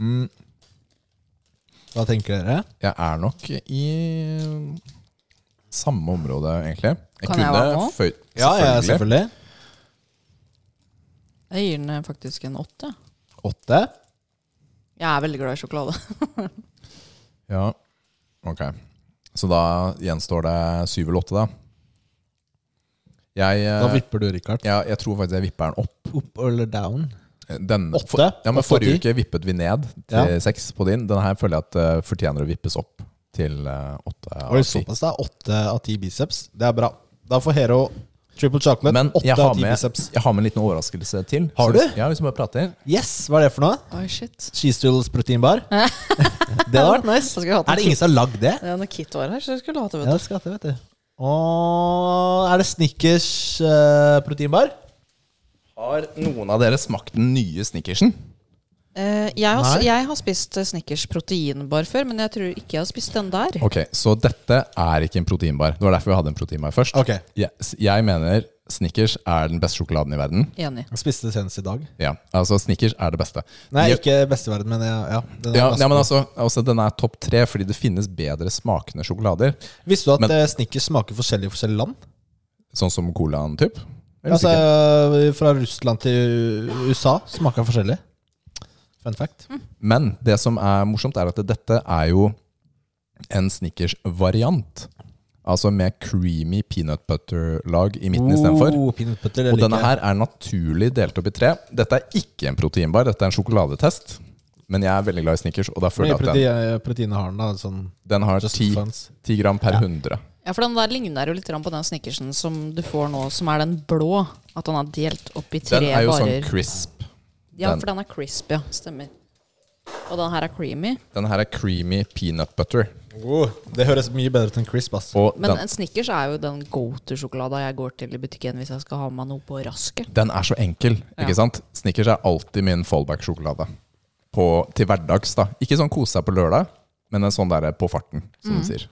S2: Mm,
S1: Hva tenker dere?
S2: jeg er nok i samme område, egentlig.
S3: Kan jeg være med?
S2: føyd
S1: jeg- selvfølgelig.
S3: Jeg gir den eh, faktisk en åtte.
S1: Åtte.
S3: Jeg er veldig glad i sjokolade.
S2: Ja, ok. Så da gjenstår det syv eller åtte, da. Jeg,
S1: Da
S2: eh,
S1: vipper du, Rikard.
S2: ja, jeg tror faktisk jeg vipper den opp.
S1: Opp eller down?
S2: Eh, Den,
S1: Åtte?
S2: for- Ja, men
S1: Åtte av
S2: Forrige
S1: ti?
S2: uke vippet vi ned til
S1: Ja.
S2: seks på din. Denne her føler jeg at eh, fortjener å vippes opp til eh, åtte av
S1: Var det
S2: ti.
S1: såpass, da? Åtte av ti biceps. Det er bra. Da får Hero triple chocolate.
S2: Men
S1: åtte
S2: jeg
S1: av
S2: har,
S1: ti
S2: med,
S1: biceps.
S2: jeg har med en liten overraskelse til.
S1: Har
S2: Så
S1: du?
S2: hvis- Ja, hvis vi bare prater.
S1: Yes, hva er det for noe?
S3: Oi, shit.
S1: Cheese Doodles proteinbar? det hadde vært nice.
S3: Da skulle jeg hatt en
S1: Er det ingen som har lagd det?
S3: Ja, når Kit var her, så skulle du hatt det.
S1: Ja,
S3: vet du.
S1: det skal jeg, vet du. Og er det Snickers eh, proteinbar?
S2: Har noen av dere smakt den nye snickersen?
S3: Eh, jeg, har,
S1: Nei.
S3: jeg har spist eh, Snickers proteinbar før, men jeg tror ikke jeg har spist den der.
S2: Ok, så dette er ikke en proteinbar. Det var derfor vi hadde en proteinbar først.
S1: Ok.
S2: Yes, jeg mener Snickers er den beste sjokoladen i verden.
S3: Enig.
S1: Jeg spiste det senest i dag.
S2: Ja, altså Snickers er det beste.
S1: Nei,
S2: De-
S1: ikke beste i verden, men ja. ja, den er
S2: ja,
S1: ganske
S2: ja, men
S1: god.
S2: altså, altså Den er topp tre fordi det finnes bedre smakende sjokolader.
S1: Visste du at
S2: men-
S1: eh, Snickers smaker forskjellig i forskjellige land?
S2: Sånn som colaen, typ? Eller
S1: Altså,
S2: sikkert?
S1: fra Russland til USA smaker forskjellig. Fun fact.
S2: Mm. Men det som er morsomt, er at dette er jo en Snickers-variant. Altså med creamy peanut butter-lag i midten istedenfor.
S1: Oh, peanut butter, det
S2: Og denne
S1: liker jeg.
S2: her er naturlig delt opp i tre. Dette er ikke en proteinbar, dette er en sjokoladetest. Men jeg er veldig glad i Snickers, og da føler
S1: Hvor mye
S2: jeg at den,
S1: protein- proteinet har den, da? Sånn
S2: den har
S1: just
S2: ti
S1: funds.
S2: ti gram per 100.
S3: Ja, for den der ligner jo litt grann på den Snickersen som du får nå, som er den blå. At den er delt opp i tre
S2: Den er jo sånn
S3: barer.
S2: crisp.
S3: ja,
S2: den-
S3: for den er crisp, ja. Stemmer. Og den her er creamy.
S2: Den her er creamy peanut butter.
S1: Oh, det høres mye bedre ut enn crisp, ass.
S2: Og
S3: Men
S2: den,
S3: en Snickers er jo den go to-sjokolada jeg går til i butikken hvis jeg skal ha med meg noe på rasket.
S2: den er så enkel,
S3: Ja.
S2: ikke sant? Snickers er alltid min fallback-sjokolade. På- Til hverdags, da. Ikke sånn kose seg på lørdag, men en sånn der på farten, som de sier.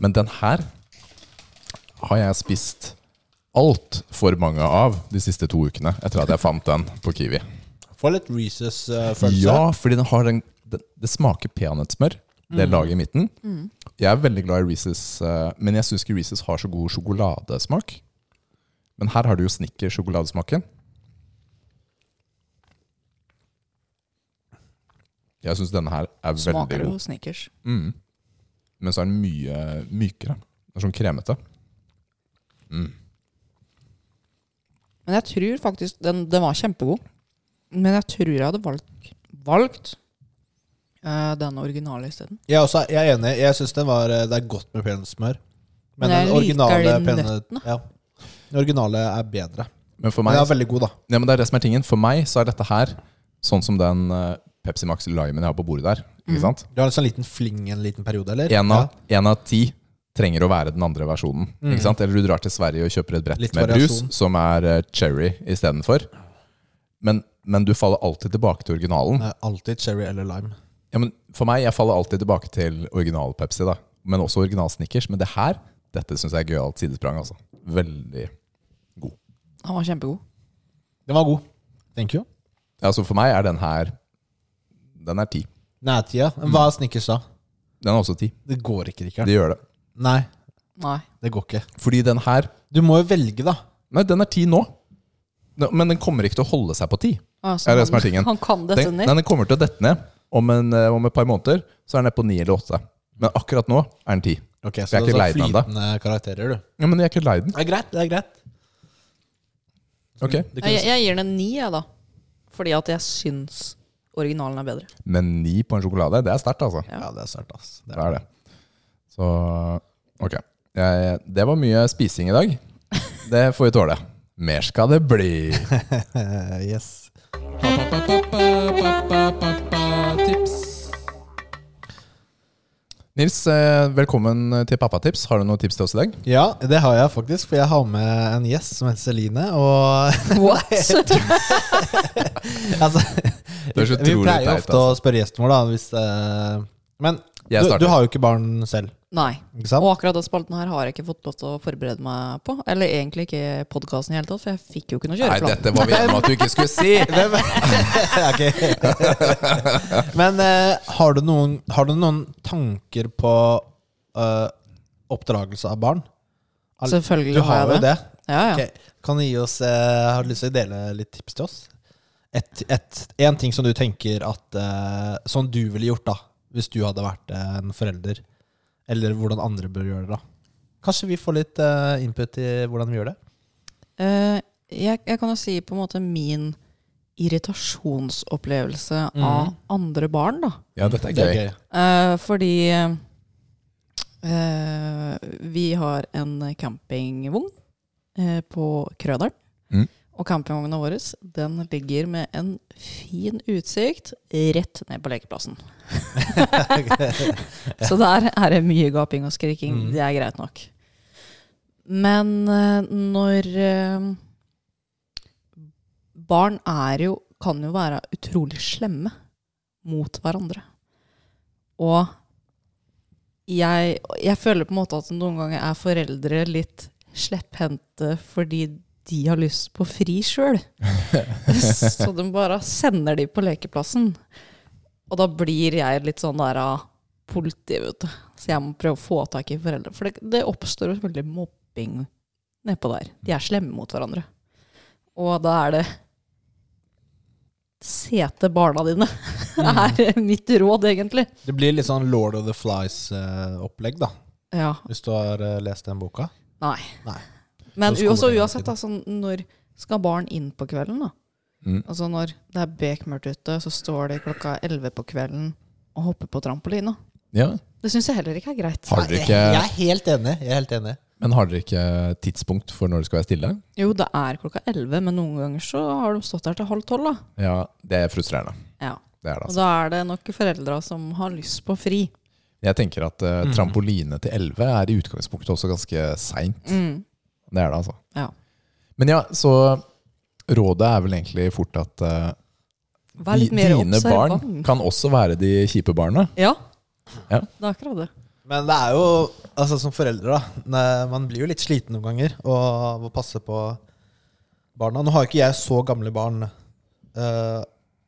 S2: Men den her har jeg spist altfor mange av de siste to ukene etter at jeg fant den på Kiwi.
S1: Får litt Reeses-følelse.
S2: Ja, fordi den har den, den, det smaker peanøttsmør. Det laget i midten. Jeg er veldig glad i Reeses, eh, men jeg syns ikke Reeses har så god sjokoladesmak. Men her har du jo Snickers-sjokoladesmaken. Jeg syns denne her er
S3: Smaker
S2: veldig
S3: jo
S2: god,
S3: Snickers.
S2: men så er den mye mykere. Den er sånn kremete.
S3: Men jeg tror faktisk Den, den var kjempegod. Men jeg tror jeg hadde valgt, valgt eh, den originale isteden.
S1: Jeg, er også, jeg er enig. Jeg syns eh, det er godt med peanøttsmør.
S3: Men
S1: Men
S3: jeg
S1: den
S3: liker
S1: originale
S3: de
S1: peanøtt- ja. Den originale er bedre.
S2: Men for
S1: Men
S2: meg,
S1: den er veldig god, da.
S2: ja, men det er det som er tingen. For meg så er dette her sånn som den eh, Pepsi Max Limen jeg har på bordet der. Ikke sant?
S1: Du har en sånn liten fling en liten periode, eller?
S2: En av, en av ti trenger å være den andre versjonen. Ikke sant? Eller du drar til Sverige og kjøper et brett
S1: Mm. Litt
S2: med
S1: variasjon.
S2: brus som er eh, cherry istedenfor. Men, men du faller alltid tilbake til originalen.
S1: Ja. Alltid cherry eller lime.
S2: Ja, men for meg, jeg faller alltid tilbake til original Pepsi, da. men også original Snickers. Men det her, dette syns jeg er gøyalt sidesprang. altså. Veldig god.
S3: Han var kjempegod.
S1: Den var god. Thank you.
S2: Altså For meg er den her Den er ti.
S1: Nærtida. Hva er Snickers, da?
S2: Den er også ti.
S1: Det går ikke, Rikard.
S2: Det gjør det.
S1: Nei,
S3: Nei.
S1: det går ikke.
S2: Fordi den her
S1: Du må jo velge, da.
S2: Nei, den er ti nå. Nå, Men den kommer ikke til å holde seg på ti.
S3: Altså,
S2: Ja, det er som er tingen.
S3: han, han kan dette
S2: Den,
S3: ned.
S2: nei, den kommer til å dette ned. Om, en, eh, om et par måneder så er den nede på ni eller åtte. Men akkurat nå er den ti.
S1: Ok,
S2: Jeg er
S1: Så det
S2: ikke
S1: er
S2: lei
S1: sånn
S2: den ennå.
S1: flytende karakterer, du.
S2: Ja, Men jeg er ikke lei den.
S1: Det er greit. det er greit
S2: Ok.
S1: Du
S3: Jeg,
S1: kunne,
S3: jeg gir den en ni, jeg, da. Fordi at jeg syns originalen er bedre.
S2: Men ni på en sjokolade, det er sterkt, altså.
S3: Ja.
S1: ja, det er sært, ass. Det er.
S2: Det er det. Så ok. Jeg, det var mye spising i dag. Det får vi tåle. Mer skal det bli.
S1: Eh, yes.
S2: Nils, eh, velkommen til pappatips. Har du noen tips til oss i dag?
S1: Ja, det har jeg faktisk, for jeg har med en gjest som heter Celine. Og
S3: What?
S1: altså,
S2: Det er så
S1: vi
S2: utrolig
S1: pleier jo
S2: teit,
S1: ofte å spørre gjesten vår, da. Hvis, eh, men
S2: Jeg
S1: du,
S2: starter.
S1: du har jo ikke barn selv,
S3: Nei.
S1: ikke sant?
S3: Og akkurat den spalten her har jeg ikke fått lov til å forberede meg på. Eller egentlig ikke podkasten i hele tatt, for jeg fikk jo ikke noe
S2: Nei,
S3: kjøreplan.
S2: dette var vi enige om at du ikke skulle si!
S1: Hvem Ok. Men eh, har, du noen, har du noen tanker på eh, oppdragelse av barn? Al- Du
S3: Selvfølgelig har
S1: har jo
S3: jeg det.
S1: det.
S3: Ja, ja.
S1: Ok. Kan du gi oss eh, Har du lyst til å dele litt tips til oss? Et, et, en ting som du tenker at eh, Som du ville gjort, da, hvis du hadde vært eh, en forelder. Eller hvordan andre bør gjøre det. da Kanskje vi får litt eh, input i hvordan vi gjør det?
S3: Eh, jeg, jeg kan jo si på en måte min irritasjonsopplevelse
S1: Mhm.
S3: av andre barn, da.
S2: Ja, dette er gøy.
S1: gøy.
S3: Eh, fordi eh, vi har en campingvogn eh, på Krødalen.
S2: Mhm.
S3: Og campingvogna vår den ligger med en fin utsikt rett ned på lekeplassen. Så der er det mye gaping og skriking.
S1: Mhm.
S3: Det er greit nok. Men eh, når eh, Barn er jo, kan jo være utrolig slemme mot hverandre. Og jeg, jeg føler på en måte at noen ganger er foreldre litt slepphendte fordi de har lyst på fri sjøl. Så de bare sender de på lekeplassen. Og da blir jeg litt sånn der av politi, vet du. Så jeg må prøve å få tak i foreldre. For det, det oppstår jo selvfølgelig mobbing nedpå der. De er slemme mot hverandre. Og da er det Se til barna dine,
S1: Mm.
S3: er mitt råd, egentlig.
S1: Det blir litt sånn Lord of the Flies-opplegg, da.
S3: Ja,
S1: Hvis du har eh, lest den boka.
S3: Nei.
S1: Nei.
S3: Men
S1: Så skolen
S3: også
S1: hele
S3: uansett, altså, når skal barn inn på kvelden? da?
S2: Mm.
S3: Altså Når det er bekmørkt ute, så står de klokka 11 på kvelden og hopper på trampolina.
S2: Ja.
S3: Det syns jeg heller ikke er greit.
S2: Har dere
S1: Nei, Jeg
S2: ikke,
S1: er helt enig. Jeg er helt enig.
S2: men har dere ikke tidspunkt for når det skal være stille?
S3: Jo, det er klokka 11, men noen ganger så har de stått der til halv tolv. da.
S2: Ja, det er frustrerende.
S3: Ja.
S2: Det er det,
S3: Og
S2: altså.
S3: da er det nok foreldra som har lyst på fri.
S2: Jeg tenker at eh, trampoline til 11 er i utgangspunktet også ganske seint.
S3: Mm.
S2: Det er det, altså.
S3: Ja.
S2: Men ja, så rådet er vel egentlig fort at eh,
S3: Vær litt
S2: di-
S3: mer
S2: dine
S3: observant.
S2: barn kan også være de kjipe barna.
S3: Ja.
S2: Ja.
S3: det er akkurat det.
S1: Men det er jo altså som foreldre, da. ne- Man blir jo litt sliten noen ganger og må passe på barna. Nå har jo ikke jeg så gamle barn eh,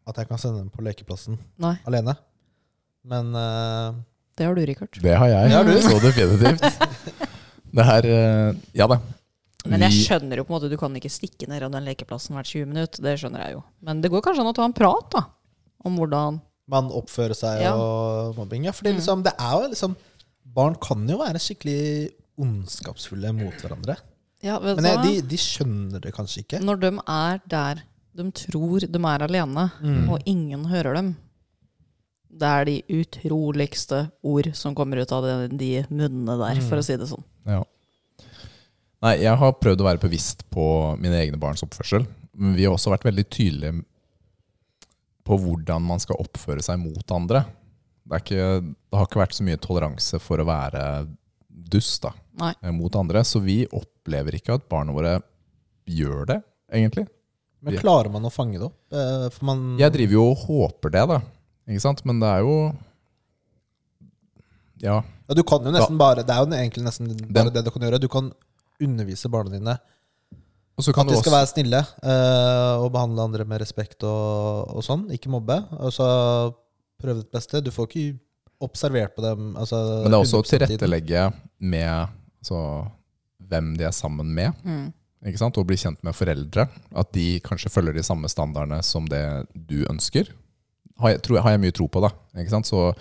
S1: at jeg kan sende dem på lekeplassen
S3: Nei,
S1: alene. Men eh,
S3: det har du, Rikard.
S2: Det har jeg,
S1: Det har du.
S2: så definitivt. Det her eh, Ja da.
S3: Men jeg
S2: Vi-
S3: skjønner jo på en måte du kan ikke stikke ned av den lekeplassen hvert 20 minutter. Det skjønner jeg jo. Men det går kanskje an å ta en prat da, om hvordan
S1: man oppfører seg
S3: Ja. Mm.
S1: og mobbing. Ja, fordi liksom, det er jo liksom Barn kan jo være skikkelig ondskapsfulle mot hverandre.
S3: Altså, ja, vet du
S1: Men jeg,
S3: hva?
S1: de, de skjønner det kanskje ikke.
S3: Når de er der de tror de er alene,
S2: Mm.
S3: og ingen hører dem Det er de utroligste ord som kommer ut av de, de munnene der,
S2: Mm.
S3: for å si det sånn.
S2: Ja. Nei, jeg har prøvd å være bevisst på mine egne barns oppførsel. Men vi har også vært veldig tydelige på hvordan man skal oppføre seg mot andre. Det, er ikke, det har ikke vært så mye toleranse for å være dust da,
S3: Nei.
S2: eh, mot andre. Så vi opplever ikke at barna våre gjør det, egentlig.
S1: Men klarer man å fange det opp? Eh, For man
S2: Jeg driver jo og håper det, da. Ikke sant? Men det er jo Ja.
S1: Ja, du kan jo nesten bare Det er jo egentlig nesten bare
S2: Den-
S1: det du kan gjøre. Du kan undervise barna dine
S2: Og så kan
S1: at
S2: du
S1: de
S2: også
S1: skal være snille eh, og behandle andre med respekt og, og sånn. Ikke mobbe. Og så prøve ditt beste. Du får ikke observert på dem. Altså,
S2: Men det er også å
S1: 100% tiden.
S3: Mm.
S2: tilrettelegge med altså, hvem de er sammen med. ikke sant? og bli kjent med foreldre. At de kanskje følger de samme standardene som det du ønsker. Har jeg, tror, jeg- har jeg mye tro på, da. Ikke sant? Så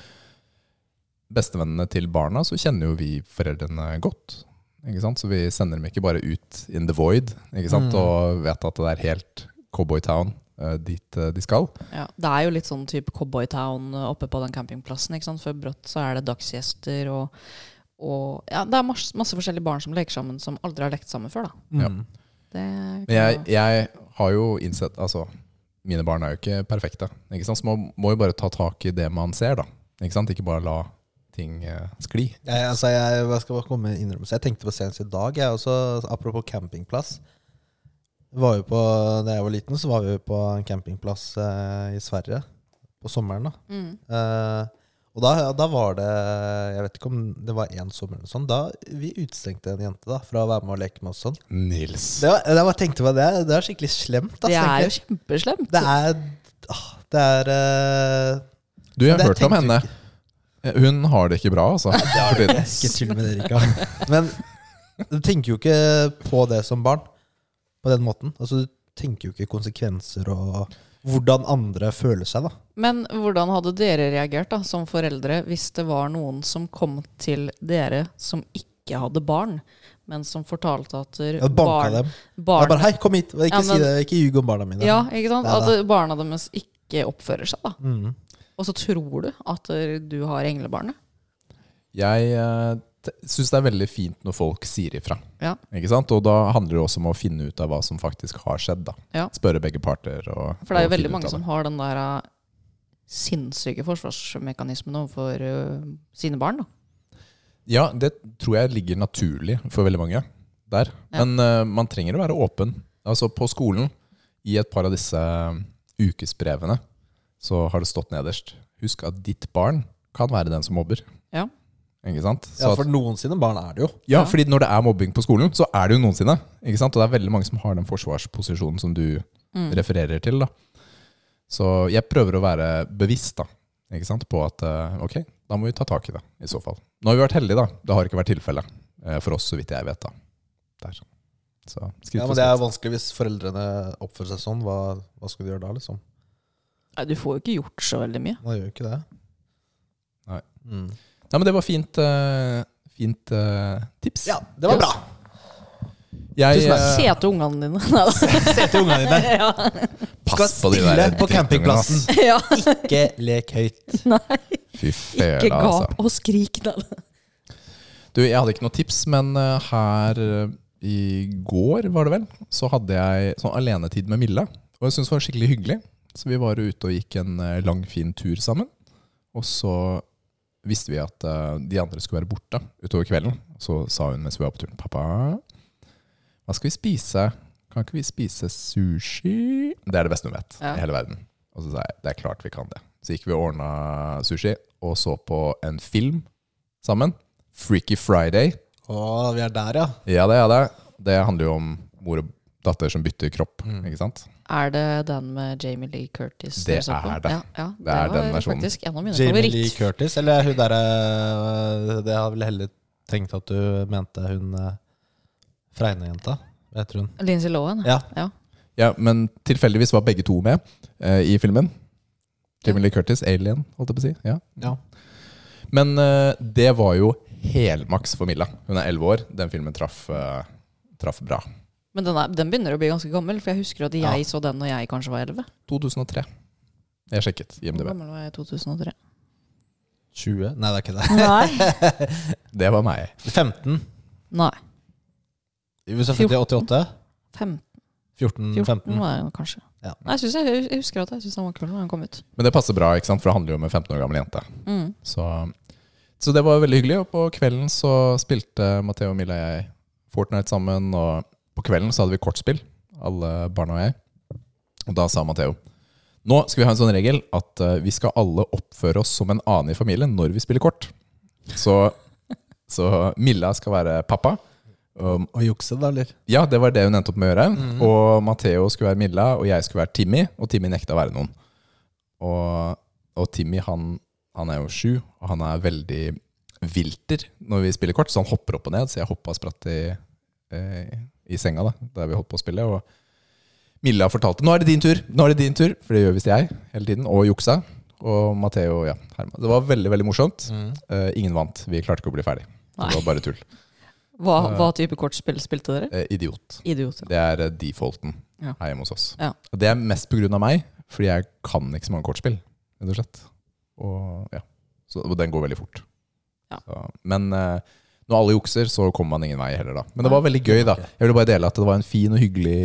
S2: bestevennene til barna, så kjenner jo vi foreldrene godt. Ikke sant? Så vi sender dem ikke bare ut in the void ikke sant?
S1: Mm.
S2: og vet at det er helt cowboytown eh, dit eh, de skal.
S3: Ja, det er jo litt sånn type cowboytown eh, oppe på den campingplassen. ikke sant? For brått så er det dagsgjester og, og ja, Det er masse, masse forskjellige barn som leker sammen, som aldri har lekt sammen før. da.
S2: Ja.
S1: Mm.
S3: Det kan
S2: Men jeg,
S3: jo-
S2: jeg har jo innsett Altså, mine barn er jo ikke perfekte. Ikke sant? Så man må jo bare ta tak i det man ser, da. Ikke sant? Ikke bare la ting eh, skli.
S1: Jeg, altså, jeg, jeg skal bare komme med en innrømmelse. Jeg tenkte på senest i dag, jeg også, apropos campingplass. Var jo på, da jeg var liten, så var vi jo på en campingplass eh, i Sverige på sommeren. da.
S3: mm.
S1: Eh, og da, da var det Jeg vet ikke om det var én sommer eller noe sånt. Da vi utestengte en jente da, fra å være med og leke med oss sånn.
S2: Nils.
S1: Det var, jeg bare tenkte på det, det er skikkelig slemt. ass,
S3: Det er
S1: egentlig.
S3: jo kjempeslemt.
S1: det er, ah, det er eh,
S2: Du, jeg
S1: Men
S2: har
S1: det
S2: hørt om
S1: tenkte du
S2: henne. Eh, Hun har det ikke bra, altså. for tiden.
S1: Ikke tull med det, Rikard. Men du tenker jo ikke på det som barn på den måten. Altså, du tenker jo ikke konsekvenser og hvordan andre føler seg, da.
S3: Men hvordan hadde dere reagert da, som foreldre hvis det var noen som kom til dere som ikke hadde barn, men som fortalte at eh,
S1: Jeg banka
S3: barn,
S1: dem. Jeg
S3: barn
S1: bare 'hei, kom hit', ikke,
S3: Ja,
S1: si
S3: men-
S1: det. ikke ljug om barna mine.
S3: Ja, ikke sant?
S1: Ja,
S3: At
S1: da.
S3: eh, barna deres ikke oppfører seg, da.
S1: Mm.
S3: Og så tror du at eh, du har englebarnet.
S2: Jeg uh, syns det er veldig fint når folk sier ifra.
S3: Ja.
S2: Ikke sant? Og da handler det også om å finne ut av hva som faktisk har skjedd. Da.
S3: Ja.
S2: Spørre begge parter. Og,
S3: For det er
S2: og
S3: jo
S2: finne
S3: veldig
S2: ut
S3: mange
S2: av
S3: som
S2: det.
S3: har den der eh, sinnssyke forsvarsmekanismen overfor eh, sine barn. Da.
S2: Ja, det tror jeg ligger naturlig for veldig mange der.
S3: Ja.
S2: Men eh, man trenger å være åpen. Altså På skolen, i et par av disse eh, ukesbrevene, så har det stått nederst Husk at ditt barn kan være den som mobber.
S3: Ja.
S2: Ikke sant?
S1: ja,
S2: at-
S1: for noen sine barn er det jo.
S2: Ja,
S3: Ja.
S2: fordi når det er mobbing på skolen, så er det jo noensinne. Ikke sant? Og det er veldig mange som har den forsvarsposisjonen som du
S3: Mm.
S2: refererer til. Da. Så jeg prøver å være bevisst da, ikke sant? på at eh, ok, da må vi ta tak i det i så fall. Nå har vi vært heldige, da. Det har ikke vært tilfellet eh, for oss, så vidt jeg vet. da. Der. Så skritt
S1: Ja,
S2: for
S1: men det er
S2: skritt.
S1: vanskelig hvis foreldrene oppfører seg sånn. Hva, hva skal du gjøre da, liksom?
S3: Nei, du får jo ikke gjort så veldig mye.
S1: Man gjør jo ikke det.
S2: Nei.
S1: Mm.
S2: Ja, men det var fint, eh, fint eh, tips.
S1: Ja, det var bra!
S2: Jeg,
S1: Tusen takk.
S2: eh,
S3: Se til ungene dine. Neida.
S1: Se til ungene dine.
S3: ja.
S1: Skal
S2: pass på de
S1: stille
S2: der
S1: på
S2: drittungene, ass.
S1: campingplassen.
S3: ja.
S1: Ikke lek høyt.
S2: Fy
S3: Ikke
S2: fela, altså.
S3: gap og skrik. Da.
S2: Du, jeg hadde ikke noe tips, men eh, her eh, i går, var det vel, så hadde jeg sånn alenetid med Mille. Og jeg syntes det var skikkelig hyggelig. Så vi var ute og gikk en eh, lang, fin tur sammen. Og så visste vi at eh, de andre skulle være borte utover kvelden. Så sa hun mens vi var på turen, pappa, hva skal vi spise? Kan ikke vi spise sushi? Det er det beste hun vet
S3: Ja.
S2: i hele verden. Og så sa jeg, det er klart vi kan det. Så gikk vi og ordna sushi, og så på en film sammen. Freaky Friday.
S1: Å, vi er der, ja.
S2: Ja, det er det. Det handler jo om mor og datter som bytter kropp.
S1: Mm.
S2: ikke sant?
S3: Er det den med Jamie Lee Curtis?
S2: Det
S3: dere så på?
S2: er det.
S3: Ja, ja,
S2: Det er den
S3: var
S2: versjonen.
S3: faktisk en av mine
S1: Jamie Lee
S3: favoritt.
S1: Curtis, eller hun derre Det har vel heller tenkt at du mente hun eh, Fregne-jenta. Hva heter hun?
S3: Lindsay Lohan.
S1: Ja.
S2: Ja, Men tilfeldigvis var begge to med eh, i filmen. Jamie Lee Curtis, Alien, holdt jeg på å si. Ja.
S1: ja.
S2: Men eh, det var jo helmaks for Milla. Hun er elleve år. Den filmen traff, eh, traff bra.
S3: Men den, er, den begynner å bli ganske gammel, for jeg husker at jeg
S1: Ja.
S3: så den når jeg kanskje var 11.
S2: 2003. Jeg sjekket
S3: Hvor
S2: IMDb.
S3: gammel var jeg i 2003?
S1: 20? Nei, det er ikke det.
S3: Nei.
S2: Det var meg.
S1: 15?
S3: Nei.
S1: Hvis jeg er født i 88?
S3: 15
S1: 14-15?
S3: var jeg kanskje.
S1: Ja.
S3: Nei, jeg, synes jeg, jeg husker at jeg syns den var kul når den kom ut.
S2: Men det passer bra, ikke sant? for det handler jo om en 15 år gammel jente.
S3: Mm.
S2: Så, så det var veldig hyggelig. Og på kvelden så spilte Matheo, Milla og jeg Fortnite sammen. Og på kvelden så hadde vi kortspill, alle barna og jeg. Og da sa Matheo nå skal vi ha en sånn regel at eh, vi skal alle oppføre oss som en annen i familien når vi spiller kort. Så, så Milla skal være pappa. Og
S1: Og jukse, da, eller?
S2: ja, det var det hun endte opp med å gjøre. Og Matheo skulle være Milla, og jeg skulle være Timmy. Og Timmy nekta å være noen. Og, og Timmy han, han er jo sju, og han er veldig vilter når vi spiller kort. Så han hopper opp og ned, så jeg hoppa og spratt i, eh, i senga da, der vi holdt på å spille. Og Milla fortalte nå er det din tur, nå er det din tur, for det gjør visst jeg hele tiden. Og juksa. Og Matheo ja, herma. Det var veldig veldig morsomt.
S1: Mm.
S2: Eh, ingen vant. Vi klarte ikke å bli ferdig. Så
S3: Nei.
S2: det var bare tull.
S3: Hva, hva type kortspill spilte dere?
S2: Eh, idiot.
S3: Idiot. ja.
S2: Det er eh, defaulten
S3: Ja.
S2: her hjemme hos oss.
S3: Ja.
S2: Og Det er mest på grunn av meg, fordi jeg kan ikke så mange kortspill, rett og slett. Og, ja. så, og den går veldig fort.
S3: Ja.
S2: Så, men eh, når alle jukser, så kommer man ingen vei heller, da. Men det var veldig gøy, da. Jeg ville bare dele at det var en fin og hyggelig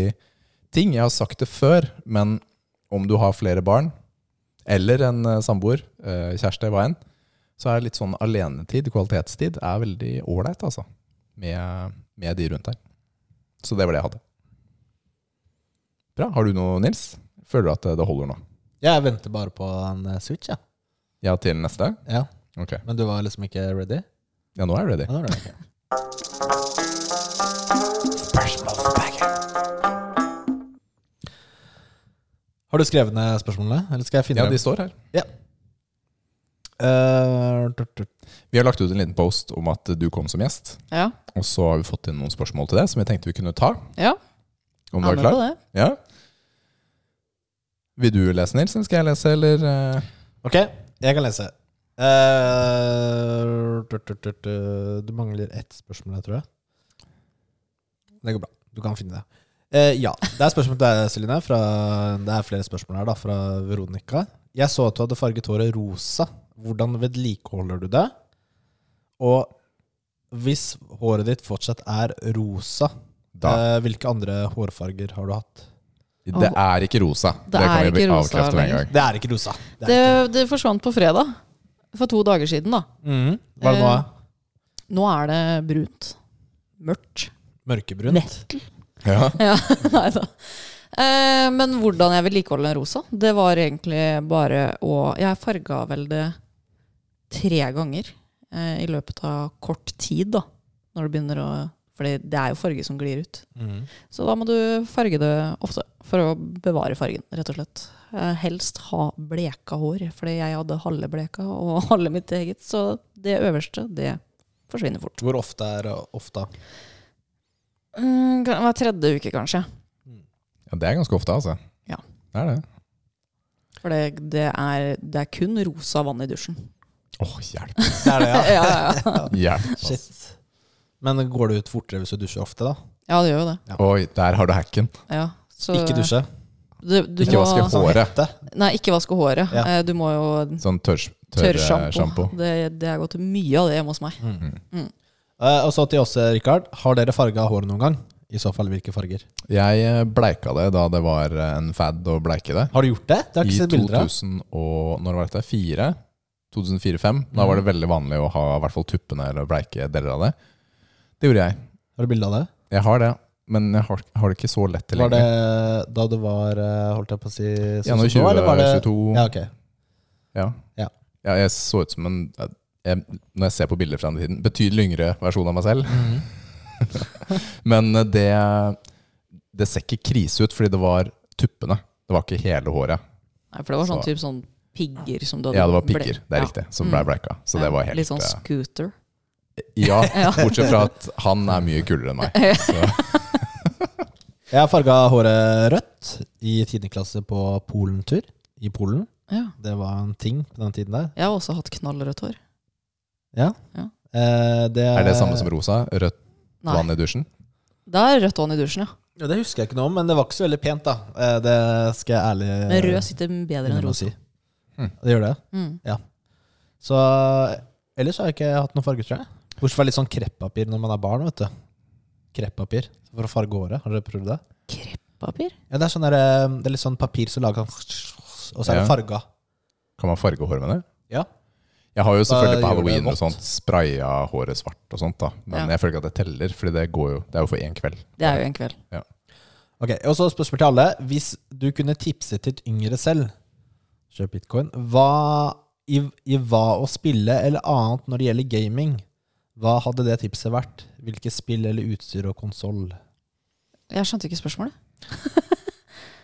S2: ting. Jeg har sagt det før, men om du har flere barn, eller en eh, samboer, eh, kjæreste, hva enn, så er litt sånn alenetid, kvalitetstid, er veldig ålreit, altså. Med, med de rundt deg. Så det var det jeg hadde. Bra. Har du noe, Nils? Føler du at det holder nå?
S1: Jeg venter bare på en eh, switch, jeg.
S2: Ja, til neste?
S1: Ja.
S2: Ok.
S1: Men du var liksom ikke ready?
S2: Ja, nå er jeg ready.
S1: Ja, det var det. ok. Har du skrevet ned spørsmålene? Eller skal jeg finne
S2: Ja, de
S1: dem?
S2: står her.
S1: Eh, tut, tut.
S2: Vi har lagt ut en liten post om at du kom som gjest,
S3: Ja.
S2: og så har vi fått inn noen spørsmål til det som vi tenkte vi kunne ta.
S3: ja.
S2: Om du
S3: er
S2: er
S3: med
S2: klar?
S3: på det.
S2: Ja. Vil du lese, Nils? eller Skal jeg lese, eller? eh?
S1: Ok, jeg kan lese. Eh, tut, tut, tut, eh, du mangler ett spørsmål, jeg tror jeg. Det går bra. Du kan finne det. Eh, ja, det er spørsmål til deg, Celine. Fra, det er flere spørsmål her da, fra Veronica. Jeg så at du hadde farget håret rosa. Hvordan vedlikeholder du det? Og hvis håret ditt fortsatt er rosa,
S2: Da.
S1: eh, hvilke andre hårfarger har du hatt?
S2: Det er ikke rosa. Det,
S3: er
S2: kan vi
S3: ikke rosa
S2: avkrefte med en
S3: lenger.
S2: gang.
S1: Det er ikke rosa. Det er
S3: Det,
S1: ikke.
S3: det forsvant på fredag. For to dager siden, da.
S1: Mhm. Hva er det nå? da?
S3: Nå er det brunt. Mørkt.
S1: Mørkebrunt?
S3: Metal.
S2: Ja.
S3: Ja, nei da. Eh, men hvordan jeg vedlikeholder en rosa, det var egentlig bare å Jeg farga vel det tre ganger eh, i løpet av kort tid, da. Når du begynner å Fordi det er jo farge som glir ut.
S1: Mhm.
S3: Så da må du farge det ofte for å bevare fargen, rett og slett. Eh, helst ha bleka hår, fordi jeg hadde halve bleka og halve mitt eget. Så det øverste, det forsvinner fort.
S1: Hvor ofte er det ofte?
S3: Mm, kan- Hver tredje uke, kanskje.
S2: ja, det er ganske ofte, altså.
S3: Ja.
S2: Det er det.
S3: For det, det, er, det er kun rosa vann i dusjen.
S2: Åh, hjelp.
S1: Det er det, ja.
S3: Ja, ja, ja.
S2: hjelp. altså.
S1: Shit. Men går det ut fortere hvis du dusjer ofte, da?
S3: ja det gjør jo det.
S2: Oi, der har du hacken.
S3: Ja. Så,
S1: Ikke dusje.
S3: Du, du
S2: Ikke
S3: må,
S2: vaske hår.
S1: Sånn
S2: Håret.
S1: hette.
S3: Nei, ikke vaske håret.
S1: Ja.
S3: Eh, Du må jo
S2: Sånn eh,
S3: tørrsjampo.
S2: tørrsjampo.
S3: Det, det er gått mye av det hjemme hos meg.
S2: Mm.
S1: Eh, og så til oss, Rikard. Har dere farga håret noen gang? I så fall hvilke farger?
S2: Jeg eh, bleika det da det var eh, en fad å bleike det.
S1: Har du gjort det? Det har jeg
S2: I
S1: ikke sett bilder av.
S2: 2000 og når var dette? 4? 2004-2005. Da var det veldig vanlig å ha i hvert fall tuppene eller bleike deler av det. Det gjorde jeg.
S1: Har du bilde av det?
S2: Jeg har det, men jeg har, har det ikke så lett
S1: Var det
S2: tilgjengelig.
S1: da du var eh, Holdt jeg på å si sånn som nå, eller var det-
S2: 21-22
S1: Ja, ok.
S2: ja.
S1: Ja.
S2: Ja, Jeg så ut som en jeg, Når jeg ser på bilder fra den tiden, betydelig yngre versjon av meg selv. Men eh, det, det ser ikke krise ut, fordi det var tuppene. Det var ikke hele håret.
S3: Nei, For det var sånn
S2: Så-
S3: typ sånn pigger som du hadde
S2: Ja, det var
S3: ble-
S2: pigger, det er
S3: Ja.
S2: riktig, som ble
S3: Mm.
S2: bleika. Så
S3: Ja,
S2: det var helt
S3: Litt sånn
S2: eh,
S3: scooter.
S2: Ja,
S3: Ja.
S2: bortsett fra at han er mye kulere enn meg. Så,
S1: Jeg har farga håret rødt i tiende klasse på Polentur i Polen.
S3: Ja.
S1: Det var en ting på den tiden der.
S3: Jeg har også hatt knallrødt hår.
S1: Eh, det,
S2: er det samme som rosa? Rødt
S3: Nei.
S2: vann i dusjen?
S3: Det er rødt vann i dusjen, ja.
S1: Ja, Det husker jeg ikke noe om, men det var ikke så veldig pent, da. Eh, det skal jeg ærlig
S3: Men
S2: Eh,
S3: rød sitter bedre enn
S1: innrømme å
S3: rosa.
S1: si.
S2: Hmm.
S1: Det gjør det.
S3: Mm.
S1: Så eh, ellers har jeg ikke hatt noen farge, tror jeg. Bortsett fra litt sånn kreppapir når man er barn, vet du. Kreppapir for å farge håret. Har dere prøvd det?
S3: Kreppapir?
S1: Ja, det er, sånn der, eh, det er litt sånn papir som lager sånn Og så er det
S2: Ja.
S1: farga.
S2: Kan man farge håret med det?
S1: Ja.
S2: Jeg har jo selvfølgelig
S1: Da
S2: på
S1: gjør det
S2: halloween og
S1: vått.
S2: sånt spraya håret svart og sånt, da. Men
S3: Ja.
S2: jeg føler ikke at det teller, Fordi det går jo Det er jo for én kveld.
S3: Det er jo en kveld.
S1: Ok, Og så spørsmål til alle. Hvis du kunne tipse til et yngre selv, kjøp bitcoin, hva, i, i hva å spille eller annet når det gjelder gaming, hva hadde det tipset vært? Hvilke spill eller utstyr og konsoll?
S3: Jeg skjønte ikke spørsmålet.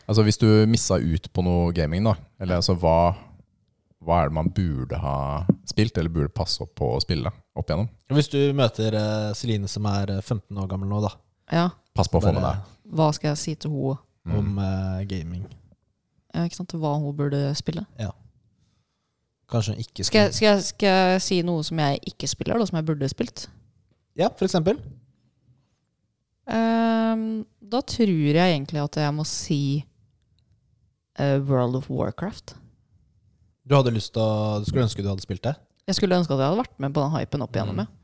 S2: Altså hvis du missa ut på noe gaming, da, eller altså hva hva er det man burde ha spilt, eller burde passe opp på å spille opp igjennom?
S1: Hvis du møter eh, Celine som er eh, 15 år gammel nå, da.
S3: Ja.
S2: Pass på å få med
S1: Bare
S2: deg.
S3: Hva skal jeg si til henne?
S2: Mm.
S1: Om eh, gaming.
S3: Ja, Ikke sant? Hva hun burde spille?
S1: Kanskje hun ikke
S3: Skal jeg, skal, jeg, skal jeg si noe som jeg ikke spiller, da, som jeg burde spilt?
S1: Ja, for eksempel.
S3: Ehm, da tror jeg egentlig at jeg må si eh, World of Warcraft.
S1: Du hadde lyst til å Du skulle ønske du hadde spilt det?
S3: Jeg skulle ønske at jeg hadde vært med på den hypen opp
S2: Mm.
S3: igjennom. ja.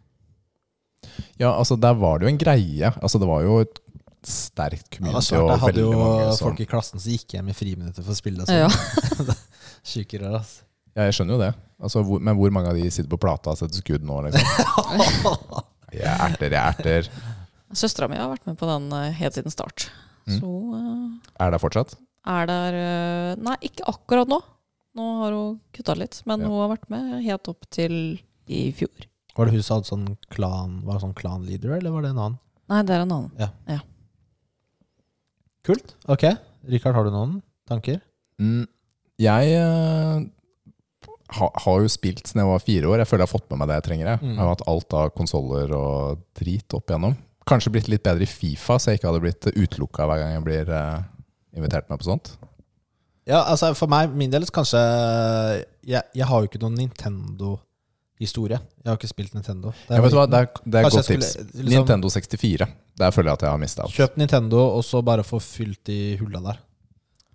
S2: Ja, altså der var det jo en greie. Altså Det var jo et
S1: Ja, det
S2: sterkt
S1: er
S2: community.
S1: svært. Jeg
S2: og
S1: hadde jo
S2: veldig mange som-
S1: folk i klassen som gikk hjem i friminuttet for å spille.
S2: Altså,
S1: sånn.
S3: Ja.
S1: Sjuke rør, ass.
S2: Ja, jeg skjønner jo det. Altså, hvor, men hvor mange av de sitter på plata og setter skudd nå? Liksom?
S1: altså.
S2: Jeg er erter, jeg er erter.
S3: Søstera mi har vært med på den eh, helt siden start.
S2: Mm.
S3: Så eh,
S2: Er det fortsatt?
S3: er der eh, Nei, ikke akkurat nå. Nå har hun kutta litt, men
S2: Ja.
S3: hun har vært med helt opp til i fjor.
S1: Var det hun som hadde sånn klan Var det sånn klanleader, eller var det en annen?
S3: Nei, det er en annen.
S1: Kult. Ok. Richard, har du noen tanker?
S2: Mm, jeg eh, ha, har jo spilt siden jeg var fire år. Jeg føler jeg har fått med meg det jeg trenger. Jeg,
S1: Mm.
S2: jeg har hatt alt av konsoller og drit opp igjennom. Kanskje blitt litt bedre i Fifa, så jeg ikke hadde blitt utelukka hver gang jeg blir eh, invitert med på sånt.
S1: Ja, altså For meg, min del, så kanskje Jeg, jeg har jo ikke noen Nintendo-historie. Jeg har ikke spilt Nintendo. Det er
S2: Ja, vet du hva, Det er, det er et
S1: Kanskje
S2: godt
S1: jeg
S2: tips.
S1: skulle, liksom-
S2: Nintendo 64. Der føler jeg at jeg har mista alt.
S1: Kjøp Nintendo, og så bare få fylt de hulla der.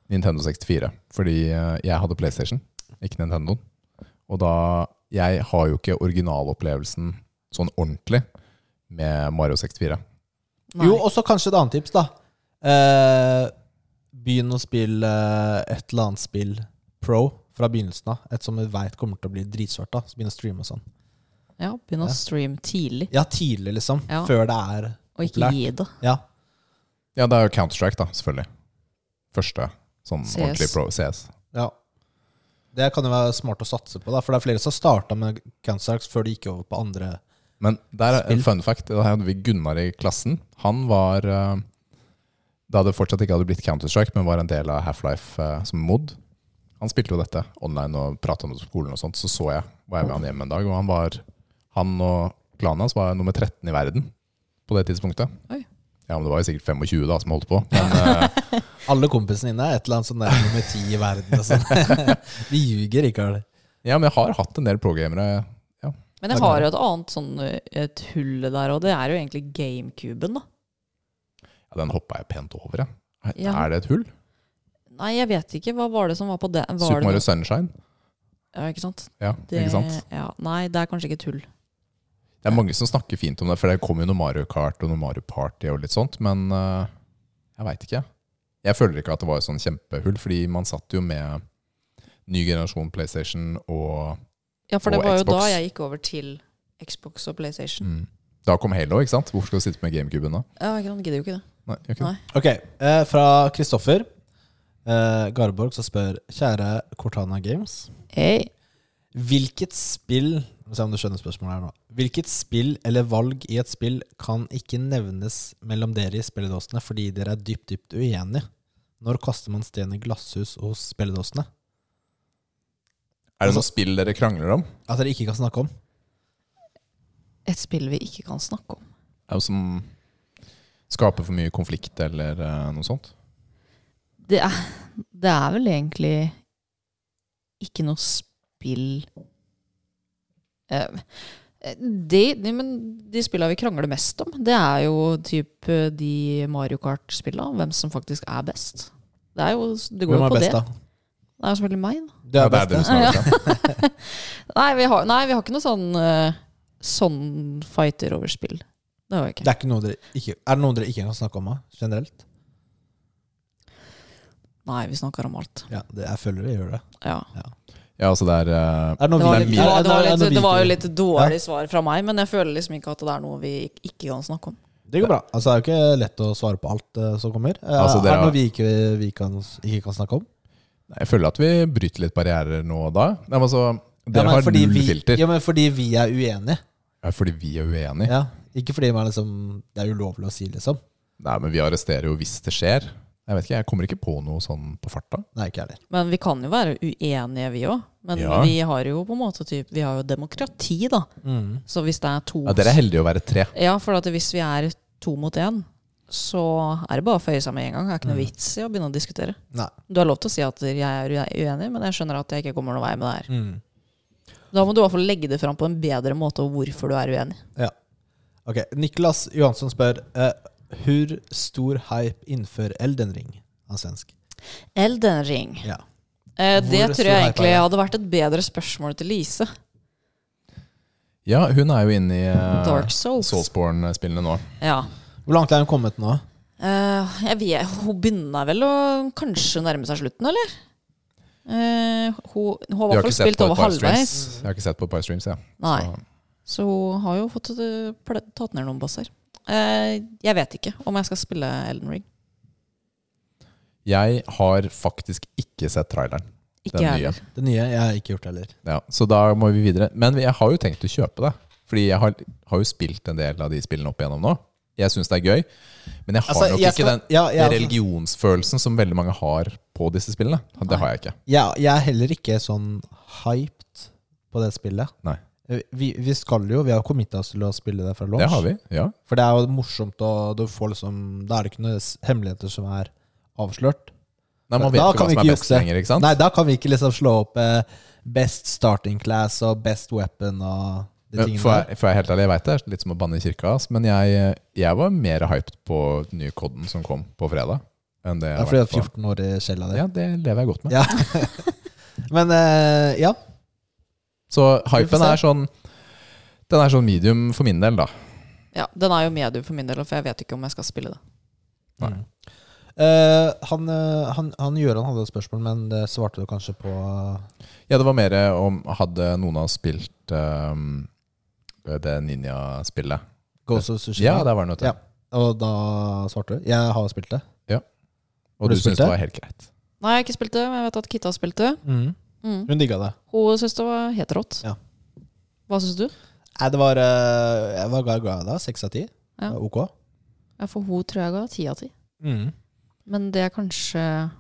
S2: Nintendo 64. Fordi eh, jeg hadde PlayStation, ikke Nintendo. Og da Jeg har jo ikke originalopplevelsen sånn ordentlig med Mario 64.
S3: Nei.
S1: Jo, og så kanskje et annet tips, da. Eh, begynn å spille eh, et eller annet spill pro fra begynnelsen av. Et som du veit kommer til å bli dritsvart. da Så Begynn å streame og sånn.
S3: Ja, Begynn å
S1: Ja.
S3: streame tidlig,
S1: Ja, tidlig, liksom.
S3: Ja.
S1: Før det er
S3: og ikke
S1: Opplært.
S3: gi det.
S1: Ja.
S2: Ja, det er jo Counter-Strike, da, selvfølgelig. Første sånn
S3: CS.
S2: ordentlig pro CS.
S1: ja. Det kan jo være smart å satse på, da for det er flere som starta med Counter-Strike før de gikk over på andre.
S2: Men der er en
S1: Spill.
S2: fun fact. Da hadde vi Gunnar i klassen. Han var eh, Da det fortsatt ikke hadde blitt Counter-Strike, men var en del av Half-Life eh, som mod. Han spilte jo dette online og prata om det på skolen, og sånt, så så jeg var jeg med han hjem en dag. Og han var Han og klanen hans var nummer 13 i verden på det tidspunktet.
S3: Oi.
S2: Ja, men Det var jo sikkert 25 da som holdt på. Men eh,
S1: Alle kompisene dine er et eller annet sånn der nummer ti i verden. og sånn. de ljuger, Rikard.
S2: ja, men jeg har hatt en del pro-gamere.
S3: Men jeg har jo et annet sånn eh, et hull der òg. Det er jo egentlig GameCuben, da.
S2: Ja, den hoppa jeg pent over, jeg.
S3: Ja.
S2: Er det et hull?
S3: Nei, jeg vet ikke. Hva var det som var på det? Var
S2: Super
S3: det
S2: Mario
S3: noe-
S2: Sunshine?
S3: Ja, ikke sant?
S2: Ja,
S3: Det,
S2: ikke sant?
S3: Ja, nei, det er kanskje ikke tull.
S2: Det er mange som snakker fint om det, for det kommer jo noe Mario Kart og noe Mario Party og litt sånt, men eh, jeg veit ikke. Jeg føler ikke at det var et sånn kjempehull, fordi man satt jo med ny generasjon PlayStation og
S3: Ja, for det
S2: Og
S3: var jo
S2: Xbox.
S3: da jeg gikk over til Xbox og PlayStation.
S2: mm, Da kom Halo, ikke sant? Hvorfor skal du sitte med GameCuben da?
S3: Ja, ikke sant? Gidder jo ikke det.
S2: Nei, gjør ikke det.
S3: Nei.
S1: Ok, eh, fra Kristoffer eh, Garborg som spør Kjære Cortana Games.
S3: Hey.
S1: Hvilket spill Må se om du skjønner spørsmålet her nå. Hvilket spill eller valg i et spill kan ikke nevnes mellom dere i spilledåsene fordi dere er dypt, dypt uenige? Når kaster man stein i glasshus hos spilledåsene?
S2: Er det noe spill dere krangler om?
S1: At dere ikke kan snakke om?
S3: Et spill vi ikke kan snakke om.
S2: Er det som skaper for mye konflikt eller eh, noe sånt?
S3: Det er, det er vel egentlig ikke noe spill Eh, de, de, men de spillene vi krangler mest om, det er jo typ eh, de Mario Kart-spillene. Hvem som faktisk er best. Det, er jo, det går
S1: Hvem
S3: jo
S1: er
S3: på
S1: best,
S3: det.
S1: da?
S3: Det er jo selvfølgelig meg, da.
S1: Du
S2: Ja,
S1: er
S2: det liksom. er
S1: best, altså.
S2: dere
S1: ja.
S2: som er best, ja.
S3: Nei, vi har, nei, vi har ikke noe sånn eh, Sånn fighter over spill. Det har vi ikke.
S1: Det er, ikke noe dere ikke, er det noe dere ikke kan snakke om da, generelt?
S3: Nei, vi snakker om alt.
S1: Ja, det, jeg føler dere gjør det.
S3: Ja.
S2: Ja, altså det er
S1: Er
S2: eh,
S1: det
S3: Det,
S1: noe
S3: var
S1: vi-
S3: litt, det,
S1: er-
S3: var, det,
S1: er-
S3: var
S1: er
S3: litt,
S1: noe vi
S3: det var jo
S1: ikke-
S3: litt dårlig svar fra meg, men jeg føler liksom ikke at det er noe vi ik- ikke kan snakke om.
S1: Det går bra. Altså, det er jo ikke lett å svare på alt eh, som kommer. Eh,
S2: Altså, dere
S1: er det
S2: har-
S1: noe vi ikke, vi kan, ikke kan snakke om?
S2: Jeg føler at vi bryter litt barrierer nå og da. Nei, men altså, dere
S1: men
S2: har
S1: fordi
S2: null
S1: vi,
S2: filter.
S1: Ja, men fordi vi er uenige.
S2: Ja, fordi vi er uenige.
S1: Ja. Ikke fordi man liksom, det er ulovlig å si, liksom.
S2: Nei, men vi arresterer jo hvis det skjer. Jeg vet ikke, jeg kommer ikke på noe sånn på farta.
S1: Nei, ikke jeg heller.
S3: Men vi kan jo være uenige, vi òg. Men
S2: Ja.
S3: vi har jo på en måte typ, Vi har jo demokrati,
S2: Mm.
S3: da. Så hvis det er to
S2: Ja, dere er heldige å være tre.
S3: Ja, for at hvis vi er to mot én, så er det bare å føye seg med en gang. Det er
S1: Mm.
S3: ikke noe vits i å begynne å diskutere.
S1: Nei.
S3: Du har lov til å si at jeg er uenig, men jeg skjønner at jeg ikke kommer noen vei med det her.
S1: Mm.
S3: Da må du i hvert fall legge det fram på en bedre måte og hvorfor du er uenig.
S1: Ja. Ok, Niklas Johansson spør eh, Hur stor hype innenfor Elden Ring av svensk?
S3: Elden ring.
S1: Ja.
S3: Eh, det
S1: Hvor stor
S3: tror jeg
S1: hype er
S3: egentlig
S1: det?
S3: hadde vært et bedre spørsmål til Lise.
S2: Ja, hun er jo inne i eh,
S3: Dark Souls.
S2: Soulsborne-spillene nå.
S3: Ja.
S1: Hvor langt er hun kommet nå?
S3: Eh, jeg vet, hun begynner vel å kanskje nærme seg slutten, eller? Eh, hun, hun har i
S2: Vi
S3: hvert fall spilt over halvveis.
S2: Jeg har ikke sett på et par streams, ja.
S3: Nei.
S2: Så-
S3: Så hun har jo fått eh, ple- tatt ned noen bosser. Eh, jeg vet ikke om jeg skal spille Elden Ring.
S2: Jeg har faktisk ikke sett traileren.
S3: Ikke
S2: Den
S3: jeg
S2: nye.
S3: heller.
S1: Det nye? Jeg har ikke gjort det heller.
S2: Ja, så da må vi videre. Men jeg har jo tenkt å kjøpe det. Fordi jeg har, har jo spilt en del av de spillene opp igjennom nå. Jeg syns det er gøy. Men jeg har
S1: Altså,
S2: nok
S1: jeg
S2: ikke
S1: skal-
S2: den
S1: ja, jeg-
S2: religionsfølelsen som veldig mange har på disse spillene.
S3: Nei.
S2: Det har jeg ikke.
S1: Jeg, jeg er heller ikke sånn hyped på det spillet.
S2: Nei.
S1: Eh, Vi, vi skal jo, vi har committet oss til å spille det fra launch.
S2: Det har vi. Ja.
S1: For det er jo morsomt, og du får liksom Da er det ikke noen s- hemmeligheter som er avslørt.
S2: Nei, man vet
S1: Da
S2: ikke
S1: kan
S2: hva
S1: vi
S2: som er
S1: ikke
S2: best
S1: jukse.
S2: lenger, ikke sant?
S1: Nei, da kan vi ikke liksom slå opp eh, best starting class og best weapon og de
S2: Men
S1: tingene
S2: For,
S1: der.
S2: jeg- for jeg er helt ærlig, jeg vet det er litt som å banne i kirka, ass, men jeg, jeg var mer hyped på den nye koden som kom på fredag. Enn det
S1: Det
S2: jeg
S1: er
S2: har
S1: fordi du
S2: vært
S1: er 14 år i skjella
S2: på.
S1: di.
S2: Ja, det lever jeg godt med.
S1: Ja. Men eh, ja.
S2: Så
S1: Vi får
S2: hypen
S1: se.
S2: er sånn Den er sånn medium for min del, da.
S3: Ja, den er jo medium for min del, for jeg vet ikke om jeg skal spille det.
S2: Nei.
S1: Mm. Eh, han, eh, han, han Gjøran hadde et spørsmål, men det svarte du kanskje på
S2: Ja, det var mer om Hadde noen av oss spilt ehm, det ninjaspillet?
S1: Ghost of Sushi.
S2: Ja, der var det noe til.
S1: Ja. Og da svarte du? Jeg har spilt det.
S2: Og
S1: Har du
S2: du
S1: spilt
S2: syntes
S1: det?
S2: det var helt greit.
S3: Nei, jeg har ikke spilt det, men jeg vet at Kitta spilte. Mm.
S1: Hun digga det.
S3: Hun syns det var helt rått.
S1: Ja.
S3: Hva syns du?
S1: Nei, det var eh, Jeg var glad glad i det. Seks av ti.
S3: Ja.
S1: Det var Ok.
S3: Ja, for hun tror jeg ga ti av ti.
S1: Mm.
S3: Men det er kanskje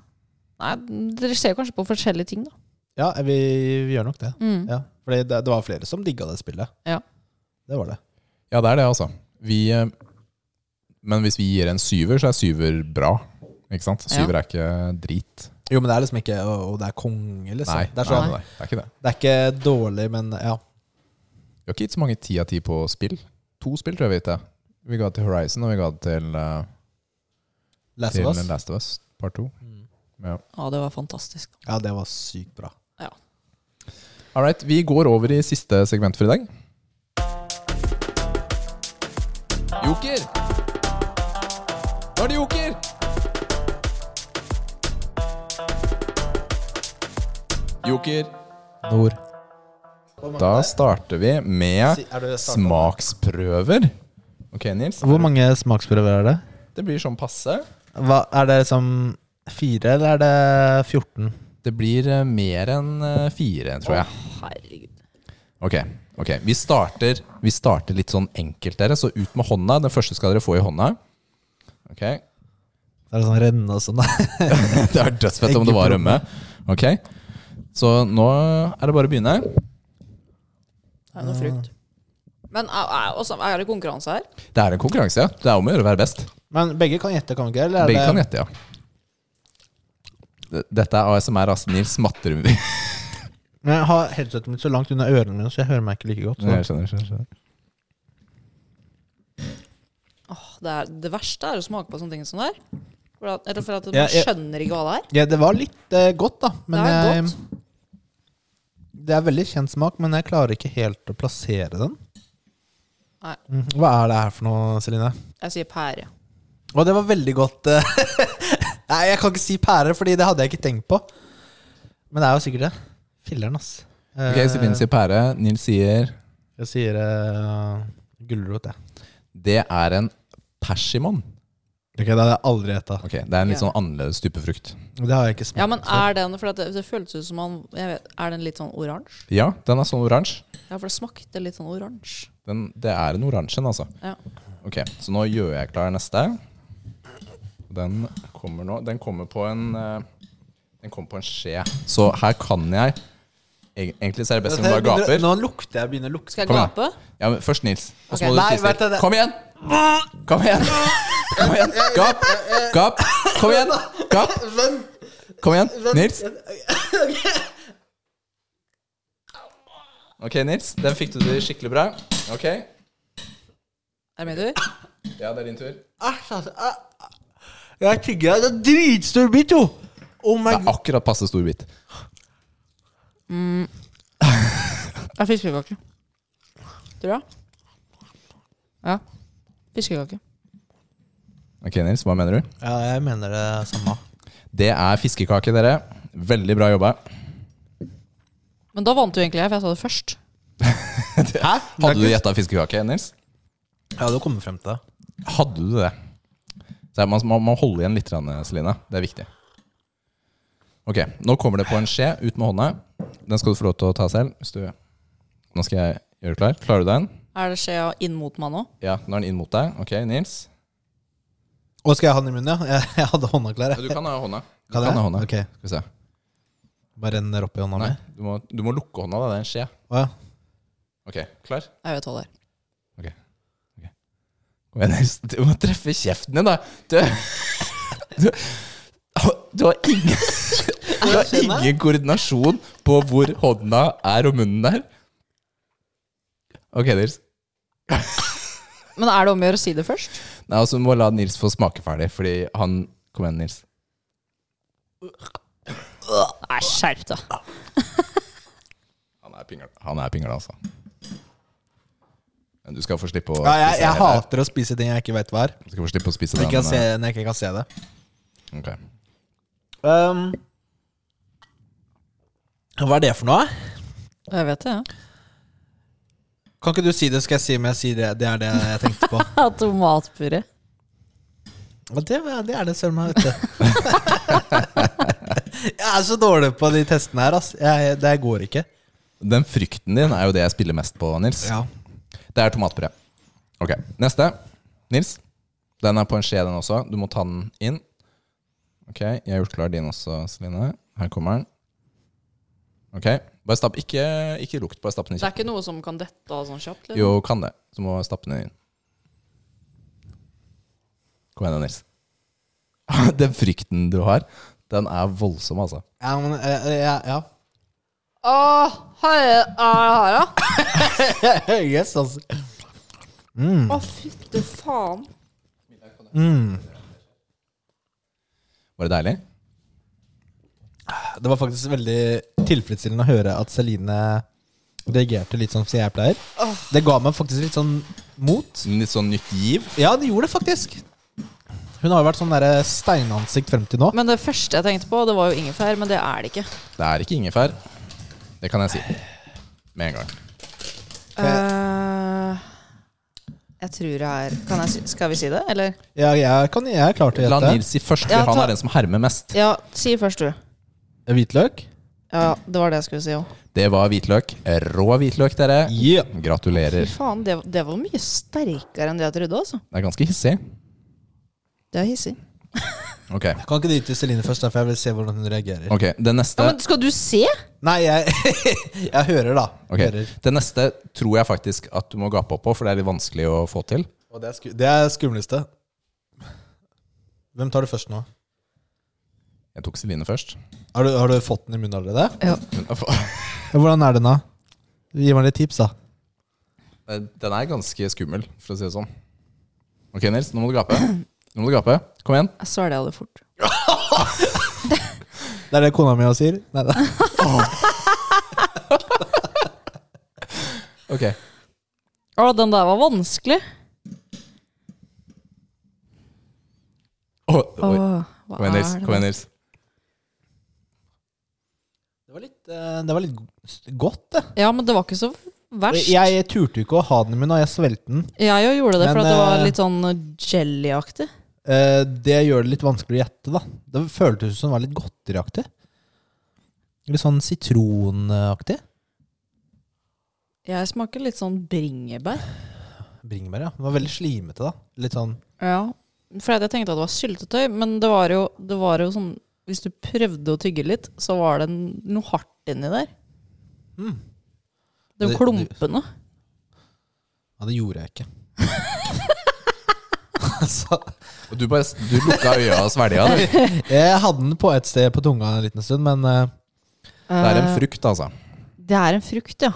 S3: Nei, dere ser kanskje på forskjellige ting, da.
S1: Ja, vi, vi gjør nok det.
S3: Mm.
S1: Ja. Fordi det, det var flere som digga det spillet.
S3: Ja.
S1: Det var det.
S2: Ja, det er det, altså. Vi eh, Men hvis vi gir en syver, så er syver bra. Ikke sant?
S3: Ja.
S2: Syver er ikke drit.
S1: Jo, men det er liksom ikke Å, å, det er konge, liksom.
S2: Nei,
S1: det, er sånn,
S2: nei, nei, det er ikke det.
S1: det er ikke dårlig, men ja.
S2: Vi har ikke gitt så mange ti av ti på spill. To spill tror jeg vi har gitt det. Vi ga det til Horizon, og vi ga det til, eh,
S1: Last
S2: til
S1: of Us.
S2: Last of Us part 2.
S1: Mm.
S2: Ja.
S3: Ja, det var fantastisk.
S1: Ja, det var sykt bra.
S2: All right, vi går over i siste segment for i dag. Joker! Nå er det joker! Joker.
S1: Nord.
S2: Da starter vi med
S1: Er du startet?
S2: smaksprøver. Ok, Nils.
S1: Hvor mange smaksprøver er det?
S2: Det blir sånn passe.
S1: Hva, er det liksom fire, eller er det 14?
S2: Det blir eh, mer enn eh, fire, tror jeg.
S3: Herregud.
S2: Ok, ok. Vi starter, vi starter litt sånn enkelt, dere. Så ut med hånda. Den første skal dere få i hånda. Ok.
S1: Er det sånn renne og sånn?
S2: Det er dødsfett om det var rømme. Ok. Så nå er det bare å begynne.
S3: Det er noe frukt. Men er, er, også, er det konkurranse her?
S2: Det er en konkurranse, ja. Det er om å gjøre å være best.
S1: Men begge kan gjette, kan vi ikke? Eller er
S2: Begge kan
S1: det,
S2: gjette, ja. D- Dette er ASMR, ass. Nils smatter mye.
S1: Men jeg har headsetet mitt så langt unna ørene mine, så jeg hører meg ikke like godt. Så.
S2: skjønner, skjønner, skjønner.
S3: Åh, det, er, det verste er å smake på sånne ting som det her. For at, eller for at man
S1: Ja, jeg-
S3: skjønner ikke hva det er.
S1: Ja, det var litt eh, godt, da. Men
S3: Det
S1: jeg,
S3: er
S1: det er veldig kjent smak, men jeg klarer ikke helt å plassere den.
S3: Nei.
S1: Mm, Hva er det her for noe, Celine?
S3: Jeg sier pære.
S1: Å, det var veldig godt. eh. Nei, jeg kan ikke si pære, Fordi det hadde jeg ikke tenkt på. Men det er jo sikkert det. Filler'n, ass. Eh,
S2: Ok, Celine sier pære. Nils sier
S1: Jeg sier uh, gulrot, jeg.
S2: det er en persimon.
S1: Ok, Det hadde jeg aldri gjetta.
S2: Ok, Det er en litt sånn annerledes type frukt.
S1: Det har jeg ikke smakt.
S3: Ja, men er den For at det, det føltes ut som man jeg vet, Er den litt sånn oransje?
S2: Ja, den er sånn oransje.
S3: Ja, for det smakte litt sånn oransje.
S2: Den, det er en oransje, altså.
S3: Ja.
S2: Ok, så nå gjør jeg klar neste. Den kommer nå. Den kommer på en eh, Den kommer på en skje. Så her kan jeg eg- Egentlig så er det best om du bare gaper.
S1: Nå lukter jeg begynner å lukte.
S3: Skal jeg
S2: Kom igjen.
S3: gape?
S2: Ja, men først Nils, og
S3: Ok.
S2: så må du
S1: Nei,
S2: tisse.
S1: vent, det-
S2: Kom igjen! Kom igjen! Kom igjen! Gap! Gap! Kom igjen! Gap! Kom igjen, Nils. Ok, Nils. Den fikk du til skikkelig bra. Ok.
S3: Er det min tur?
S2: Ja, det er din tur. Det
S4: Æsj, altså. æ- Jeg tygger det er en dritstor bit, jo! Oh my
S2: er akkurat passe stor bit.
S3: Det er fiskekake. Tror jeg. Ja. Fiskekake.
S2: Ok, Nils. Hva mener du?
S1: Ja, jeg mener det samme.
S2: Det er fiskekake, dere. Veldig bra jobba.
S3: Men da vant jo egentlig jeg, for jeg sa det først.
S1: Hæ?
S2: Hadde du gjetta fiskekake, Nils?
S1: Ja, du kommer frem til det.
S2: Hadde du det? Så man må man holde igjen litt, grann, Celine. Det er viktig. Ok, Nå kommer det på en skje ut med hånda. Den skal du få lov til å ta selv. Hvis du... Nå skal jeg gjøre det klar. Klarer du den?
S3: Er det skjea inn mot meg nå?
S2: Ja, nå er den inn mot deg. Ok, Nils.
S1: Og skal jeg ha den i munnen, ja? Jeg, jeg hadde hånda klar.
S2: Ja,
S1: jeg.
S2: du kan ha hånda. Du
S1: Kan jeg?
S2: ha hånda.
S1: Ok,
S2: Skal vi se.
S1: Bare renner opp i hånda
S2: Nei,
S1: mi.
S2: du må, du må lukke hånda. Da. Det er en skje.
S1: Å, ja.
S2: Ok, klar?
S3: Jeg vet hva det er.
S2: Kom igjen, Nils. Du må treffe kjeften din, da. Du, du, du har ingen Du har ingen koordinasjon på hvor hånda er og munnen er. Ok, Nils.
S3: Men er det om å gjøre å si det først?
S2: Nei, altså, Du må la Nils få smake ferdig, fordi han Kom igjen, Nils.
S3: Nei, skjerp deg.
S2: Han er pingla, han er pingla altså. Men du skal få slippe å
S1: Ja, jeg,
S2: spise
S1: jeg
S2: hele.
S1: hater å spise ting jeg ikke veit hva er.
S2: Du skal få slippe å spise
S1: Når jeg ikke kan
S2: den, eh,
S1: se, når jeg ikke kan se det.
S2: Ok.
S1: Ehm, hva er det for noe?
S3: Jeg vet det, ja.
S1: Kan ikke du si det, skal jeg si om jeg sier det? Det er det jeg tenkte på.
S3: Ja, Tomatpuré.
S1: Og det, er- det er det søren meg, vet du. jeg er så dårlig på de testene her, ass. Jeg, det går ikke.
S2: Den frykten din er jo det jeg spiller mest på, Nils. Det er tomatpuré. Ok, Neste. Nils. Den er på en skje, den også. Du må ta den inn. Ok, Jeg har gjort klar din også, Celine. Her kommer den. Ok, bare stapp. Ikke, ikke lukt, bare stapp den i
S3: Det er
S2: kjeften.
S3: ikke noe som kan dette av sånn kjapt? Eller?
S2: Jo, kan det. Så må stappe den inn. Kom igjen, da, Nils. Den frykten du har, den er voldsom, altså.
S1: Ja, men eh, eh, ja, ja.
S3: Åh, her er det her, da?
S1: Yes, altså.
S3: Å, fytte faen.
S2: Var det deilig?
S1: Det var faktisk veldig tilfredsstillende å høre at Celine reagerte litt sånn som jeg pleier. Det ga meg faktisk litt sånn mot.
S2: Litt sånn nytt giv?
S1: Ja, det gjorde det faktisk. Hun har jo vært sånn der steinansikt frem til nå.
S3: Men det første jeg tenkte på, det var jo ingefær, men det er det ikke.
S2: Det er ikke ingefær. Det kan jeg si. Med en gang.
S3: Eh, jeg tror det er kan jeg, si- Skal vi si det, eller?
S1: Ja, jeg, kan, jeg er klar til å
S2: La
S1: gjette.
S2: Nils si først, for
S3: Ja,
S2: han
S3: ta-
S2: er den som hermer mest.
S3: Ja, si først, du.
S1: Hvitløk?
S3: Ja, det var det jeg skulle si òg.
S2: Det var hvitløk. Rå hvitløk, dere.
S1: Yeah.
S3: Fy
S2: Gratulerer.
S3: faen, det, det var mye sterkere enn det jeg trodde, altså.
S2: Det er ganske hissig.
S3: Det er hissig.
S2: Ok,
S1: Kan ikke du gi til Celine først, da, for jeg vil se hvordan hun reagerer.
S2: ok, det
S3: Ja,
S2: neste
S3: men skal du se?
S1: Nei, jeg, jeg hører, da.
S2: Ok,
S1: Hører.
S2: Det neste tror jeg faktisk at du må gape opp på, for det er litt vanskelig å få til.
S1: Og det er, sku, det er skumleste. Hvem tar det først nå?
S2: Jeg tok Celine først.
S1: Har du, har du fått den i munnen allerede?
S3: Ja.
S2: Men, aff,
S1: Hvordan er den, da? Gi meg litt tips, da.
S2: Den er ganske skummel, for å si det sånn. Ok, Nils, nå må du gape. Nå må du gape. Kom igjen.
S3: Jeg svelga det fort.
S1: Det er det kona mi også sier. Nei, da.
S2: Ok,
S3: Å, den der var vanskelig.
S2: Å, oi.
S3: Åh, hva
S2: Kom igjen, Nils.
S3: er det
S2: Kom igjen,
S3: da?
S2: Nils.
S1: Det var litt, eh, det var litt g- godt, det.
S3: Ja, men det var ikke så verst. Jeg
S1: Jeg turte jo ikke å ha den i munnen, og jeg svelgte den.
S3: jo gjorde det, for
S1: Men,
S3: at det var
S1: eh,
S3: litt sånn jellyaktig.
S1: Eh, Det gjør det litt vanskelig å gjette, da. Det føltes som det var litt godteriaktig. Litt sånn sitronaktig.
S3: Jeg smaker litt sånn bringebær.
S1: Bringebær, ja. Den var veldig slimete, da. Litt sånn
S3: Ja. For jeg tenkte at det var syltetøy, men det var jo, det var jo sånn Hvis du prøvde å tygge litt, så var det n- noe hardt inni der.
S2: Hmm.
S3: Det er jo
S1: Det-
S3: klumpene.
S1: Ja, det gjorde jeg ikke. altså.
S2: Og Du, bare, du lukka øya og svelga. du.
S1: Jeg hadde den på et sted på tunga en liten stund, men eh,
S2: Det er en frukt, altså.
S3: Det er en frukt, ja.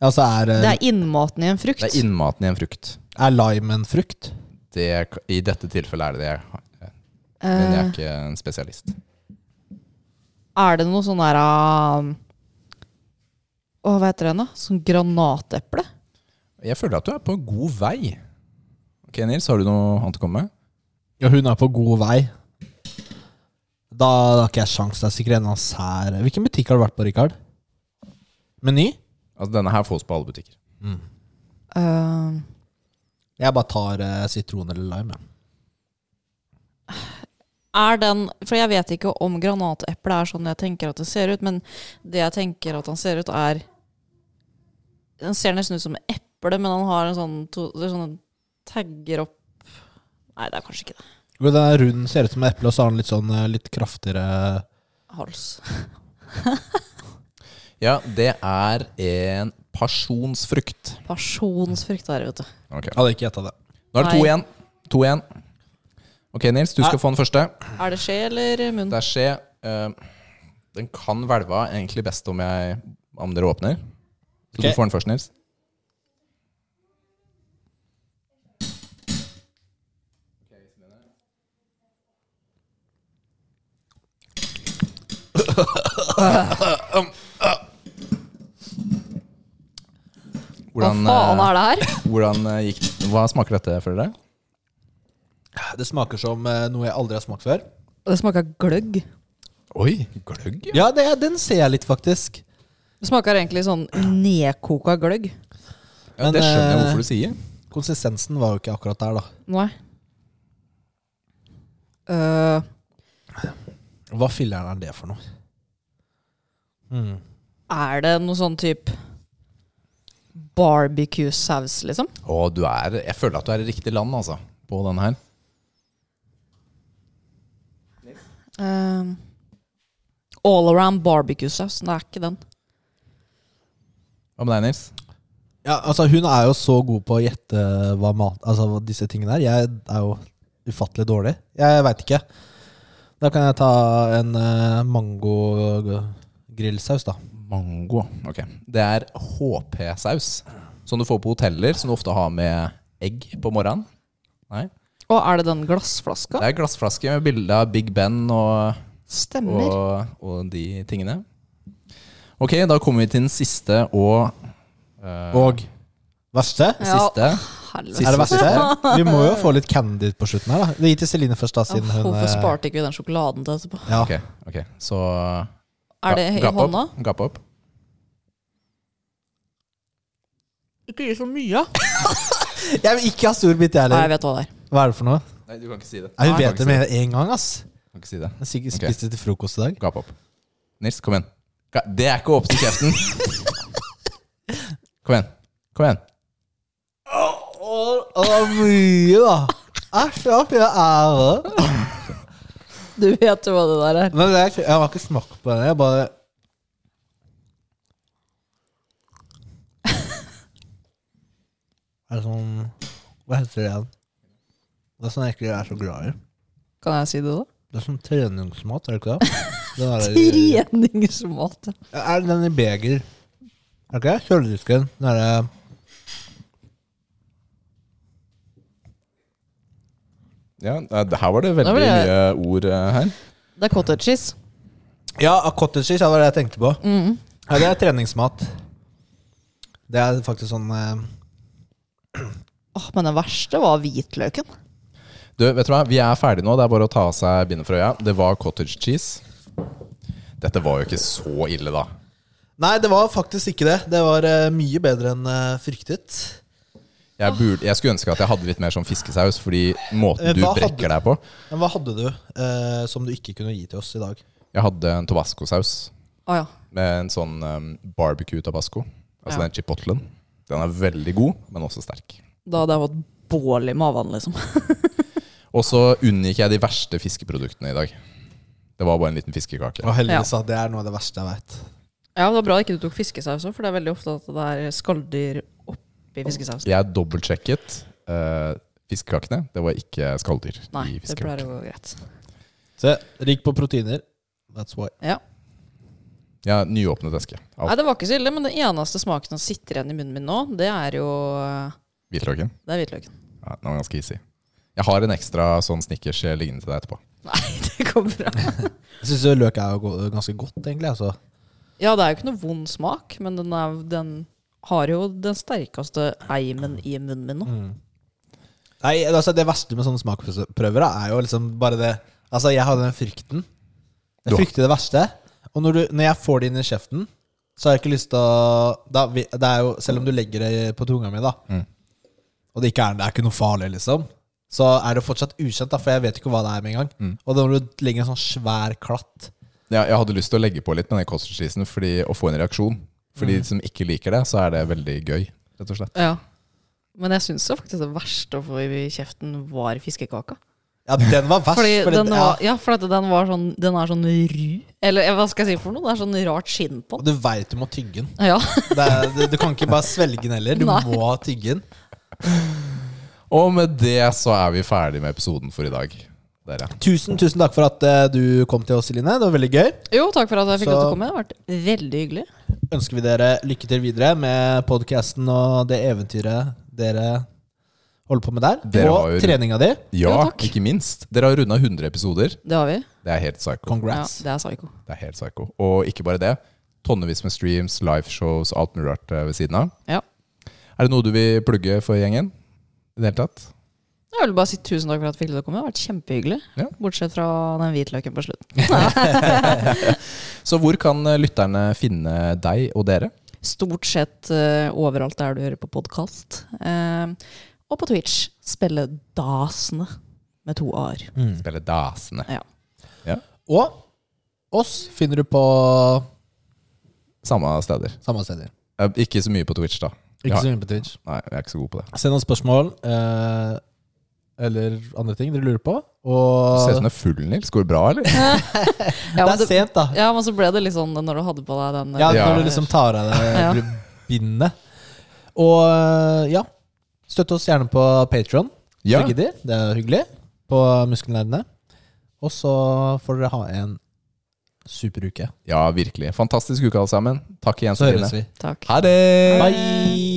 S1: altså er, eh,
S3: Det er innmaten i en frukt.
S2: Det er innmaten i en frukt.
S1: er lime en frukt?
S2: Det, I dette tilfellet er det det. Men jeg
S3: Eh,
S2: er ikke en spesialist.
S3: er det noe sånn der um, Å, hva heter den, da? Sånn granateple?
S2: Jeg føler at du er på god vei. Ok, Nils, har du noe annet å komme med?
S1: Ja, hun er på god vei. Da har ikke jeg sjans. Det er sikkert en av oss her. Hvilken butikk har du vært på, Rikard? Meny?
S2: Altså, denne her fås på alle butikker.
S3: Eh,
S1: Jeg bare tar eh, sitron eller lime. jeg.
S3: er den For jeg vet ikke om granateple er sånn jeg tenker at det ser ut, men det jeg tenker at han ser ut, er Den ser nesten ut som et eple, men han har en sånn to, det er sånne tagger opp Nei, det er kanskje ikke det.
S1: Jo, Den er rund, ser ut som et eple, og så har den litt sånn eh, litt kraftigere
S3: Hals.
S2: Ja, det er en pasjonsfrukt.
S3: Pasjonsfrukt der, vet du.
S2: Ok.
S1: Jeg hadde ikke gjetta det.
S2: Nå er det to
S3: Nei.
S2: igjen. To igjen. Ok, Nils, du skal få den første.
S3: Er det skje eller munn?
S2: Det er skje. eh, den kan hvelve av egentlig best om, jeg, om dere åpner.
S1: Ok.
S2: Så du får den først, Nils.
S3: Hva
S2: Hvordan,
S3: faen
S2: eh,
S3: er det her?
S2: hvordan eh, gikk Hva smaker dette for dere?
S1: Det smaker som eh, noe jeg aldri har smakt før.
S3: Det smaker gløgg.
S2: Oi, gløgg.
S1: Ja, det, er- den ser jeg litt, faktisk.
S3: Det smaker egentlig sånn nedkoka gløgg.
S2: Ja, det
S1: Men,
S2: skjønner jeg
S1: eh,
S2: hvorfor du sier.
S1: Konsistensen var jo ikke akkurat der, da.
S3: Nei. Øh,
S1: Hva filler'n er det for noe? Mm.
S3: er det noe sånn type barbecue-saus, liksom?
S2: Å, du er Jeg føler at du er i riktig land, altså, på den her.
S3: Øh, all around barbecue-saus. Det er ikke den.
S2: Hva med deg, Nils?
S1: Ja, altså Hun er jo så god på å gjette hva mat, altså, hva disse tingene er. Jeg er jo ufattelig dårlig. Jeg veit ikke. Da kan jeg ta en eh, mango-grillsaus, da.
S2: Mango. Ok. Det er HP-saus, som du får på hoteller, som du ofte har med egg på morgenen. Nei.
S3: Og er det den glassflaska?
S2: Det er glassflaske med bilde av Big Ben og,
S3: Stemmer.
S2: og, og de tingene. Ok, da kommer vi til den siste og eh,
S1: Og verste?
S2: siste.
S3: Helvete.
S2: Siste.
S1: Er det verste? Vi må jo få litt candy på slutten her, da. Vi gir til Celine først, da, siden
S3: Åh,
S1: hun
S3: hvorfor
S1: eh,
S3: sparte ikke vi den sjokoladen til etterpå?
S1: Ja.
S2: Ok, ok. Så
S3: Er det i
S2: gapp opp,
S3: hånda?
S2: Gapp opp.
S3: Ikke gi så mye.
S1: Jeg vil ikke ha stor bit, jeg
S3: Nei, jeg
S1: heller.
S3: vet hva det er.
S1: Hva er det for noe?
S2: Nei, du kan ikke si det.
S1: Nei, hun
S2: Nei,
S1: vet det
S2: kan ikke si
S1: med en gang, ass.
S2: Kan ikke si det.
S1: Hun har sikkert
S2: Ok.
S1: spist det til frokost i dag.
S2: Gap opp. Nils, kom igjen. Ga- Det er ikke å åpne kjeften. Kom igjen. Kom igjen.
S1: Å, mye, da. Æsj, ja, for jeg er det.
S3: Du vet jo hva det der er.
S1: Nei, det er, ikke- jeg har ikke smakt på den. Jeg bare Er det sånn Hva heter det igjen? Det er sånn jeg ikke er så glad i.
S3: Kan jeg si det, da?
S1: Det er sånn treningsmat, er det ikke det? Den er,
S3: Treningsmåte.
S1: er det den i beger? Er det ikke det? Kjøledisken. Den er
S2: Ja, eh, det- her var det veldig
S3: Da ble jeg-
S2: mye ord eh, her.
S3: Det er cottage cheese.
S1: Ja, cottage cheese, ja, det var det jeg tenkte på. Ja, det er treningsmat. Det er faktisk sånn eh,
S3: Åh, men den verste var hvitløken.
S2: Du, vet du hva? Vi er ferdige nå. Det er bare å ta av seg bindet for øya. Det var cottage cheese. Dette var jo ikke så ille, da.
S1: Nei, det var faktisk ikke det. Det var eh, mye bedre enn eh, fryktet.
S2: Jeg, burde, jeg skulle ønske at jeg hadde litt mer sånn fiskesaus, fordi
S1: Eh,
S2: måten du
S1: hva
S2: brekker deg på
S1: Men hva hadde du eh, som du ikke kunne gi til oss i dag?
S2: Jeg hadde en tabascosaus
S3: Å ja.
S2: med en sånn um, barbecue tabasco. Altså
S3: Ja.
S2: den chipotlen. Den er veldig god, men også sterk.
S3: Da hadde jeg fått bål i maven, liksom.
S2: Og så unngikk jeg de verste fiskeproduktene i dag. Det var bare en liten fiskekake.
S1: Og heldigvis at det er noe av det verste jeg veit.
S3: Ja, det var bra ikke du tok fiskesaus òg, for det er veldig ofte at det er skalldyr oppi fiskesausen.
S2: Jeg dobbeltsjekket. eh, fiskekakene. Det var ikke skalldyr
S3: Nei,
S2: i
S3: det pleier
S2: fiskekakene.
S3: å gå greit.
S4: Se, rik på proteiner. That's why.
S3: Ja.
S2: Ja, nyåpnet eske
S3: Nei,
S2: av
S3: det var ikke så ille, men den eneste smaken som sitter igjen i munnen min nå, det er jo
S2: hvitløken.
S3: Det er hvitløken.
S2: Ja, den var ganske easy. Jeg har en ekstra sånn snickers liggende til deg etterpå.
S3: Det går bra.
S1: Jeg syns løk er jo go- ganske godt, egentlig. Altså.
S3: Ja, det er jo ikke noe vond smak, men den, er, den har jo den sterkeste eimen i munnen min nå.
S1: Nei, altså, det verste med sånne smaksprøver da, er jo liksom bare det Altså, jeg hadde den frykten.
S2: Du
S1: Jeg
S2: har-
S1: frykter det verste. Og når, du, når jeg får det inn i kjeften, så har jeg ikke lyst til å da, vi- Det er jo Selv om du legger det på tunga mi, da,
S2: Mm.
S1: og det ikke er, det er ikke noe farlig, liksom, så er det fortsatt ukjent, da, for jeg vet ikke hva det er med en gang.
S2: Mm.
S1: Og da når du legger en sånn svær klatt
S2: Ja, jeg hadde lyst til å legge på litt med den cottage cheesen fordi å få en reaksjon. For
S3: Mm.
S2: de som ikke liker det, så er det veldig gøy, rett og slett.
S3: Ja. Men jeg syns faktisk det verste å få i kjeften var fiskekaka.
S1: Ja, den var verst.
S3: Fordi
S1: fordi
S3: den
S1: det-
S3: var,
S1: ja.
S3: ja, for at den, var sånn, den er sånn ru. Eller eh, hva skal jeg si for noe? Det er sånn rart skinn på
S1: Og
S3: den.
S1: du veit du må tygge den.
S3: Ja.
S1: Det er, du, du kan ikke bare svelge den heller. Du
S3: Nei.
S1: må tygge den.
S2: Og med det så er vi ferdig med episoden for i dag. Dere.
S1: Tusen, tusen takk for at eh, du kom til oss, Celine. Det var veldig gøy.
S3: Jo, takk for at jeg fikk lov til
S1: Så-
S3: å komme. Det har vært veldig hyggelig.
S1: Ønsker vi dere lykke til videre med podkasten og det eventyret dere holder på med der.
S2: Dere var
S1: og
S2: jo-
S1: treninga di.
S2: Ja,
S3: Jo, takk.
S2: ikke minst. Dere har runda 100 episoder.
S3: Det har vi.
S2: Det er helt psycho.
S3: Ja,
S1: Congrats.
S3: det er psyko.
S2: Det er helt psycho. Og ikke bare det. Tonnevis med streams, liveshows, alt mulig rart eh, ved siden av.
S3: Ja.
S2: Er det noe du vil plugge for gjengen? I det hele tatt?
S3: Jeg vil bare si tusen takk for at jeg fikk lov til å komme. Det har vært kjempehyggelig.
S2: Ja.
S3: Bortsett fra den hvitløken på slutten.
S2: Så hvor kan eh, lytterne finne deg og dere?
S3: Stort sett eh, overalt der du hører på podkast. og på Twitch. Spille Dasene med to a-er.
S1: Mm.
S2: Spille dasene.
S3: Ja.
S1: Og oss finner du på
S2: Samme steder.
S1: samme steder.
S2: Eh, Ikke så mye på Twitch, da.
S1: Ikke
S2: Ja.
S1: så mye på Twitch.
S2: Nei, jeg er ikke så god på det.
S1: Send oss spørsmål eh, eller andre ting dere lurer på.
S2: Du
S1: Og
S2: ser ut som du er full, Nils. Går det bra, eller?
S3: Ja,
S1: det
S3: men
S1: er
S3: det,
S1: sent, da.
S3: ja, men så ble det litt sånn når du hadde på deg den. eh,
S1: Ja,
S2: Ja.
S1: Når du liksom tar av deg
S3: Ja.
S1: bindet. Og eh, ja, støtt oss gjerne på Patron.
S2: Ja.
S1: Begge de. Det er hyggelig. På muskelnerdene. Og så får dere ha en superuke.
S2: ja, virkelig. Fantastisk uke, alle sammen. Takk igjen,
S1: Så høres
S2: Celine.
S1: vi.
S3: Takk.
S2: Ha det!
S1: Bye!